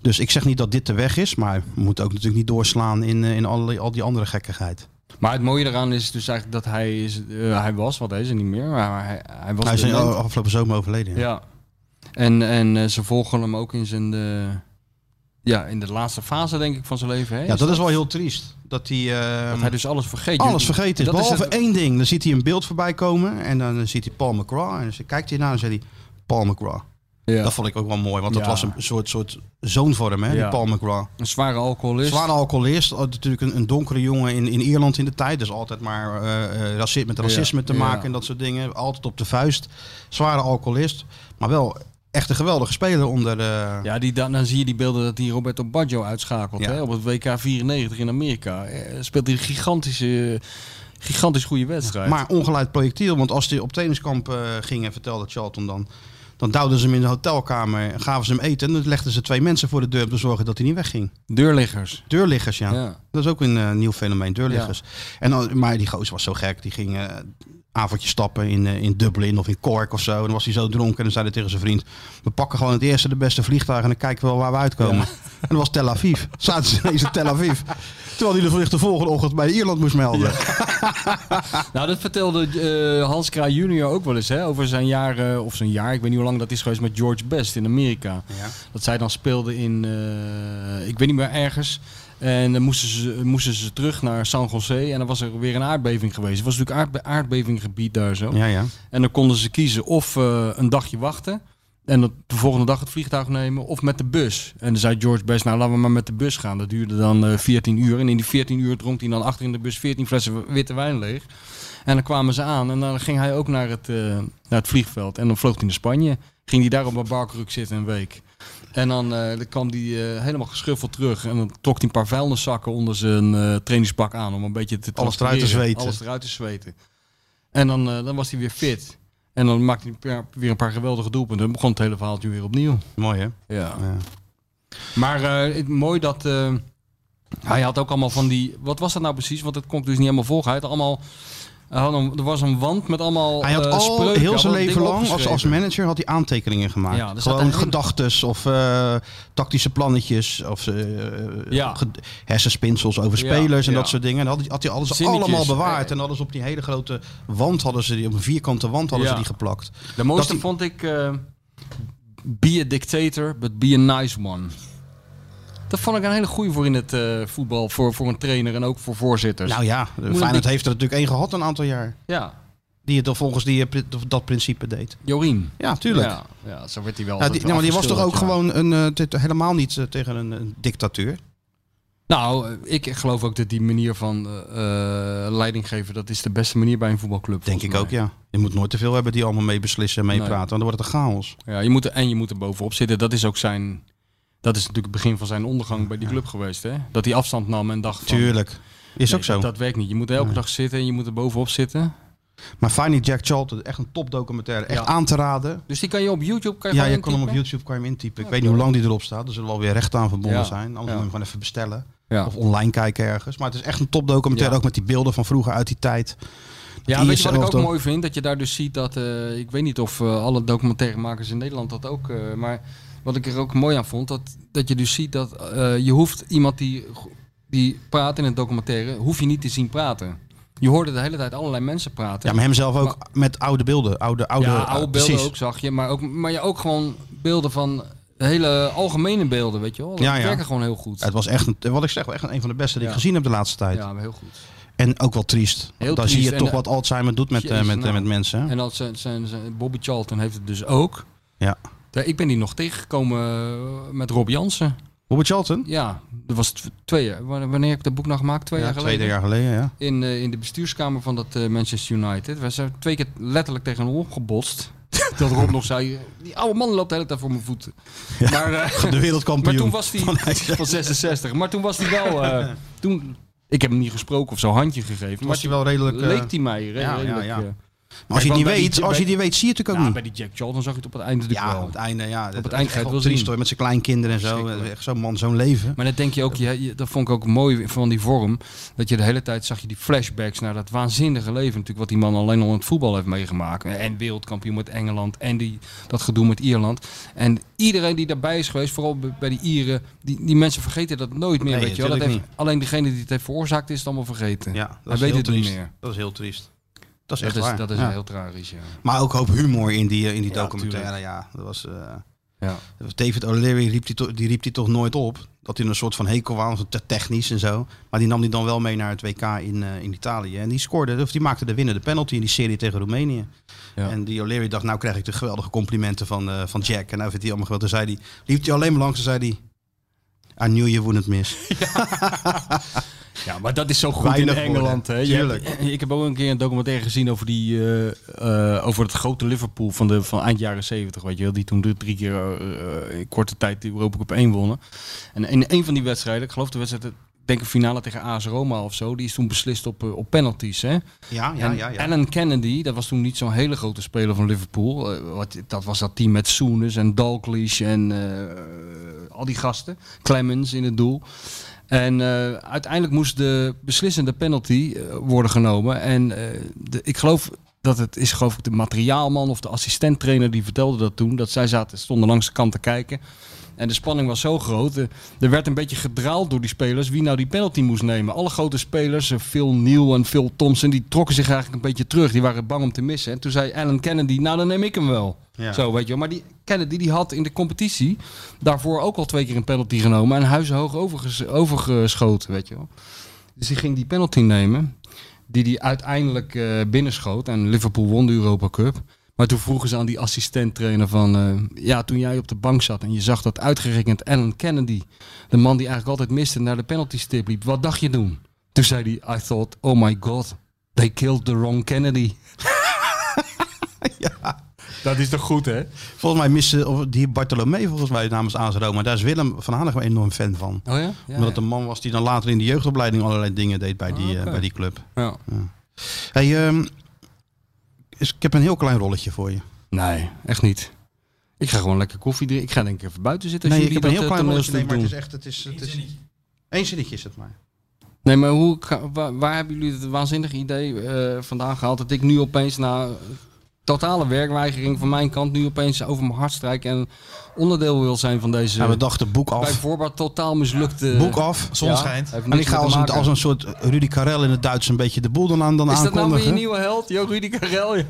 Dus ik zeg niet dat dit de weg is, maar we moeten ook natuurlijk niet doorslaan in, eh, in alle, al die andere gekkigheid. Maar het mooie eraan is dus eigenlijk dat hij, is, eh, hij was, wat hij is en niet meer, maar hij, hij was Hij is in- dement. afgelopen zomer overleden. ja. Ja. En, en eh, ze volgen hem ook in zijn. eh, ja, in de laatste fase, denk ik, van zijn leven. Hè? Ja, dat is wel heel triest. Dat hij, eh, Dat hij dus alles vergeet. alles Jullie- vergeten is. dat Behalve het- één ding. Dan ziet hij een beeld voorbij komen en dan ziet hij Paul McGraw. En dan kijkt hij naar en dan zegt hij Paul McGraw. Ja. Dat vond ik ook wel mooi, want dat Ja. was een soort, soort zoon voor hem, hè, die Ja. Paul McGraw. Een zware alcoholist. Zware alcoholist, al- natuurlijk een, een donkere jongen in, in Ierland in de tijd. Dus altijd maar eh, eh, raci- met racisme te Ja. maken en dat soort dingen. Altijd op de vuist. Zware alcoholist, maar wel echt een geweldige speler onder... eh, Ja, die, dan, dan zie je die beelden dat hij Roberto Baggio uitschakelt. Ja. Hè? Op het WK 94 in Amerika. Eh, speelt hij een gigantische, gigantisch goede wedstrijd. Maar ongeleid projectiel, want als die op trainingskamp eh, gingen, vertelde Charlton dan, dan duwden ze hem in de hotelkamer, gaven ze hem eten en dan legden ze twee mensen voor de deur om te zorgen dat hij niet wegging. Deurliggers. Deurliggers, ja. Ja. Dat is ook een eh, nieuw fenomeen, deurliggers. En dan, maar die gozer was zo gek, die ging eh avondje stappen in, eh, in Dublin of in Cork of zo. En dan was hij zo dronken en dan zei hij tegen zijn vriend, we pakken gewoon het eerste de beste vliegtuig en dan kijken we wel waar we uitkomen. (laughs) En dat was Tel Aviv. Zaten ze ineens in Tel Aviv. Terwijl hij de vlucht de volgende ochtend bij Ierland moest melden. Nou, dat vertelde eh, Hans Kraai junior ook wel eens, hè, over zijn jaren, of zijn jaar, ik weet niet hoe lang dat is geweest, met George Best in Amerika. Dat zij dan speelden in, eh, ik weet niet meer, ergens. En dan moesten ze, moesten ze terug naar San Jose en dan was er weer een aardbeving geweest. Het was natuurlijk aardbe aardbevinggebied daar zo. Ja, ja. En dan konden ze kiezen of eh, een dagje wachten en dat de volgende dag het vliegtuig nemen of met de bus. En dan zei George Best, nou laten we maar met de bus gaan. Dat duurde dan eh 14 uur en in die 14 uur dronk hij dan achter in de bus 14 flessen witte wijn leeg. En dan kwamen ze aan en dan ging hij ook naar het, eh, naar het vliegveld en dan vloog hij naar Spanje. Ging hij daar op een barkruk zitten een week. En dan, eh, dan kwam hij eh, helemaal geschuffeld terug. En dan trok hij een paar vuilniszakken onder zijn eh, trainingspak aan. Om een beetje te Alles eruit te transpireren, zweten. Alles eruit te zweten. En dan, eh, dan was hij weer fit. En dan maakte hij een paar- weer een paar geweldige doelpunten. En begon het hele verhaaltje weer opnieuw. Mooi hè? Ja. Ja. Maar eh, het, mooi dat... eh, hij had ook allemaal van die... Wat was dat nou precies? Want dat kon ik dus niet helemaal volgen. Hij had allemaal... hij had een- er was een wand met allemaal Hij had eh, al spreuken. Hij heel had zijn dat leven ding lang als, als opgeschreven. manager had hij aantekeningen gemaakt. Ja, dus er staat Gewoon een- gedachtes of eh, tactische plannetjes of eh, Ja. ge- hersenspinsels over Ja, spelers en ja. dat soort dingen. En had, hij- had hij alles Zinnetjes. Eh. allemaal bewaard. En alles op die hele grote wand hadden ze die, op een vierkante wand hadden Ja. Dus ze die geplakt. De mooiste Dat- vond ik... eh, be a dictator, but be a nice one. Dat vond ik een hele goeie voor in het eh, voetbal. Voor, voor een trainer en ook voor voorzitters. Nou ja, ik- Feyenoord heeft er natuurlijk één gehad een aantal jaar. ja, Die het dan volgens die, eh, pri- dat principe deed. Jorien. Ja, tuurlijk. Ja, ja, zo werd hij wel. Ja, die, altijd nou, maar die was toch afgeschilderd, ook ja. gewoon een, eh, dit- helemaal niet eh, tegen een, een dictatuur. Nou, ik geloof ook dat die manier van eh, eh, leiding geven, dat is de beste manier bij een voetbalclub. Denk volgens ik mij. ook, ja. Je moet nooit te veel hebben die allemaal mee beslissen en meepraten. Want dan wordt het een chaos. Ja, je moet er, en je moet er bovenop zitten. Dat is ook zijn. Dat is natuurlijk het begin van zijn ondergang bij die club geweest. Hè? Dat hij afstand nam en dacht. Van, Tuurlijk. Is nee, ook zo. Dat werkt niet. Je moet elke dag zitten en je moet er bovenop zitten. Maar Finding Jack Charlton, echt een topdocumentaire. Echt Ja. aan te raden. Dus die kan je op YouTube. Kan je Ja, gewoon je kan hem op intypen. YouTube kan je hem intypen. Ik weet niet hoe lang die erop staat. Er zullen wel weer rechten aan verbonden Ja. zijn. Anders Ja. moet je hem gewoon even bestellen. Ja. Of online kijken ergens. Maar het is echt een topdocumentaire. Ja. Ook met die beelden van vroeger uit die tijd. Ja, Die weet is je wat ik zelf ook dan- mooi vind? Dat je daar dus ziet dat, eh, ik weet niet of eh, alle documentairemakers in Nederland dat ook, eh, maar wat ik er ook mooi aan vond, dat, dat je dus ziet dat eh, je hoeft iemand die, die praat in een documentaire, hoef je niet te zien praten. Je hoorde de hele tijd allerlei mensen praten. Ja, maar hemzelf ook met oude beelden. Oude, oude, Ja, eh, oude beelden precies. ook zag je, maar, ook, maar je ook gewoon beelden van hele algemene beelden, weet je wel. Dat Ja, ja. werken gewoon heel goed. Het was echt, een, wat ik zeg, wel echt een van de beste die ik Ja. gezien heb de laatste tijd. Ja, maar heel goed. En ook wel triest. Heel Dan triest. zie je En toch de- wat Alzheimer doet met, eh, Jezus, met, eh, nou. met mensen. hè? En dat zijn, zijn, zijn, Bobby Charlton heeft het dus ook. Ja. Ja, Ik ben die nog tegengekomen eh, met Rob Jansen. Robert Charlton? Ja, dat was tw- twee jaar. Wanneer wanneer heb ik dat boek nou gemaakt? Twee Ja, jaar twee geleden. jaar geleden, ja. In, eh, in de bestuurskamer van dat eh, Manchester United. We zijn twee keer letterlijk tegen hem opgebotst. (laughs) dat Rob nog zei, die oude man loopt de hele tijd voor mijn voeten. Maar, eh, De maar toen wereldkampioen. was hij (laughs) van 66. Maar toen was hij wel... eh, (laughs) toen, ik heb hem niet gesproken of zo handje gegeven. maar was hij wel redelijk... eh, leek hij mij re- ja, ja, redelijk. ja. eh. Maar als je het want niet bij die- weet, als je het bij- niet weet, zie je het ook Ja, niet. bij die Jack Charlton zag ik het op het einde natuurlijk Ja, wel. op het einde. Ja, het eind ga je het wel triest zien. hoor, met zijn kleinkinderen en zo. Verschrikkelijk. Echt zo'n man, zo'n leven. Maar dan denk je ook, je, je- dat vond ik ook mooi van die vorm. Dat je de hele tijd zag je die flashbacks naar dat waanzinnige leven. Natuurlijk wat die man alleen al in het voetbal heeft meegemaakt. En wereldkampioen met Engeland. En die, dat gedoe met Ierland. En iedereen die daarbij is geweest, vooral bij- bij die Ieren. Die, die mensen vergeten dat nooit meer. Nee, weet je wel. Dat natuurlijk heeft, alleen degene die het heeft veroorzaakt is het allemaal vergeten. Ja, dat Hij is weet heel het niet triest. meer. Dat is heel triest. Dat is Dat echt is, waar. dat is Ja. heel tragisch, ja. Maar ook een hoop humor in die, eh, in die Ja, documentaire. tuurlijk. Ja, dat was, eh, Ja. David O'Leary riep die, to- die riep die toch nooit op. Dat hij een soort van hekel was, te technisch en zo. Maar die nam die dan wel mee naar het WK in, eh, in Italië. En die scoorde, of die maakte de winnende penalty in die serie tegen Roemenië. Ja. En die O'Leary dacht, nou krijg ik de geweldige complimenten van, eh, van Jack. En nou vindt hij allemaal geweldig. Toen zei hij, liep hij alleen maar langs en zei hij... I knew you wouldn't miss. (laughs) Ja, maar dat is zo goed Weinig in Engeland. Hè? woorden, Je tuurlijk. hebt- Eh, ik heb ook een keer een documentaire gezien over, die, eh, eh, over het grote Liverpool van, de, van eind jaren 70. Weet je wel, die toen de drie keer eh, in korte tijd de Europa Cup 1 wonnen. En in een van die wedstrijden, ik geloof de wedstrijd, ik denk een finale tegen AS Roma of zo, die is toen beslist op, eh, op penalties. Hè? Ja, ja, En ja. ja. Alan Kennedy, dat was toen niet zo'n hele grote speler van Liverpool. Eh, wat, dat was dat team met Soenes en Dalglish en eh, al die gasten. Clemens in het doel. En eh, uiteindelijk moest de beslissende penalty eh, worden genomen. En eh, de, ik geloof dat het is geloof ik de materiaalman of de assistenttrainer die vertelde dat toen. Dat zij zaten, stonden langs de kant te kijken. En de spanning was zo groot. eh, Er werd een beetje gedraald door die spelers wie nou die penalty moest nemen. Alle grote spelers, eh, Phil Neal en Phil Thompson, die trokken zich eigenlijk een beetje terug. Die waren bang om te missen. En toen zei Alan Kennedy, nou dan neem ik hem wel. Ja. Zo, weet je wel. Maar die Kennedy die had in de competitie daarvoor ook al twee keer een penalty genomen. En huizenhoog overges- overgeschoten, weet je wel. Dus die ging die penalty nemen. Die die uiteindelijk eh, binnenschoot. En Liverpool won de Europa Cup. Maar toen vroegen ze aan die assistent-trainer van... eh, ja, toen jij op de bank zat en je zag dat uitgerekend Alan Kennedy... de man die eigenlijk altijd miste, naar de penalty-stip liep. Wat dacht je doen? Toen zei hij, I thought, oh my god, they killed the wrong Kennedy. Dat is toch goed, hè? Volgens mij missen of die Bartolomee volgens mij namens AS Roma. Daar is Willem van Hanegem enorm fan van. Oh ja? Ja, Omdat het een man was die dan later in de jeugdopleiding allerlei dingen deed bij die, eh, Ah, oké. bij die club. ja. Hey, ehm, is- ik heb een heel klein rolletje voor Dus je. Nee, echt niet. Ik ga gewoon lekker koffie drinken. Ik ga denk ik even buiten zitten. Als nee, ik jullie heb een heel dat, eh, klein rolletje. Nee, toneelstuk maar het doen. is echt... Het is, het is, Eén zinnetje is het maar. Nee, maar hoe, ka- wa- waar, hebben jullie het waanzinnige idee eh, vandaan gehaald dat ik nu opeens na totale werkweigering van mijn kant nu opeens over mijn hart strijk en onderdeel wil zijn van deze Ja, Nou, we dachten boek bij af. voorbaat totaal mislukte... Boek af. Zon schijnt. heeft En niks ik ga mee als te een, maken. als een soort Rudy Karel in het Duits een beetje de boel dan aan dan Is dat nou weer je aankondigen. nieuwe held? Jo, Rudy Karel, ja.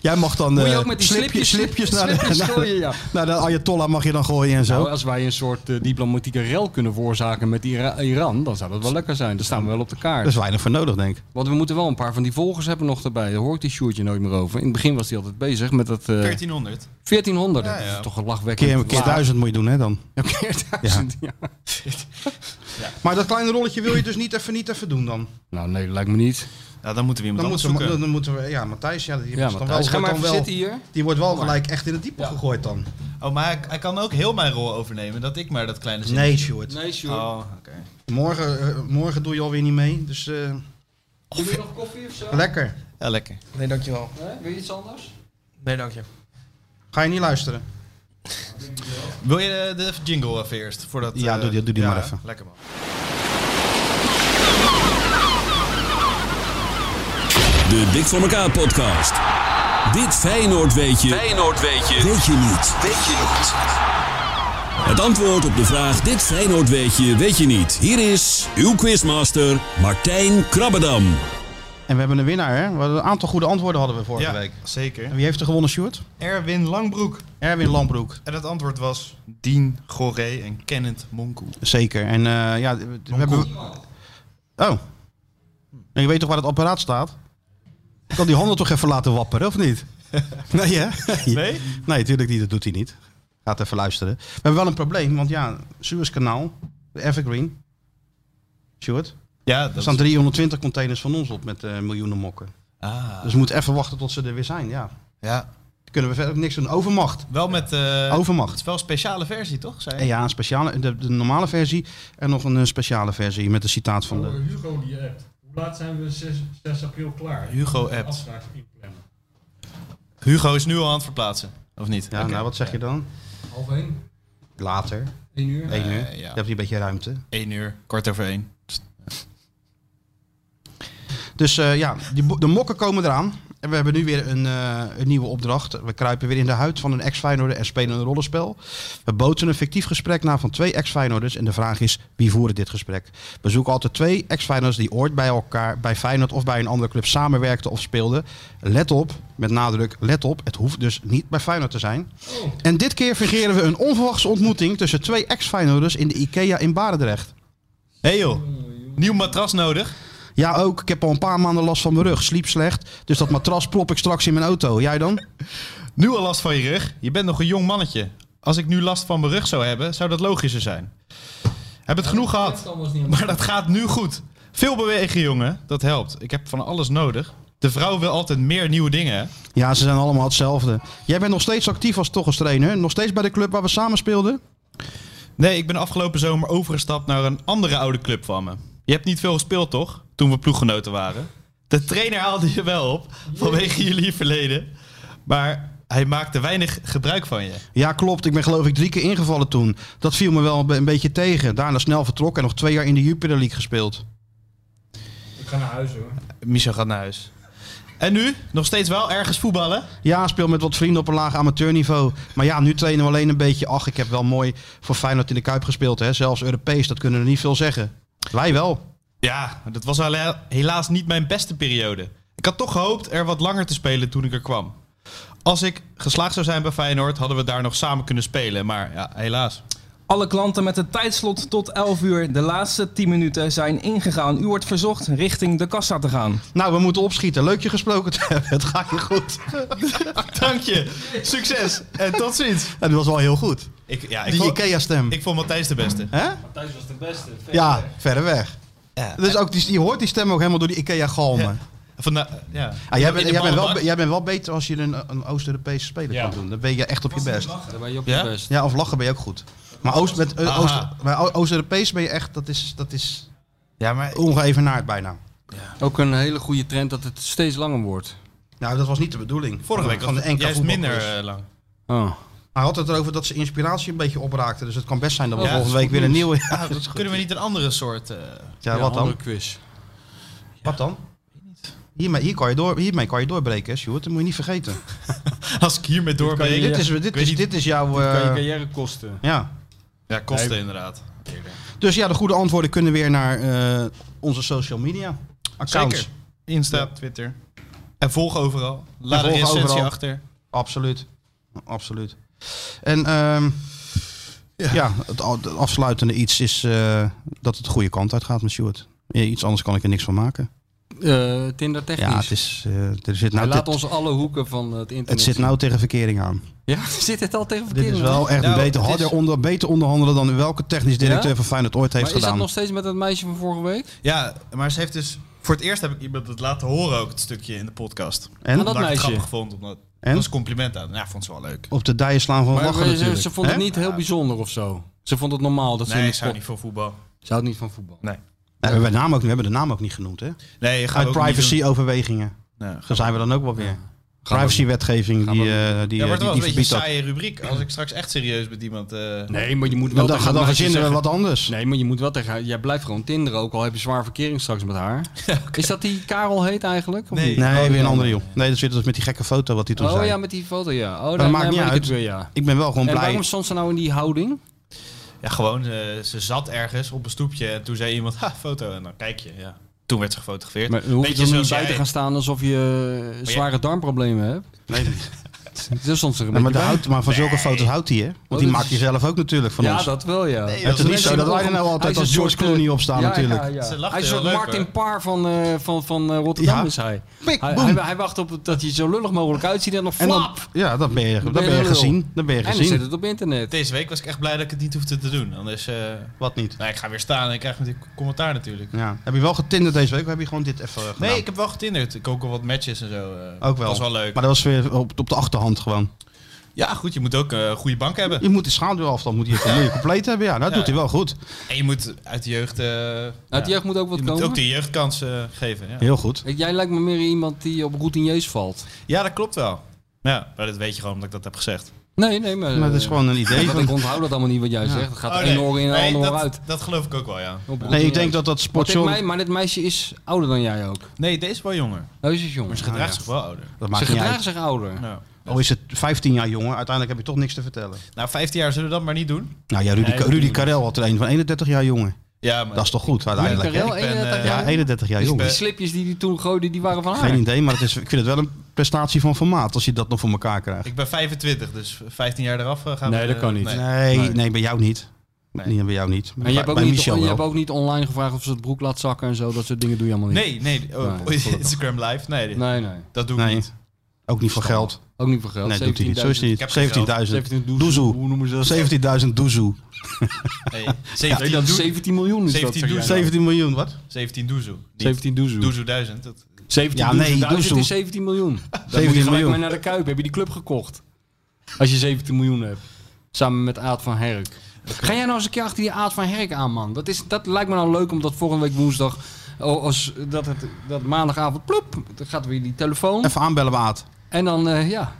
Jij mag dan Moet je eh, ook met die slipje- slipjes, slipjes naar slipjes de- (laughs) naar gooien, de- ja. naar de Ayatollah mag je dan gooien en Nou, zo. als wij een soort eh, diplomatieke rel kunnen veroorzaken met Ira- Iran, dan zou dat wel lekker zijn. Dan staan we wel op de Er is kaart. weinig voor nodig, denk ik. Want we moeten wel een paar van die volgers hebben nog erbij. Daar hoort die Sjoerdje nooit meer over. In het begin was hij altijd bezig met dat eh 1400. 1400. Ja, ja. Dat is toch een Een lachwekkend keer, een keer laag. duizend moet je doen, hè, dan. Ja, keer (laughs) duizend, ja. Maar dat kleine rolletje wil je dus niet even, niet even doen dan. Nou, nee, lijkt me niet. Ja, dan moeten we Dan iemand moeten, we, opzoeken. dan moeten we, ja, Matthijs, ja, die, Ja, is dan Matthijs, ga wel, maar wordt dan even wel, zitten hier. die wordt wel gelijk echt in het diepe gegooid dan. Oh, maar hij, hij kan ook heel mijn rol overnemen. Dat ik maar dat kleine zin. Sjoerd. Nee, Sjoerd. Oh, oké. Morgen, eh, morgen doe je alweer niet mee, dus eh, Wil je nog koffie of zo? lekker. Ja, lekker. Nee, dankjewel. Nee? Wil je iets anders? Nee, dankje. Ga je niet luisteren? Wil je de, de jingle even eerst? Voordat, Ja, eh, doe die- doe die ja, maar even. Lekker man. De Dik voor elkaar podcast. Dit Feyenoord weet je. Feyenoord weet je. Weet je niet. Weet je niet. Het antwoord op de vraag Dit Feyenoord weet je, weet je niet. Hier is uw quizmaster Martijn Krabbedam. En we hebben een winnaar, hè? We hadden- Een aantal goede antwoorden hadden we vorige Ja, week. En zeker. wie heeft er gewonnen, Sjoerd? Erwin Langbroek. Erwin Lambroek. En het antwoord was Dien Goré en Kenneth Monkoe. Zeker. En eh, ja, we hebben... Oh. En je weet toch waar het apparaat staat? Ik kan die handen toch even laten wapperen, of niet? (laughs) Nee, hè? Nee? Nee, natuurlijk niet. Dat doet hij niet. Gaat even luisteren. We hebben wel een probleem, want ja, Suezkanaal, de Evergreen, Stuart, Ja, dat er staan 320 containers van ons op met eh, miljoenen mokken. Ah, Dus we moeten even wachten tot ze er weer zijn, ja. ja. Dan kunnen we verder niks doen. Overmacht. Wel met... eh Oh. het Overmacht. is wel een speciale versie, toch? Zei je? En ja, een speciale, de, de normale versie en nog een eh, speciale versie met een citaat van Oh, de... Hugo die appt. Hoe laat zijn we 6, 6 april klaar? Hugo appt. Afspraak inplannen. Hugo is nu al aan het verplaatsen, of niet? Ja, Oké. nou wat zeg je dan? Half één? Later, Eén uur? één uur. Eh, ja. Dan heb je een beetje ruimte. 1 uur, kwart over één. Dus eh, ja, die bo- de mokken komen eraan. En we hebben nu weer een, eh, een nieuwe opdracht. We kruipen weer in de huid van een ex-Feyenoorder en spelen een rollenspel. We boten een fictief gesprek na van twee ex-Feyenoorders. En de vraag is, wie voeren dit gesprek? We zoeken altijd twee ex-Feyenoorders die ooit bij elkaar, bij Feyenoord of bij een andere club samenwerkten of speelden. Let op, met nadruk, let op. Het hoeft dus niet bij Feyenoord te zijn. Oh. En dit keer fingeren we een onverwachte ontmoeting tussen twee ex-Feyenoorders in de Ikea in Barendrecht. Hé hey joh, nieuw matras nodig. Ja, ook. Ik heb al een paar maanden last van mijn rug. Sliep slecht. Dus dat matras prop ik straks in mijn auto. Jij dan? Nu al last van je rug. Je bent nog een jong mannetje. Als ik nu last van mijn rug zou hebben, zou dat logischer zijn. Heb het genoeg gehad, maar dat gaat nu goed. Veel bewegen, jongen. Dat helpt. Ik heb van alles nodig. De vrouw wil altijd meer nieuwe dingen. hè? Ja, ze zijn allemaal hetzelfde. Jij bent nog steeds actief als toch als trainer. Nog steeds bij de club waar we samen speelden. Nee, ik ben afgelopen zomer overgestapt naar een andere oude club van me. Je hebt niet veel gespeeld, toch? Toen we ploeggenoten waren. De trainer haalde je wel op, vanwege jullie verleden. Maar hij maakte weinig gebruik van je. Ja, klopt. Ik ben geloof ik drie keer ingevallen toen. Dat viel me wel een be- een beetje tegen. Daarna snel vertrokken en nog twee jaar in de Jupiter League gespeeld. Michel gaat naar huis. En nu? Nog steeds wel ergens voetballen? Ja, speel met wat vrienden op een laag amateurniveau. Maar ja, nu trainen we alleen een beetje. Ach, ik heb wel mooi voor Feyenoord in de Kuip gespeeld. Hè. Zelfs Europees, dat kunnen we niet veel zeggen. Wij wel. Ja, dat was hele- helaas niet mijn beste periode. Ik had toch gehoopt er wat langer te spelen toen ik er kwam. Als ik geslaagd zou zijn bij Feyenoord, hadden we daar nog samen kunnen spelen. Maar ja, helaas. Alle klanten met het tijdslot tot 11 uur. De laatste 10 minuten zijn ingegaan. U wordt verzocht richting de kassa te gaan. Nou, we moeten opschieten. Leuk je gesproken te hebben. Het gaat je goed. Dank je. Succes. En tot (laughs) ziens. Ja, dat was wel heel goed. Ik, ja, ik, Die vond, Ikea-stem. ik vond Matthijs de beste. Hè? Thuis was de beste. Ja, verder weg. Dus ook die, je hoort die stem ook helemaal door die Ikea-galmen. Ja. Vandaar- ja. Ah, jij, bent, In de jij, bent wel, ballenbak. jij bent wel beter als je een, een Oost-Europese speler Ja. kan doen. Dan ben je echt op je best. Daar ben je op Ja? je best. Ja, of lachen ben je ook goed. Maar Oost- met- eh, Aha. Oost- maar O- Oost-Europees ben je echt, dat is, dat is Ja, maar ongeëvenaard bijna. Ook een hele goede trend dat het steeds langer wordt. Nou, dat was niet de bedoeling. vorige week van was de het NK juist minder voetbalquiz. eh, lang. Oh. Hij had het erover dat ze inspiratie een beetje opraakte. Dus het kan best zijn dat we Ja, volgende dat week is weer een goed nieuwe... Ja, Ah, dat is goed. Kunnen we niet een andere soort... eh, Ja, wat dan? Andere quiz. Wat dan? Hiermee, hier kan je door, hiermee kan je doorbreken, hè, Sjoerd. Dat moet je niet vergeten. als ik hiermee doorbreken. Dit is, dit weet is, niet- dit is jouw... eh, carrière kosten. ja. Ja, kosten inderdaad. Dus ja, de goede antwoorden kunnen weer naar eh, onze social media accounts. Zeker. Insta, Twitter. En volg overal. Laat een volg recensie overal. achter. Absoluut. Absoluut. En ehm, ja. het, al- het afsluitende iets is eh, dat het de goede kant uit gaat met Sjoerd. Ja, Iets anders kan ik er niks van maken. Eh, Tinder technisch. Ja, het, is, eh, er zit Hij nou laat te- ons alle hoeken van het internet. het zit zien. nou tegen verkering aan. Ja, (laughs) zit het al tegen Dit verkeering is aan? wel echt Nou, beter, het harder is- onder, beter onderhandelen dan welke technisch directeur Ja? van Feyenoord ooit heeft Maar is dat gedaan. nog steeds met dat meisje van vorige week? Ja, maar ze heeft dus... Voor het eerst heb ik iemand het laten horen ook, het stukje in de podcast. En? Maar dat ik het meisje? grappig vond, omdat... En? Dat was een compliment aan. Ja, vond ze wel leuk. Op de dijen slaan van Maar lachen ze- natuurlijk. ze, vond het Hè? niet heel bijzonder of zo. Ze vond het normaal dat ze in Nee, de ik zou sport... niet voor voetbal. Ze houdt niet van voetbal. Nou, we, hebben de naam ook, we hebben de naam ook niet genoemd, hè? Nee, je gaat Uit privacy overwegingen. Ja, Daar zijn we dan ook wel weer. Gaan Privacywetgeving Gaan die, we eh, die, ja, eh, die, wordt wel die een beetje een verbiedt dat. saaie rubriek. Als ik straks echt serieus met iemand... eh, Nee, maar je moet Nou, Dan, dan, wel tegen dan dat meisje verzinnen we zeggen- wat anders. Nee, maar je moet wel tegen haar... Jij blijft gewoon tinderen, ook al heb je zwaar verkering straks met (laughs) haar. Is dat die Karel heet eigenlijk? of Nee. niet? Nee, Oh, weer die een andere joh. Nee, dat zit dus met die gekke foto wat hij toen Oh zei. ja, met die foto, ja. Oh, dat dan maakt maakt niet niet uit. het weer, ja. Ik ben wel gewoon En blij. waarom stond ze nou in die houding? Ja, gewoon, eh, ze zat ergens op een stoepje en toen zei iemand, ha, foto. En dan kijk je, ja. Toen werd ze gefotografeerd. Maar dan hoef je Beetje er niet zoals bij te jij. gaan staan alsof je eh, zware darmproblemen hebt. (laughs) Nee. Dat is ons er een Nee, maar, beetje de bij. hout, maar van zulke foto's houdt hij, hè? Want die dat maakt is- hij zelf ook natuurlijk van Ja, ons. dat wel, ja. het is niet zo dat wij er nou altijd als George Clooney op staan, eh, Ja, natuurlijk. Ja, ja. Ze Hij lachten is een heel soort leuk, Martin hoor. Paar van, eh, van, van eh, Rotterdam, Ja. is hij. Pik, Hij, boem. hij, hij wacht op dat hij zo lullig mogelijk uitziet en dan en dan, flap! ja, dan ben je, dan ben ben je je lul. gezien. Dan ben je En dan zit gezien. het op internet. Deze week was ik echt blij dat ik het niet hoefde te doen. Anders, eh, Wat niet? nou, ik ga weer staan en ik krijg met die commentaar natuurlijk. Ja. Heb je wel getinderd deze week of heb je gewoon dit even eh, gedaan? Nee, ik heb wel getinderd. Ik ook al wat matches en zo. eh. ook wel. Was wel leuk. Maar dat was weer op, op de achterhand gewoon. Ja, goed, je moet ook eh, een goede bank hebben. Je moet de schaduw af, dan moet je, dan moet je compleet hebben. Ja, Nou, dat Ja. doet hij wel goed. En je moet uit de jeugd... eh, ja, Nou, die jeugd moet ook wat je moet komen. ook de jeugdkans eh, geven. Ja. Heel goed. Jij lijkt me meer iemand die op routiniers valt. ja, dat klopt wel. Ja, maar dat weet je gewoon omdat ik dat heb gezegd. Nee, nee, maar... Maar dat is eh, gewoon een idee want van- Ik onthoud dat allemaal niet wat jij zegt. Het gaat Oh, de ene oor in en de andere oor dat, uit. dat geloof ik ook wel, ja. Op- Nee, ik denk dat dat Maar dit, sportjournaal... mei- maar dit meisje is ouder dan jij ook. Nee, deze is wel jonger. Nou, is het jonger. Ze Gedraagt zich wel ouder. Dat maakt niet gedraagt uit. zich ouder. Nou. Al is het 15 jaar jonger, uiteindelijk heb je toch niks te vertellen. nou, 15 jaar zullen we dat maar niet doen. Nou ja, Rudy, Nee, dat Rudy doen we Karel had er een van 31 jaar jonger. Ja, maar Dat is toch goed uiteindelijk? hè? Karel, ik ben, 31 eh, Ja, jaar. 31 jaar Ik jonger. Die slipjes die die toen gooiden, die waren van haar. Geen idee, maar het is, ik vind het wel een prestatie van formaat als je dat nog voor elkaar krijgt. ik ben 25, dus 15 jaar eraf eh, gaan we... Nee, dat kan niet. Nee. Nee, nee, bij jou niet. Nee. Niet bij jou niet. En je hebt, ook niet, Michel je wel. hebt ook niet online gevraagd of ze het broek laat zakken en zo. Dat soort dingen doe je allemaal niet. Nee, nee, oh, Nee, gelukkig. Instagram live, nee, Nee, nee. dat doe ik Nee. niet. Ook niet voor geld. Ook niet voor geld. Nee, doet hij niet. Zo 17.000. is Ik heb hij geen niet. 17.000 17 doezoe. doezoe. Hoe noemen ze dat? 17.000 doezoe. (laughs) Nee, Nee, 17, dat is doe- 17 miljoen is 17 dat. zeg jij. doezoe. 17 miljoen, wat? Hm? 17 doezoe. Niet 17 doezoe. doezoe 1000. Dat, 17 Ja, nee, doezoe. Duizend doezoe. is 17 miljoen. Dan moet je 17 gelijk miljoen. maar naar de Kuip. Heb je die club gekocht? Als je 17 miljoen hebt. Samen met Aad van Herk. Ga jij nou eens een keer achter die Aad van Herk aan, man. Dat, is, dat lijkt me nou leuk, omdat volgende week woensdag... oh, Als, dat, het, dat maandagavond, ploep, dan gaat weer die telefoon. Even aanbellen, Waat. En dan, eh, ja,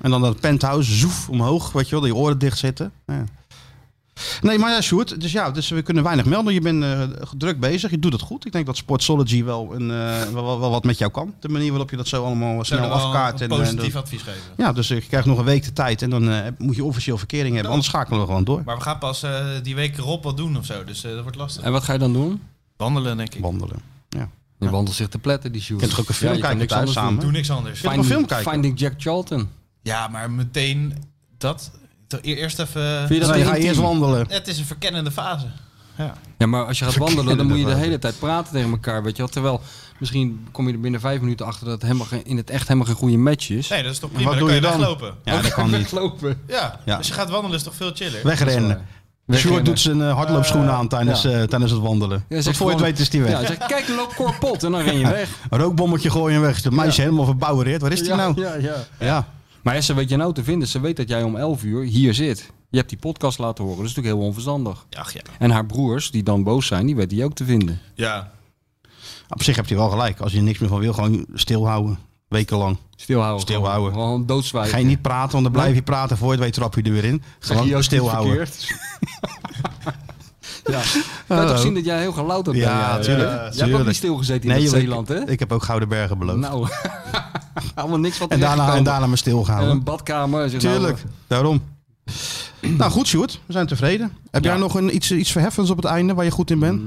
En dan dat penthouse, zoef, omhoog, weet je wel, dat je oren dicht zitten. Ja. Nee, maar ja, Sjoerd, dus ja, dus we kunnen weinig melden. Je bent eh, druk bezig, je doet het goed. Ik denk dat Sportsology wel, een, eh, wel, wel, wel wat met jou kan. De manier waarop je dat zo allemaal snel Zouden we wel afkaart. een en, eh, positief dat- advies geven. ja, dus ik krijg nog een week de tijd en dan eh, moet je officieel verkering hebben. Anders schakelen we gewoon door. Maar we gaan pas eh, die week erop wat doen of zo, dus eh, dat wordt lastig. en wat ga je dan doen? Wandelen, denk ik. Wandelen. Je wandelt zich te pletten, die Sjoerd. Je kunt toch ook een Ja, film je kan kijken niks thuis anders samen? doen. Doe niks anders. Je kunt toch een film kijken? Finding Jack Charlton. Ja, maar meteen dat. Te- e- Eerst even. Vind je dat Nee, niet ga je eerst intiem? wandelen. Het is een verkennende fase. Ja, maar als je gaat wandelen, dan Verkennen moet je de dat hele tijd praten tegen elkaar, weet je wel. Terwijl, misschien kom je er binnen vijf minuten achter dat het helemaal geen, in het echt helemaal geen goede match is. Nee, dat is toch prima. wat dan doe kan je dan? weglopen. Ja, dat (laughs) kan niet. Weglopen. Ja. Ja. dus je gaat wandelen is toch veel chiller. Wegrennen. Sjoerd doet zijn eh, hardloopschoenen aan tijdens, ja. eh, tijdens het wandelen. Ja, zeg Tot voor je het gewoon- weet is die weg. Ja, zeg, kijk, er loopt korpot en dan ren je weg. Rookbommetje gooien en weg. De meisje helemaal verbouwereerd. Waar is die Ja, nou? Ja, ja. ja. Maar ja, ze weet je nou te vinden. Ze weet dat jij om 11 uur hier zit. Je hebt die podcast laten horen. Dat is natuurlijk heel onverstandig. Ach ja. En haar broers, die dan boos zijn, die weet die ook te vinden. Ja. Op zich heb je wel gelijk. Als je er niks meer van wil, gewoon stilhouden. Wekenlang. Stilhouden. Stilhouden. Gewoon, gewoon doodzwijgen. Ga je niet praten, want dan blijf je praten. Voor je het weet trap je er weer in. Zeg je ook Gewoon niet stilhouden. (laughs) verkeerd? ja. Kan je Hallo. toch zien dat jij heel geluid hebt? Ja, jij, eh? tuurlijk, Jij hebt ook tuurlijk. niet stilgezeten in Nee, het joh, ik- Zeeland, hè? Ik heb ook Gouden Bergen beloofd. Nou, (laughs) allemaal niks wat en, daarna, en terechtkomen. daarna me En een stilgehouden. badkamer. Zeg, nou, Tuurlijk, daarom. Nou goed, Sjoerd. We zijn tevreden. Heb Ja. jij nog een, iets, iets verheffends op het einde waar je goed in bent?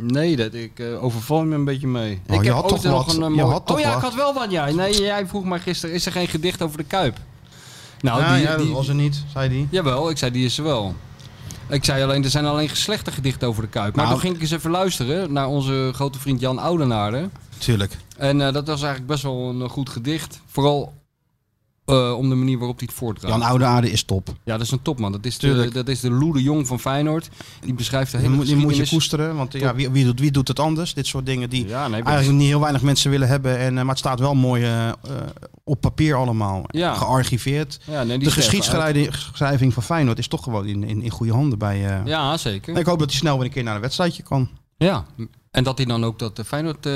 nou, nee, dat, ik eh, overval me een beetje mee. Oh, ik je heb had ooit toch nog wat. een eh, Je mooi- had toch Oh ja, wat. ik had wel wat. Ja. Nee, jij vroeg mij gisteren, is er geen gedicht over de Kuip? Nou, Nou die, ja, dat die- was er niet, zei die. Jawel, ik zei die is er wel. Ik zei alleen, er zijn alleen geslechte gedichten over de Kuip. Maar Nou. toen ging ik eens even luisteren naar onze grote vriend Jan Oudenaarde. Tuurlijk. En eh, dat was eigenlijk best wel een eh, goed gedicht. Vooral eh, om de manier waarop hij het voortdraagt. Jan Oude Aarde is top. Ja, dat is een topman. Dat is de, Tuurlijk. dat is de Lou de Jong van Feyenoord. Die beschrijft de Die hele moet, die moet je geschiedenis. koesteren, want eh, ja, wie, wie, doet, wie doet het anders? Dit soort dingen die Ja, nee, eigenlijk niet heel weinig mensen willen hebben. En, eh, maar het staat wel mooi eh, eh, op papier allemaal. Ja. Gearchiveerd. ja, nee, die de sterft uit. geschiedschrijving van Feyenoord is toch gewoon in, in, in goede handen bij... eh, Ja, zeker. en Ik hoop dat hij snel weer een keer naar een wedstrijdje kan. Ja. En dat hij dan ook dat eh, Feyenoord eh,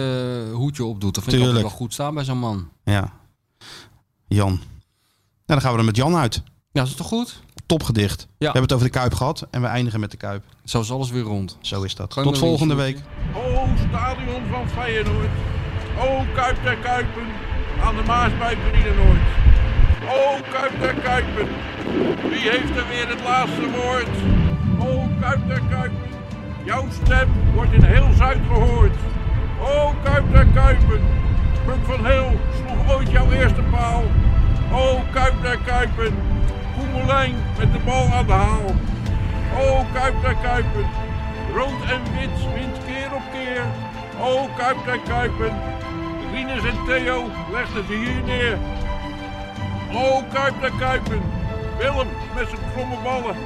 hoedje opdoet. Dat vind ik altijd Tuurlijk. wel goed staan bij zo'n man. Ja. Jan. Nou, dan gaan we er met Jan uit. Ja, is het toch goed? Topgedicht. We hebben het over de Kuip gehad en we eindigen met de Kuip. Zo is alles weer rond. Zo is dat. Gewoon Tot een volgende liedje. week. O stadion van Feyenoord. O Kuip der Kuipen. Aan de Maas bij Brienenoord. O Kuip der Kuipen. Wie heeft er weer het laatste woord? O Kuip der Kuipen. Jouw stem wordt in heel Zuid gehoord. O Kuip der Kuipen. Puck van Heel sloeg ooit jouw eerste paal. O Kuip der Kuipen. Koemelijn met de bal aan de haal. O Kuip der Kuipen, rood en wit wint keer op keer. O Kuip der Kuipen, Rinus en Theo legden ze hier neer. O Kuip der Kuipen, Willem met zijn kromme ballen.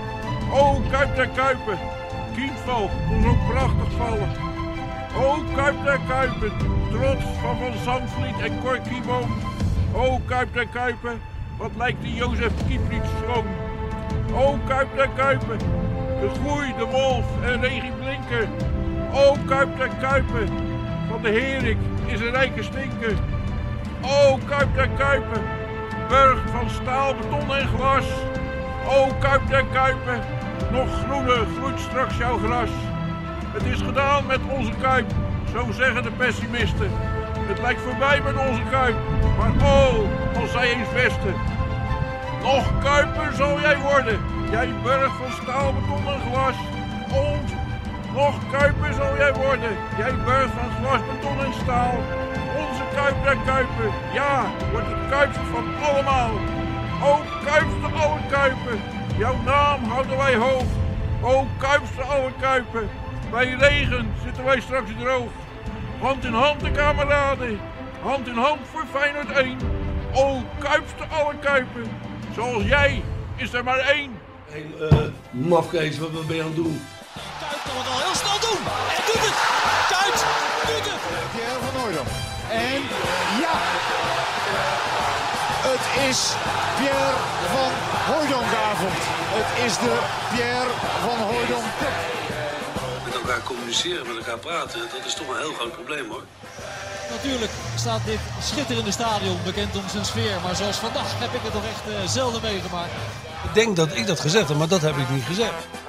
O Kuip der Kuipen, Kienval kon zo prachtig vallen. O Kuip der Kuipen, trots van Van Zandvliet en Cor Kieboom. O Kuip der Kuipen, wat lijkt die Jozef Kieprits schoon. O Kuip der Kuipen, de Groei, de Wolf en Regie Blinker. O Kuip der Kuipen, van de Herik is een rijke stinker. O Kuip der Kuipen, Burg van staal, beton en glas. O Kuip der Kuipen, nog groene groeit straks jouw gras. Het is gedaan met onze Kuip, zo zeggen de pessimisten. Het lijkt voorbij met onze Kuip, maar oh, als zij eens westen. Nog Kuiper zal jij worden, jij Burg van staal, beton en glas. Ons, nog Kuiper zal jij worden, jij Burg van glas, beton en staal. Onze Kuip der Kuipen, ja, wordt het Kuipst van allemaal. O Kuipste alle Kuipen, jouw naam houden wij hoog. O Kuipste alle Kuipen, bij regen zitten wij straks droog. Hand in hand de kameraden, hand in hand voor Feyenoord 1. O Kuipste alle Kuipen, zoals jij is er maar één. eh, Mafkees, wat ben je aan het doen? Kuit kan het al heel snel doen. En doet het. Kuit doet het. Pierre van Hooydonk. En ja, het is Pierre van Hooydonkavond. Het is de Pierre van Hooydonk Cup. Met elkaar communiceren, met elkaar praten, dat is toch een heel groot probleem hoor. Natuurlijk staat dit schitterende stadion bekend om zijn sfeer. Maar zoals vandaag heb ik het toch echt eh, zelden meegemaakt. Ik denk dat ik dat gezegd heb, maar dat heb ik niet gezegd.